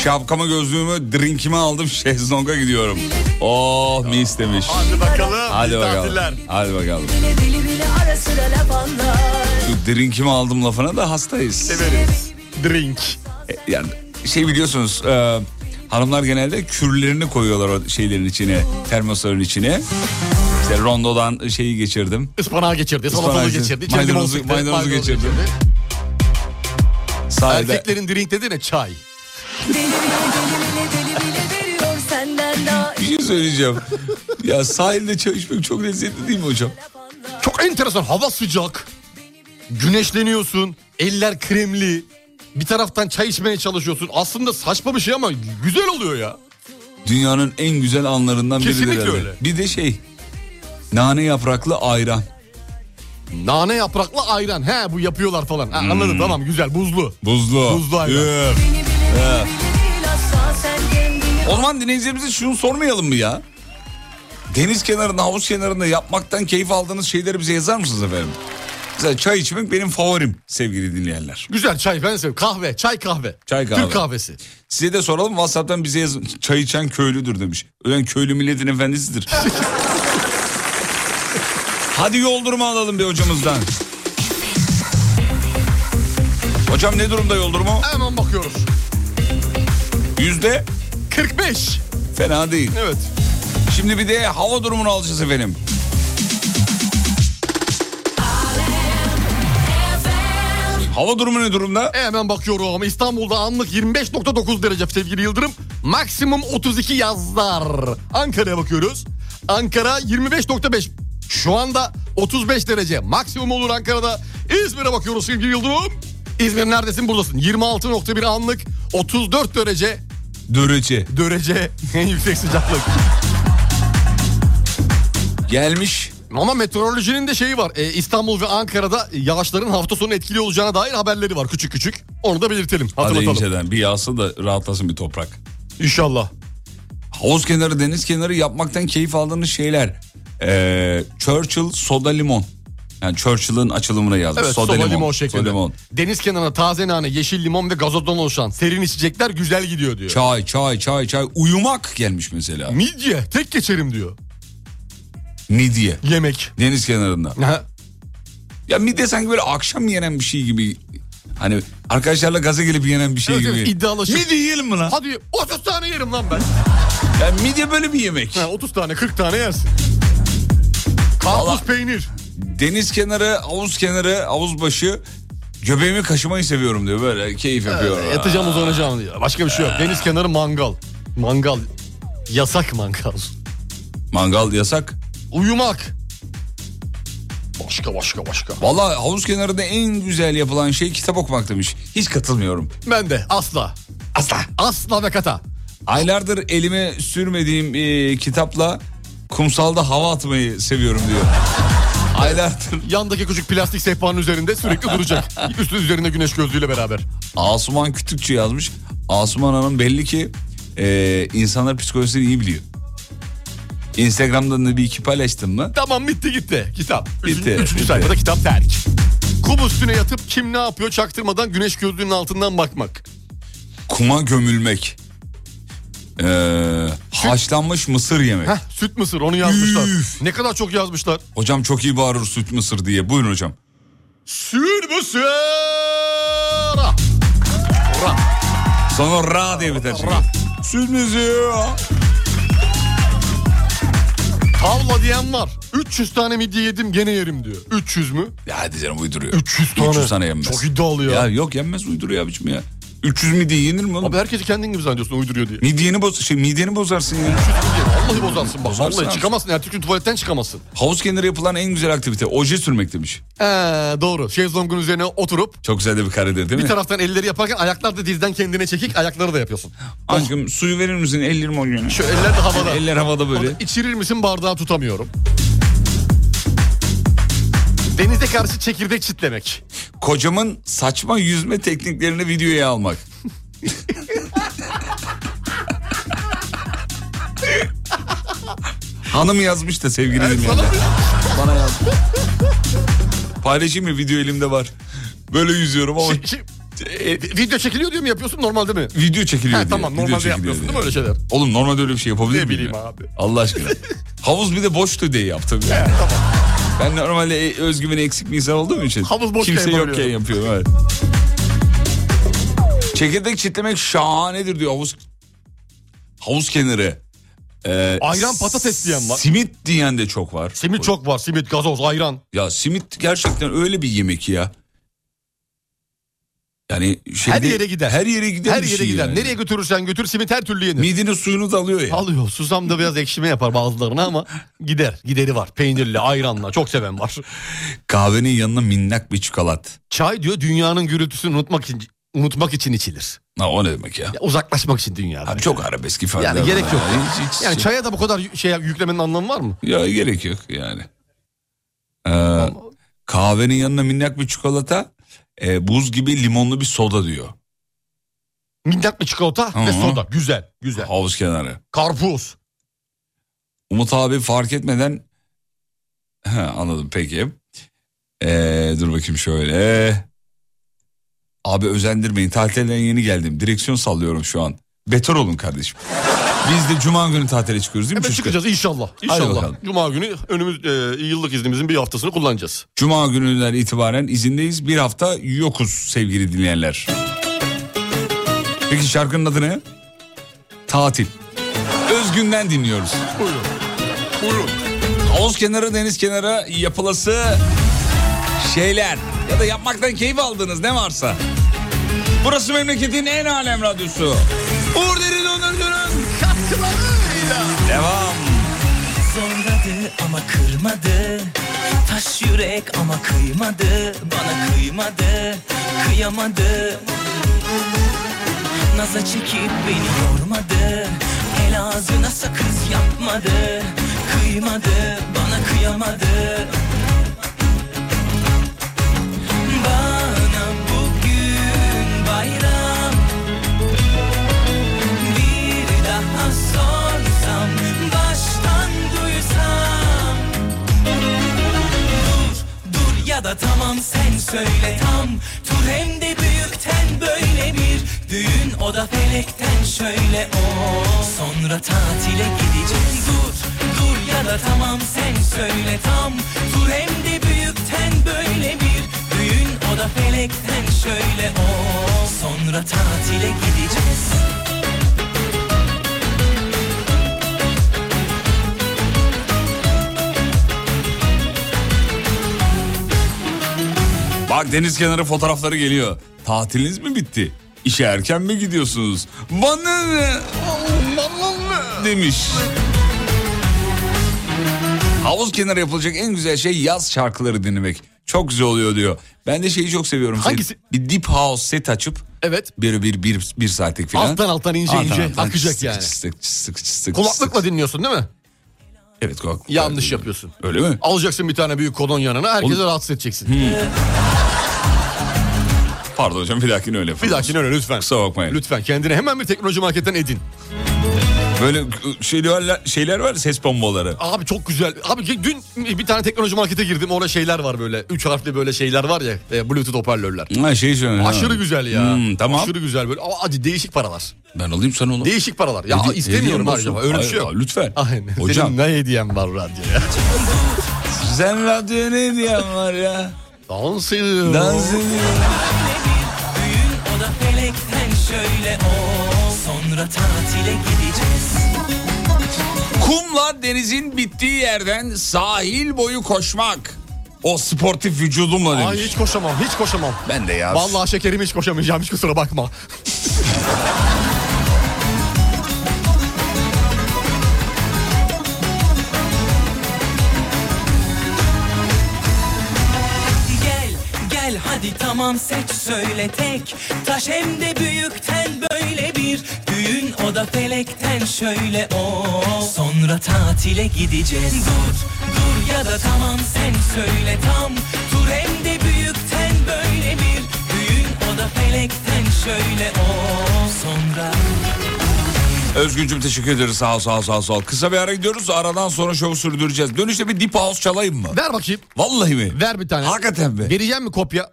Speaker 4: Şapkamı gözlüğümü drinkimi aldım şezlonga gidiyorum. Oh mis demiş.
Speaker 13: Hadi bakalım,
Speaker 4: Hadi
Speaker 13: biz
Speaker 4: bakalım.
Speaker 13: tatiller.
Speaker 4: Hadi bakalım.
Speaker 9: Bile deli bile ara sıra laf anlar
Speaker 4: Şu drinkimi aldım lafına da hastayız. Severiz.
Speaker 6: Drink.
Speaker 4: Yani şey biliyorsunuz e, hanımlar genelde kürlerini koyuyorlar o şeylerin içine termosların içine. İşte rondodan şeyi geçirdim.
Speaker 6: Ispanağı geçirdi, salatalığı
Speaker 4: Ispanağı-
Speaker 6: geçirdi. içine limon
Speaker 4: Maydanozu,
Speaker 6: sıktı,
Speaker 4: maydanozu geçirdim. Sahilde-
Speaker 6: Erkeklerin drink dedi ne çay.
Speaker 9: Veriyor senden daha
Speaker 4: Bir şey söyleyeceğim. ya sahilde çay içmek çok lezzetli değil mi hocam?
Speaker 6: Çok enteresan hava sıcak. Güneşleniyorsun. Eller kremli. Bir taraftan çay içmeye çalışıyorsun. Aslında saçma bir şey ama güzel oluyor ya.
Speaker 4: Dünyanın en güzel anlarından biridir
Speaker 6: Kesinlikle
Speaker 4: herhalde.
Speaker 6: öyle.
Speaker 4: Bir de şey nane yapraklı ayran.
Speaker 6: Nane yapraklı ayran. He bu yapıyorlar falan. Ha, Anladım tamam güzel buzlu.
Speaker 4: Hmm. Buzlu.
Speaker 6: Buzlu ayran.
Speaker 4: Üf. Üf.
Speaker 9: asla sen kendini
Speaker 4: O zaman dinleyicilerimize şunu sormayalım mı ya? Deniz kenarında, havuz kenarında yapmaktan keyif aldığınız şeyleri bize yazar mısınız efendim? Mesela çay içmek benim favorim sevgili dinleyenler.
Speaker 6: Güzel çay ben seviyorum. Kahve, çay kahve.
Speaker 4: Çay kahve.
Speaker 6: Türk kahvesi.
Speaker 4: Size de soralım WhatsApp'tan bize yazın. Çay içen köylüdür demiş. Ölen köylü milletin efendisidir. Hadi yoldurma alalım bir hocamızdan. Hocam ne durumda yoldurma?
Speaker 6: Hemen bakıyoruz.
Speaker 4: Yüzde
Speaker 6: 45.
Speaker 4: Fena değil.
Speaker 6: Evet.
Speaker 4: Şimdi bir de hava durumunu alacağız efendim. Hava durumu ne durumda?
Speaker 6: Hemen bakıyorum. İstanbul'da anlık 25.9 derece sevgili Yıldırım. Maksimum 32 yazlar. Ankara'ya bakıyoruz. Ankara 25.5. Şu anda 35 derece. Maksimum olur Ankara'da. İzmir'e bakıyoruz sevgili Yıldırım. İzmir neredesin buradasın. 26.1 anlık 34 derece.
Speaker 4: Dörece.
Speaker 6: Derece en yüksek sıcaklık.
Speaker 4: Gelmiş.
Speaker 6: Ama meteorolojinin de şeyi var. Ee, İstanbul ve Ankara'da yağışların hafta sonu etkili olacağına dair haberleri var küçük küçük. Onu da belirtelim.
Speaker 4: Hadi
Speaker 6: Hatırlatalım.
Speaker 4: inceden bir yağsa da rahatlasın bir toprak.
Speaker 6: İnşallah.
Speaker 4: Havuz kenarı, deniz kenarı yapmaktan keyif aldığınız şeyler. Ee, Churchill soda limon. Yani Churchill'ın açılımına yazmış.
Speaker 6: Evet soda, limon, şeklinde.
Speaker 4: Soda limon.
Speaker 6: Deniz kenarına taze nane, yeşil limon ve gazozdan oluşan serin içecekler güzel gidiyor diyor.
Speaker 4: Çay, çay, çay, çay. Uyumak gelmiş mesela.
Speaker 6: Midye tek geçerim diyor.
Speaker 4: Midye.
Speaker 6: Yemek.
Speaker 4: Deniz kenarında. Ya midye sanki böyle akşam yenen bir şey gibi. Hani arkadaşlarla gaza gelip yenen bir şey
Speaker 6: Evet,
Speaker 4: gibi.
Speaker 6: evet, iddialaşıp.
Speaker 4: Midye yiyelim mi lan?
Speaker 6: Hadi 30 tane yerim lan ben.
Speaker 4: Ya midye böyle bir yemek.
Speaker 6: Ha, 30 tane 40 tane yersin. Karpuz peynir.
Speaker 4: Deniz kenarı, havuz kenarı, havuz başı. Göbeğimi kaşımayı seviyorum diyor böyle keyif yapıyorum.
Speaker 6: Yatacağım uzanacağım diyor. Başka bir şey yok. Deniz kenarı mangal. Mangal. Yasak mangal.
Speaker 4: Mangal yasak.
Speaker 6: Uyumak. Başka başka başka.
Speaker 4: Valla havuz kenarında en güzel yapılan şey kitap okumak demiş. Hiç katılmıyorum.
Speaker 6: Ben de asla.
Speaker 4: Asla.
Speaker 6: Asla ve kata.
Speaker 4: Aylardır elime sürmediğim e, kitapla kumsalda hava atmayı seviyorum diyor. Aylardır.
Speaker 6: Yandaki küçük plastik sehpanın üzerinde sürekli duracak. Üstü üzerinde güneş gözlüğüyle beraber.
Speaker 4: Asuman Kütükçü yazmış. Asuman Hanım belli ki e, insanlar psikolojisini iyi biliyor. Instagram'dan da bir iki paylaştın mı?
Speaker 6: Tamam bitti gitti kitap. Üçüncü,
Speaker 4: Bitti,
Speaker 6: üçüncü
Speaker 4: bitti.
Speaker 6: sayfada kitap terk. Kum üstüne yatıp kim ne yapıyor çaktırmadan güneş gözlüğünün altından bakmak.
Speaker 4: Kuma gömülmek. E, haşlanmış mısır yemek.
Speaker 6: Heh, süt mısır onu yazmışlar. Ne kadar çok yazmışlar.
Speaker 4: Hocam çok iyi bağırır süt mısır diye. Buyurun hocam.
Speaker 6: Süt mısır. Ah,
Speaker 4: Sonra ra diye biter. çünkü. Süt mısır.
Speaker 6: Tavla diyen var. 300 tane midye yedim gene yerim diyor. 300 mü?
Speaker 4: Ya hadi canım uyduruyor.
Speaker 6: 300 tane.
Speaker 4: 300 tane yenmez.
Speaker 6: Çok iddialı ya.
Speaker 4: Ya yok yenmez uyduruyor abicim ya. 300 midye yenir mi oğlum?
Speaker 6: Abi herkesi kendin gibi zannediyorsun uyduruyor diye.
Speaker 4: Midyeni boz şey midyeni bozarsın ya.
Speaker 6: Vallahi bozarsın bak.
Speaker 4: Bozarsın
Speaker 6: Vallahi
Speaker 4: abi.
Speaker 6: çıkamazsın. Ertesi gün tuvaletten çıkamazsın.
Speaker 4: Havuz kenarı yapılan en güzel aktivite oje sürmek demiş.
Speaker 6: Ee, doğru. Şezlongun üzerine oturup
Speaker 4: Çok güzel de bir karedir değil
Speaker 6: bir
Speaker 4: mi?
Speaker 6: taraftan elleri yaparken ayaklar da dizden kendine çekik ayakları da yapıyorsun.
Speaker 4: Aşkım suyu verir misin? Ellerim oynuyor.
Speaker 6: Şu eller de havada.
Speaker 4: Eller havada böyle.
Speaker 6: İçirir misin bardağı tutamıyorum. Denize karşı çekirdek çitlemek.
Speaker 4: Kocamın saçma yüzme tekniklerini videoya almak. Hanım yazmış da sevgili dinleyenler. Bana yazmış.
Speaker 6: Şey,
Speaker 4: Paylaşayım mı video elimde var. Böyle yüzüyorum ama
Speaker 6: Şi- şi- E, video çekiliyor diye mi yapıyorsun normalde mi?
Speaker 4: Video çekiliyor
Speaker 6: Ha,
Speaker 4: diye.
Speaker 6: tamam,
Speaker 4: Video
Speaker 6: normalde
Speaker 4: çekiliyor
Speaker 6: yapmıyorsun
Speaker 4: diye.
Speaker 6: değil mi öyle şeyler?
Speaker 4: Oğlum normalde öyle bir şey yapabilir
Speaker 6: Ne
Speaker 4: miyim
Speaker 6: bileyim
Speaker 4: ya?
Speaker 6: abi.
Speaker 4: Allah aşkına. Havuz bir de boştu diye yaptım ya. Ben normalde e- özgüveni eksik bir insan olduğum için.
Speaker 6: Havuz boşken
Speaker 4: Kimse yokken
Speaker 6: yapabiliyorum.
Speaker 4: yapıyorum. Evet. Çekirdek çitlemek şahanedir diyor havuz. Havuz kenarı. Ee,
Speaker 6: Ayran patates diyen var.
Speaker 4: Simit diyen de çok var.
Speaker 6: Simit çok var. Simit, gazoz, ayran.
Speaker 4: Ya simit gerçekten öyle bir yemek ya. Yani şeyde,
Speaker 6: her yere gider.
Speaker 4: Her yere gider.
Speaker 6: Her
Speaker 4: bir
Speaker 6: yere
Speaker 4: şey
Speaker 6: gider.
Speaker 4: yani.
Speaker 6: Nereye götürürsen götür simit her türlü yenir.
Speaker 4: Midenin suyunu da alıyor ya.
Speaker 6: Alıyor. Susam da biraz ekşime yapar bazılarına ama gider. Gideri var. Peynirli, ayranla. Çok seven var.
Speaker 4: Kahvenin yanına minnak bir çikolat.
Speaker 6: Çay diyor dünyanın gürültüsünü unutmak için unutmak için içilir.
Speaker 4: Ha, o ne demek ya?
Speaker 6: Ya uzaklaşmak için dünyadan.
Speaker 4: Abi çok arabesk ifade.
Speaker 6: Yani gerek yok.
Speaker 4: Ya, hiç- hiç-
Speaker 6: Yani çaya da bu kadar y- şey yüklemenin anlamı var mı?
Speaker 4: Ya gerek yok yani. Ee, kahvenin yanına minnak bir çikolata, e, buz gibi limonlu bir soda diyor.
Speaker 6: Minnak bir çikolata Ah, ve
Speaker 4: Hı hı.
Speaker 6: soda. Güzel, güzel.
Speaker 4: Havuz kenarı.
Speaker 6: Karpuz.
Speaker 4: Umut abi fark etmeden... Ha, anladım peki. Ee, dur bakayım şöyle. Abi özendirmeyin tatilden yeni geldim. Direksiyon sallıyorum şu an. Beter olun kardeşim. Biz de cuma günü tatile çıkıyoruz değil mi
Speaker 6: Hemen
Speaker 4: çocuklar?
Speaker 6: çıkacağız inşallah.
Speaker 4: Haydi bakalım.
Speaker 6: İnşallah. Cuma günü önümüz e, yıllık iznimizin bir haftasını kullanacağız.
Speaker 4: Cuma gününden itibaren izindeyiz. Bir hafta yokuz sevgili dinleyenler. Peki şarkının adı ne? Tatil. Özgün'den dinliyoruz.
Speaker 6: Buyurun. Buyurun.
Speaker 4: Havuz kenarı, deniz kenarı yapılası şeyler. Ya da yapmaktan keyif aldığınız ne varsa. Burası memleketin en alem radyosu. Uğur Derin Onur Dönün.
Speaker 5: Katkılarıyla.
Speaker 4: Devam.
Speaker 18: Zorladı ama kırmadı Taş yürek ama kıymadı Bana kıymadı Kıyamadı Naza çekip beni yormadı El ağzına sakız yapmadı Kıymadı Bana kıyamadı Bana bugün bayram bir daha sorsam Baştan duysam Dur, dur ya da tamam sen söyle tam Tur hem de büyükten böyle bir Düğün o da felekten şöyle o Sonra tatile gideceğiz Dur, dur ya da tamam sen söyle tam Tur hem de büyükten böyle bir Düğün o da felekten şöyle o Sonra tatile gideceğiz
Speaker 4: Bak deniz kenarı fotoğrafları geliyor. Tatiliniz mi bitti? İşe erken mi gidiyorsunuz? Bana ne? demiş. Havuz kenarı yapılacak en güzel şey yaz şarkıları dinlemek. Çok güzel oluyor diyor. Ben de şeyi çok seviyorum. Şey,
Speaker 6: Hangisi?
Speaker 4: Bir deep house set açıp
Speaker 6: Evet.
Speaker 4: bir bir bir, bir saatlik falan.
Speaker 6: Alttan alttan ince ince akacak
Speaker 4: çıstık,
Speaker 6: yani.
Speaker 4: Çıstık, çıstık, çıstık, çıstık.
Speaker 6: Kulaklıkla dinliyorsun değil mi?
Speaker 4: Evet kulaklık.
Speaker 6: Yanlış yapıyorsun.
Speaker 4: Öyle mi?
Speaker 6: Alacaksın bir tane büyük kolon yanına herkese
Speaker 4: Oğlum- Hmm.
Speaker 6: rahatsız edeceksin.
Speaker 4: Pardon hocam bir dahakine öyle yapalım.
Speaker 6: Bir dahakine öyle lütfen.
Speaker 4: Kusura bakmayın.
Speaker 6: Lütfen kendine hemen bir teknoloji marketten edin.
Speaker 4: Böyle şeyler, şeyler var ya, ses bombaları.
Speaker 6: Abi çok güzel. Abi dün bir tane teknoloji markete girdim. Orada şeyler var böyle. Üç harfli böyle şeyler var ya. e, Bluetooth hoparlörler.
Speaker 4: Ha, şey söylüyorum.
Speaker 6: Aşırı
Speaker 4: Ha.
Speaker 6: güzel ya.
Speaker 4: Hmm, tamam.
Speaker 6: Aşırı güzel böyle. Ama acı değişik paralar.
Speaker 4: Ben alayım sana onu.
Speaker 6: Değişik paralar. Ya
Speaker 4: Hedi-
Speaker 6: istemiyorum
Speaker 4: hediyem
Speaker 6: acaba.
Speaker 4: olsun.
Speaker 6: Öyle bir
Speaker 4: Hayır,
Speaker 6: şey yok.
Speaker 4: hayır, lütfen.
Speaker 6: Aynen.
Speaker 4: Hocam.
Speaker 6: Senin ne hediyen var radyoya?
Speaker 4: Sen radyoya ne hediyen var ya?
Speaker 6: Dans ediyor.
Speaker 4: Dans
Speaker 18: O da felekten şöyle o Sonra tatile gideceğiz
Speaker 4: Kumla denizin bittiği yerden sahil boyu koşmak. O sportif vücudumla
Speaker 6: Ay
Speaker 4: demiş.
Speaker 6: hiç koşamam. Hiç koşamam.
Speaker 4: Ben de ya.
Speaker 6: Vallahi şekerim hiç koşamayacağım. Hiç kusura bakma.
Speaker 18: Gel gel hadi tamam seç söyle tek Taş hem de büyükten böyle bir Düğün o da felekten şöyle o Sonra tatile gideceğiz Dur dur ya da tamam sen söyle tam Tur hem de büyükten böyle bir Düğün o da felekten şöyle o Sonra
Speaker 4: Özgüncüm teşekkür ederiz. Sağ ol, sağ ol, sağ ol, sağ ol. Kısa bir ara gidiyoruz. Aradan sonra şovu sürdüreceğiz. Dönüşte bir deep house çalayım mı?
Speaker 6: Ver bakayım.
Speaker 4: Vallahi mi?
Speaker 6: Ver bir tane.
Speaker 4: Hakikaten mi?
Speaker 6: Vereceğim mi kopya?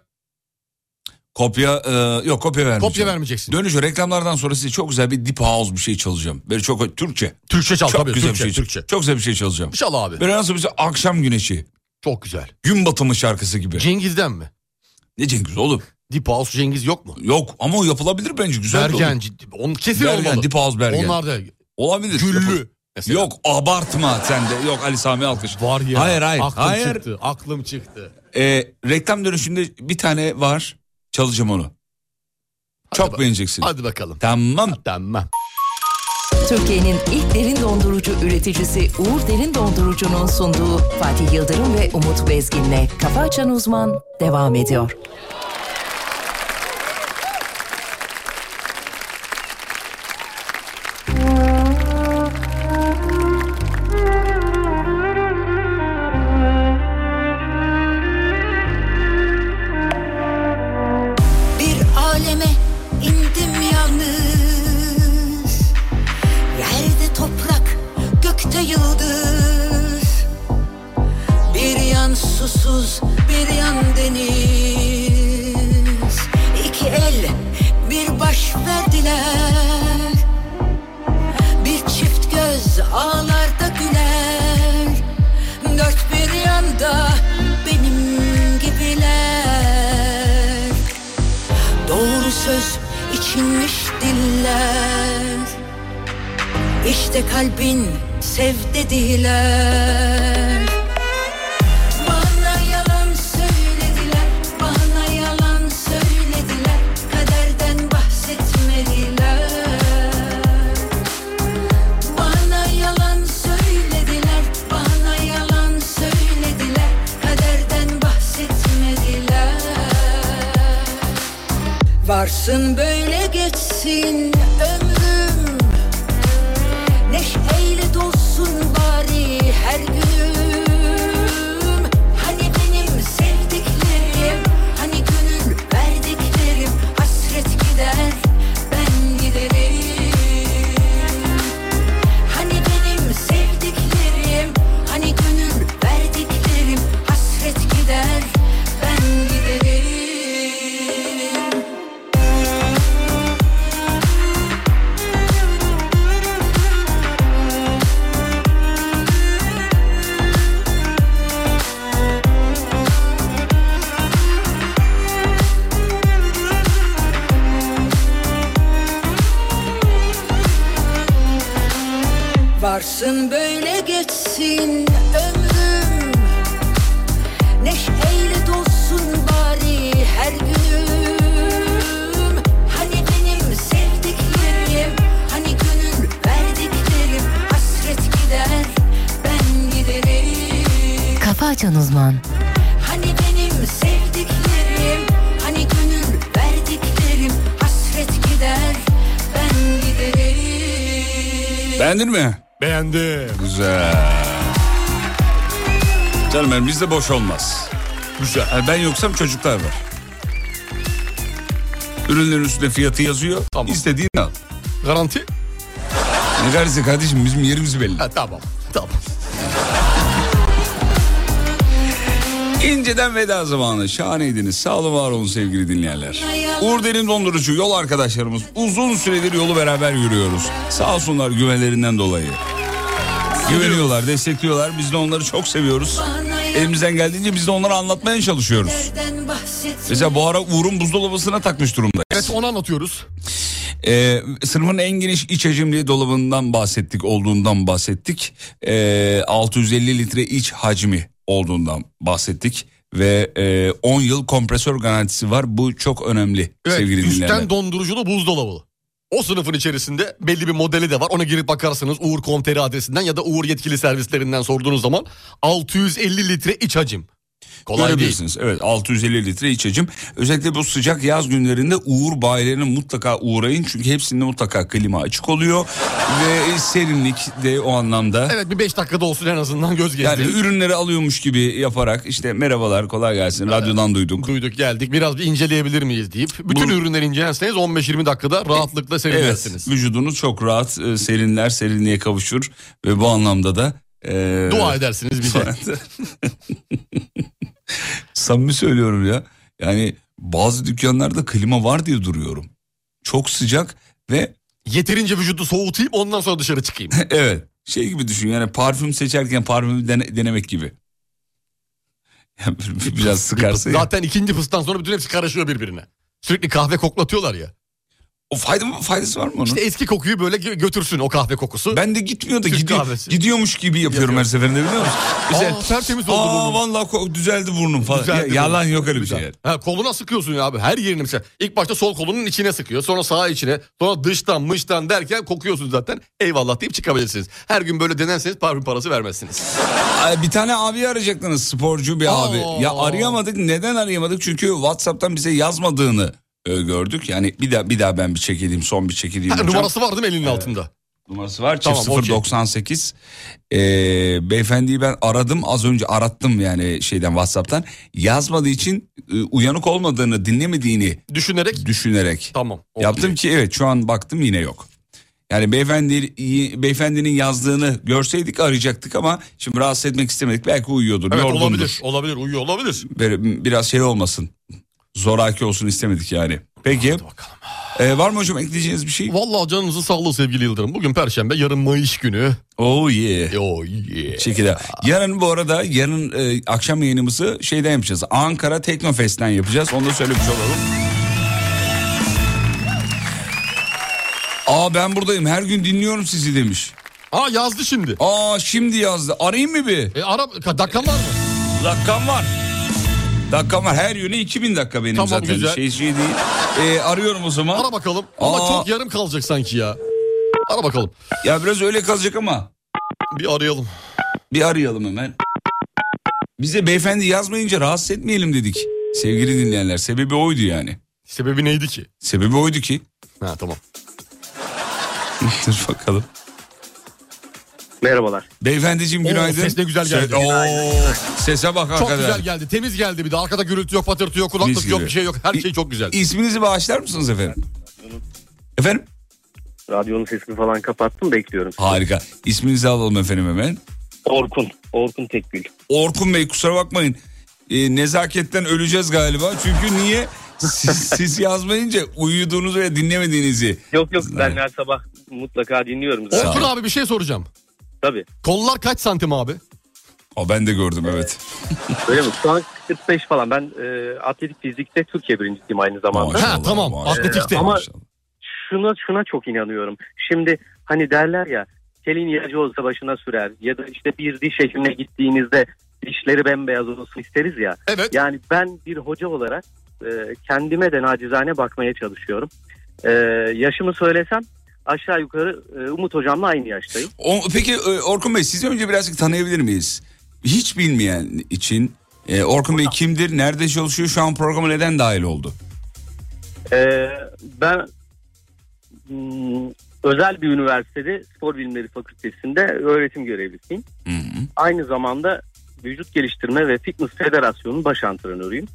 Speaker 4: Kopya e, yok kopya vermeyeceğim.
Speaker 6: Kopya vermeyeceksin.
Speaker 4: Dönüşü reklamlardan sonra size çok güzel bir deep house bir şey çalacağım. Böyle çok Türkçe.
Speaker 6: Türkçe çal
Speaker 4: çok
Speaker 6: tabii,
Speaker 4: Güzel
Speaker 6: Türkçe,
Speaker 4: bir şey, Türkçe. Çok güzel bir şey çalacağım.
Speaker 6: İnşallah abi.
Speaker 4: Böyle nasıl bir şey akşam güneşi.
Speaker 6: Çok güzel.
Speaker 4: Gün batımı şarkısı gibi.
Speaker 6: Cengiz'den mi?
Speaker 4: Ne Cengiz oğlum?
Speaker 6: Deep House Cengiz yok mu?
Speaker 4: Yok ama o yapılabilir bence güzel. de olur.
Speaker 6: Bergen, on, kesin
Speaker 4: Bergen,
Speaker 6: olmalı.
Speaker 4: Deep House Bergen.
Speaker 6: Onlar da
Speaker 4: Olabilir.
Speaker 6: Güllü.
Speaker 4: Yok abartma sen de. Yok Ali Sami Alkış. Var
Speaker 6: Ya,
Speaker 4: Hayır hayır.
Speaker 6: Aklım
Speaker 4: hayır.
Speaker 6: çıktı. Aklım çıktı.
Speaker 4: Ee, reklam dönüşünde bir tane var. Çalacağım onu. Çok beğeneceksin.
Speaker 6: Hadi bakalım.
Speaker 4: Tamam.
Speaker 6: Tamam.
Speaker 7: Türkiye'nin ilk derin dondurucu üreticisi Uğur Derin Dondurucu'nun sunduğu Fatih Yıldırım ve Umut Bezgin'le Kafa Açan Uzman devam ediyor.
Speaker 19: Bir aleme indim yalnız Yerde toprak, gökte yıldız Bir yan susuz, bir yan deniz İki el, bir baş verdiler Bir çift göz ağlarda güler Dört bir yanda benim gibiler Doğru söz içinmiş diller İşte kalbin sev dediler Bana yalan söylediler Bana yalan söylediler Kaderden bahsetmediler Bana yalan söylediler Bana yalan söylediler Kaderden bahsetmediler Varsın böyle geçsin ömrüm Neşeyle dolsun bari her günüm Hani benim sevdiklerim Hani gönül verdiklerim Hasret gider ben giderim Hani benim sevdiklerim Hani gönül verdiklerim Hasret gider ben giderim Varsın böyle geçsin ömrüm Neşeyle dolsun bari her günüm Hani benim sevdiklerim Hani gönül verdiklerim Hasret gider ben giderim
Speaker 7: Kafa Açan Uzman
Speaker 19: Hani benim sevdiklerim Hani gönül verdiklerim Hasret gider ben giderim
Speaker 4: Beğendin mi?
Speaker 6: Beğendim.
Speaker 4: Güzel. Canım benim bizde boş olmaz.
Speaker 6: Güzel.
Speaker 4: ben yoksam çocuklar var. Ürünlerin üstünde fiyatı yazıyor. İstediğini al.
Speaker 6: Garanti?
Speaker 4: Ne garantisi kardeşim bizim yerimiz belli.
Speaker 6: tamam. Tamam.
Speaker 4: İnceden veda zamanı. Şahaneydiniz. Sağ olun var olun sevgili dinleyenler. Uğur Derin Dondurucu yol arkadaşlarımız. Uzun süredir yolu beraber yürüyoruz. Sağ olsunlar güvenlerinden dolayı. Güveniyorlar, destekliyorlar. Biz de onları çok seviyoruz. Elimizden geldiğince biz de onları anlatmaya çalışıyoruz.
Speaker 19: Kaderden bahsetmedi
Speaker 4: Mesela bu ara Uğur'un buzdolabısına takmış durumdayız.
Speaker 6: Evet onu anlatıyoruz.
Speaker 4: Ee, sınıfın en geniş iç hacimli dolabından bahsettik, olduğundan bahsettik. Ee, 650 litre iç hacmi olduğundan bahsettik. Ve e, 10 yıl kompresör garantisi var. Bu çok önemli
Speaker 6: Evet,
Speaker 4: sevgili
Speaker 6: üstten
Speaker 4: dinleyenler.
Speaker 6: donduruculu buzdolabı. O sınıfın içerisinde belli bir modeli de var. Ona girip bakarsınız Uğur.com.tr adresinden ya da Uğur yetkili servislerinden sorduğunuz zaman 650 litre iç hacim. Kolay değil.
Speaker 4: Görebilirsiniz. Evet 650 litre iç hacim. Özellikle bu sıcak yaz günlerinde Uğur bayilerine mutlaka uğrayın. Çünkü hepsinde mutlaka klima açık oluyor. Ve serinlik de o anlamda.
Speaker 6: Evet bir 5 dakikada olsun en azından göz gezdirin.
Speaker 4: Yani ürünleri alıyormuş gibi yaparak işte merhabalar kolay gelsin radyodan duyduk.
Speaker 6: Duyduk geldik biraz bir inceleyebilir miyiz deyip bütün ürünleri incelerseniz 15-20 dakikada rahatlıkla seyredersiniz.
Speaker 4: Evet, vücudunuz çok rahat e, serinler, serinliğe kavuşur ve bu anlamda da e,
Speaker 6: Dua edersiniz bize.
Speaker 4: Samimi söylüyorum ya. Yani bazı dükkanlarda klima var diye duruyorum. Çok sıcak ve...
Speaker 6: Yeterince vücudu soğutayım ondan sonra dışarı çıkayım.
Speaker 4: evet. Şey gibi düşün yani parfüm seçerken parfümü dene- denemek gibi. Yani Biraz sıkarsa ya.
Speaker 6: Zaten ikinci fıstan sonra bütün hepsi karışıyor birbirine. Sürekli kahve koklatıyorlar ya.
Speaker 4: O fayda mı, faydası var mı onun?
Speaker 6: İşte eski kokuyu böyle gö- götürsün o kahve kokusu.
Speaker 4: Ben de gitmiyor da
Speaker 6: Türk
Speaker 4: gidiyor-
Speaker 6: kahvesi.
Speaker 4: gidiyormuş gibi yapıyorum her seferinde biliyor musun? Mesela-
Speaker 6: Aa, tertemiz oldu
Speaker 4: Aa,
Speaker 6: burnum.
Speaker 4: vallahi ko- düzeldi burnum falan.
Speaker 6: Düzeldi
Speaker 4: Ya-
Speaker 6: burnum.
Speaker 4: yalan yok öyle bir
Speaker 6: Güzel.
Speaker 4: şey yani.
Speaker 6: Ha, koluna sıkıyorsun ya abi her yerine mesela. İlk başta sol kolunun içine sıkıyor sonra sağ içine sonra dıştan mıştan derken kokuyorsun zaten. Eyvallah deyip çıkabilirsiniz. Her gün böyle denerseniz parfüm parası vermezsiniz.
Speaker 4: Ay, Bir tane abi arayacaktınız sporcu bir abi. Ya arayamadık. Neden arayamadık? Çünkü WhatsApp'tan bize yazmadığını e, gördük. Yani bir daha bir daha ben bir çekileyim, son bir çekileyim.
Speaker 6: Ha,
Speaker 4: hocam.
Speaker 6: numarası var değil mi elinin altında?
Speaker 4: Numarası var.
Speaker 6: Tamam,
Speaker 4: Çift 098. Ee, beyefendiyi ben aradım az önce arattım yani şeyden WhatsApp'tan. Yazmadığı için e, uyanık olmadığını dinlemediğini
Speaker 6: düşünerek
Speaker 4: düşünerek
Speaker 6: Tamam.
Speaker 4: yaptım ki evet şu an baktım yine yok. Yani beyefendi beyefendinin yazdığını görseydik arayacaktık ama şimdi rahatsız etmek istemedik. Belki uyuyordur,
Speaker 6: Evet
Speaker 4: yorgundur.
Speaker 6: olabilir olabilir uyuyor olabilir.
Speaker 4: Böyle biraz şey olmasın. Zoraki olsun istemedik yani. Peki. Ee, var mı hocam ekleyeceğiniz bir şey?
Speaker 6: Vallahi canınızın sağlığı sevgili Yıldırım. Bugün Perşembe, yarın Mayış günü.
Speaker 4: Oh yeah.
Speaker 6: Oh yeah.
Speaker 4: Şekilde. Yarın bu arada yarın e, akşam yayınımızı şeyden yapacağız. Ankara Teknofest'ten yapacağız. Onu da söylemiş olalım. Aa ben buradayım. Her gün dinliyorum sizi demiş.
Speaker 6: Aa yazdı şimdi.
Speaker 4: Aa şimdi yazdı. Arayayım mı bir?
Speaker 6: E ara dakikam var mı?
Speaker 4: Dakikam var. Dakikam var. Her yöne 2000 dakika benim
Speaker 6: Tamam,
Speaker 4: zaten.
Speaker 6: güzel.
Speaker 4: Şey şey değil. Ee, arıyorum o zaman.
Speaker 6: Ara bakalım. Ama
Speaker 4: Aa.
Speaker 6: çok yarım kalacak sanki ya. Ara bakalım.
Speaker 4: Ya biraz öyle kazacak ama.
Speaker 6: Bir arayalım.
Speaker 4: Bir arayalım hemen. Bize beyefendi yazmayınca rahatsız etmeyelim dedik. Sevgili dinleyenler sebebi oydu yani.
Speaker 6: Sebebi neydi ki?
Speaker 4: Sebebi oydu ki.
Speaker 6: Ha tamam.
Speaker 4: Dur bakalım.
Speaker 17: Merhabalar.
Speaker 4: Beyefendiciğim
Speaker 6: Oo,
Speaker 4: günaydın.
Speaker 6: ses ne güzel geldi.
Speaker 4: Se-
Speaker 6: Günaydın.
Speaker 4: Oo, sese bak
Speaker 6: Çok
Speaker 4: hakikaten.
Speaker 6: güzel geldi. Temiz geldi bir de. Arkada gürültü yok, patırtı yok, kulaklık
Speaker 4: Mis
Speaker 6: yok,
Speaker 4: gibi.
Speaker 6: bir şey yok. Her şey çok güzel.
Speaker 4: İsminizi bağışlar mısınız efendim? Efendim?
Speaker 17: Radyonun sesini falan kapattım bekliyorum.
Speaker 4: Harika. İsminizi alalım efendim hemen.
Speaker 17: Orkun. Orkun Tekgül.
Speaker 4: Orkun Bey kusura bakmayın. Ee, nezaketten öleceğiz galiba. Çünkü niye? Siz, siz yazmayınca uyuduğunuzu ve dinlemediğinizi.
Speaker 17: Yok yok ben her sabah mutlaka dinliyorum zaten.
Speaker 6: Orkun abi bir şey soracağım.
Speaker 17: Tabii.
Speaker 6: Kollar kaç santim abi?
Speaker 4: Aa, ben de gördüm evet.
Speaker 17: Öyle mi? Şu an 45 falan. Ben e, atletik fizikte Türkiye birincisiyim aynı zamanda.
Speaker 6: Ha tamam. Atletikte.
Speaker 17: Ama şuna şuna çok inanıyorum. Şimdi hani derler ya telin ilacı olsa başına sürer ya da işte bir diş hekimine gittiğinizde dişleri bembeyaz olsun isteriz ya.
Speaker 6: Evet.
Speaker 17: Yani ben bir hoca olarak
Speaker 15: Ee,
Speaker 17: e, kendime de nacizane bakmaya çalışıyorum. E, yaşımı söylesem aşağı yukarı e, Umut hocamla aynı yaştayım.
Speaker 4: O- peki e, Orkun Bey sizi önce birazcık tanıyabilir miyiz? Hiç bilmeyen için e, Orkun Bey kimdir, nerede çalışıyor, şu an programa neden dahil oldu?
Speaker 17: Ee, ben hmm, özel bir üniversitede spor bilimleri fakültesinde öğretim görevlisiyim. Aynı zamanda vücut geliştirme ve fitness federasyonunun baş antrenörüyüm.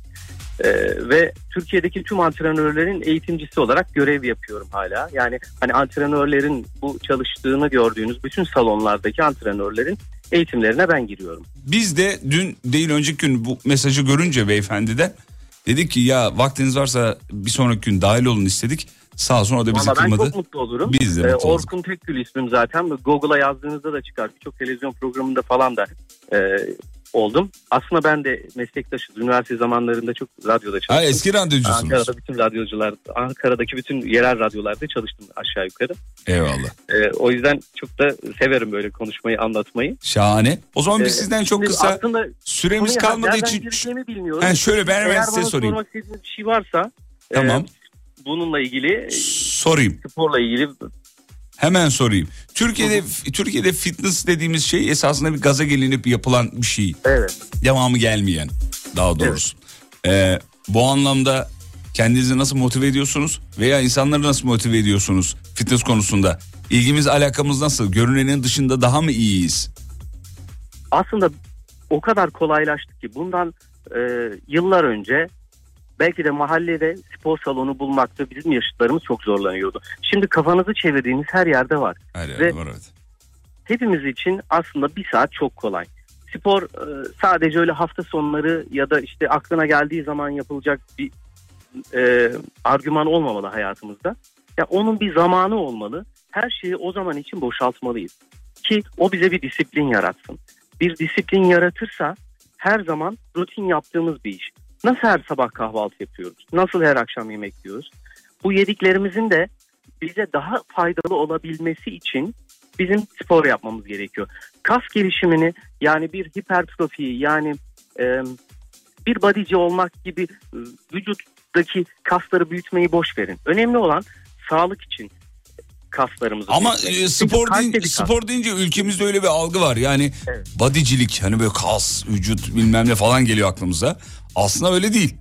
Speaker 17: Ee, ve Türkiye'deki tüm antrenörlerin eğitimcisi olarak görev yapıyorum hala. Yani hani antrenörlerin bu çalıştığını gördüğünüz bütün salonlardaki antrenörlerin eğitimlerine ben giriyorum.
Speaker 4: Biz de dün değil önceki gün bu mesajı görünce beyefendiden dedik ki ya vaktiniz varsa bir sonraki gün dahil olun istedik. Sağ olsun o da bizi
Speaker 17: Valla ben
Speaker 4: kırmadı.
Speaker 17: çok mutlu olurum.
Speaker 4: Biz de
Speaker 17: Ee,
Speaker 4: mutlu olduk.
Speaker 17: Orkun Tekgül ismim zaten. Google'a yazdığınızda da çıkar. Birçok televizyon programında falan da e, oldum. Aslında ben de meslektaşız. Üniversite zamanlarında çok radyoda çalıştım.
Speaker 4: Ha, eski radyocusunuz.
Speaker 17: Ankara'da bütün radyocular, Ankara'daki bütün yerel radyolarda çalıştım aşağı yukarı.
Speaker 4: Eyvallah.
Speaker 17: E, o yüzden çok da severim böyle konuşmayı, anlatmayı.
Speaker 4: Şahane. O zaman biz
Speaker 17: Ee,
Speaker 4: sizden çok
Speaker 17: şimdi
Speaker 4: kısa
Speaker 17: aslında
Speaker 4: süremiz
Speaker 17: konuya
Speaker 4: kalmadığı
Speaker 17: nereden
Speaker 4: için
Speaker 17: gireceğimi bilmiyorum.
Speaker 4: Ha, şöyle ben hemen
Speaker 17: Eğer
Speaker 4: size
Speaker 17: bana
Speaker 4: sorayım.
Speaker 17: sormak istediğiniz bir şey varsa e,
Speaker 4: Tamam.
Speaker 17: bununla ilgili
Speaker 4: sorayım.
Speaker 17: sporla ilgili
Speaker 4: Hemen sorayım. Türkiye'de Türkiye'de fitness dediğimiz şey esasında bir gaza gelinip yapılan bir şey.
Speaker 17: Evet.
Speaker 4: Devamı gelmeyen daha doğrusu. Ee, bu anlamda kendinizi nasıl motive ediyorsunuz veya insanları nasıl motive ediyorsunuz fitness konusunda? İlgimiz alakamız nasıl? Görünenin dışında daha mı iyiyiz?
Speaker 17: aslında o kadar kolaylaştı ki bundan e, yıllar önce belki de mahallede spor salonu bulmakta bizim yaşıtlarımız çok zorlanıyordu. Şimdi kafanızı çevirdiğiniz her yerde var. Ve hepimiz için aslında bir saat çok kolay. Spor e, sadece öyle hafta sonları ya da işte aklına geldiği zaman yapılacak bir e, argüman olmamalı hayatımızda. Ya onun bir zamanı olmalı. Her şeyi o zaman için boşaltmalıyız ki o bize bir disiplin yaratsın. Bir disiplin yaratırsa her zaman rutin yaptığımız bir iş. Nasıl her sabah kahvaltı yapıyoruz? Nasıl her akşam yemek yiyoruz? Bu yediklerimizin de bize daha faydalı olabilmesi için bizim spor yapmamız gerekiyor. Kas gelişimini yani bir hipertrofiyi yani e, bir bodyci olmak gibi e, vücuttaki kasları büyütmeyi boş verin. Önemli olan sağlık için kaslarımızı
Speaker 4: Ama
Speaker 17: büyütmek.
Speaker 4: e,
Speaker 17: Çünkü
Speaker 4: spor
Speaker 17: kalp
Speaker 4: deyince,
Speaker 17: de bir kas.
Speaker 4: spor deyince ülkemizde öyle bir algı var. Yani bodycilik hani böyle kas, vücut bilmem ne falan geliyor aklımıza. Aslında öyle değil.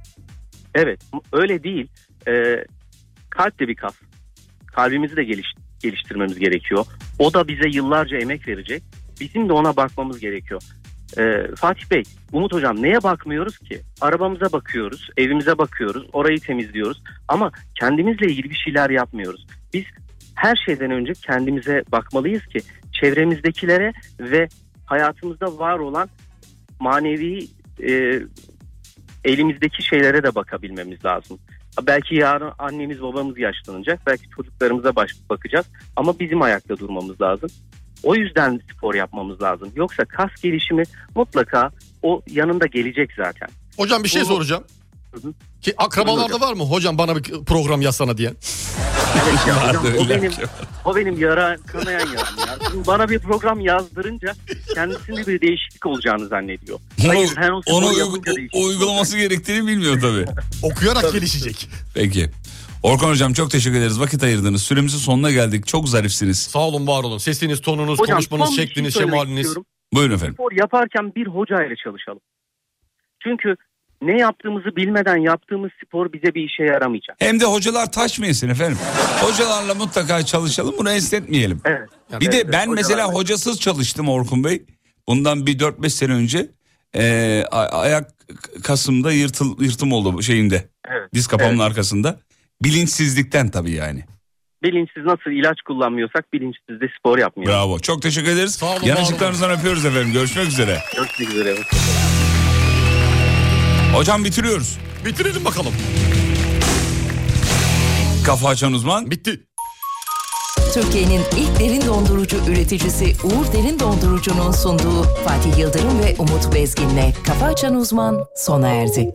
Speaker 17: Evet öyle değil. Ee, kalp de bir kas. Kalbimizi de geliş- geliştirmemiz gerekiyor. O da bize yıllarca emek verecek. Bizim de ona bakmamız gerekiyor. Ee, Fatih Bey, Umut Hocam neye bakmıyoruz ki? Arabamıza bakıyoruz, evimize bakıyoruz, orayı temizliyoruz. Ama kendimizle ilgili bir şeyler yapmıyoruz. Biz her şeyden önce kendimize bakmalıyız ki çevremizdekilere ve hayatımızda var olan manevi e, elimizdeki şeylere de bakabilmemiz lazım. Belki yarın annemiz babamız yaşlanacak. Belki çocuklarımıza baş, bakacağız. Ama bizim ayakta durmamız lazım. O yüzden spor yapmamız lazım. Yoksa kas gelişimi mutlaka o yanında gelecek zaten.
Speaker 6: Hocam bir şey
Speaker 17: Bu-
Speaker 6: soracağım.
Speaker 17: hı.
Speaker 6: Ki akrabalarda var mı hocam bana bir program yazsana diyen?
Speaker 17: Evet ya, hocam, o benim, o benim yara kanayan yaram ya. Şimdi Bana bir program yazdırınca kendisinde bir değişiklik olacağını zannediyor. Hayır,
Speaker 4: Onu-
Speaker 17: sen o
Speaker 4: onu
Speaker 17: sporu
Speaker 4: uygu-
Speaker 17: yapınca değişiklik
Speaker 4: uygulaması gerektiğini bilmiyor tabii.
Speaker 6: Okuyarak gelişecek.
Speaker 4: Peki. Orkan hocam çok teşekkür ederiz. Vakit ayırdınız. Süremizin sonuna geldik. Çok zarifsiniz.
Speaker 6: Sağ olun, var olun. Sesiniz, tonunuz,
Speaker 17: Hocam,
Speaker 6: konuşmanız,
Speaker 17: son bir şey
Speaker 6: şekliniz,
Speaker 17: söylemek
Speaker 6: şemaliniz.
Speaker 17: istiyorum.
Speaker 4: Buyurun efendim.
Speaker 17: Spor yaparken bir hocayla çalışalım. Çünkü ne yaptığımızı bilmeden yaptığımız spor bize bir işe yaramayacak.
Speaker 4: Hem de hocalar taş mı yesin efendim? Hocalarla mutlaka çalışalım bunu esnetmeyelim.
Speaker 17: Evet.
Speaker 4: bir de
Speaker 17: Evet,
Speaker 4: ben
Speaker 17: hocalarla.
Speaker 4: mesela hocasız çalıştım Orkun Bey. Bundan bir 4-5 sene önce e, a- ayak kasımda yırtıl, yırtım oldu bu şeyimde.
Speaker 17: Evet.
Speaker 4: Diz kapağımın arkasında. Bilinçsizlikten tabii yani.
Speaker 17: Bilinçsiz nasıl ilaç kullanmıyorsak bilinçsiz de spor yapmıyoruz.
Speaker 4: Bravo. Çok teşekkür ederiz. Yanlışlıklarınızdan öpüyoruz efendim. Görüşmek üzere.
Speaker 17: Görüşmek üzere.
Speaker 4: Hocam bitiriyoruz.
Speaker 6: Bitirelim bakalım.
Speaker 4: Kafa açan uzman.
Speaker 6: Bitti.
Speaker 7: Türkiye'nin ilk derin dondurucu üreticisi Uğur Derin Dondurucu'nun sunduğu Fatih Yıldırım ve Umut Bezgin'le Kafa Açan Uzman sona erdi.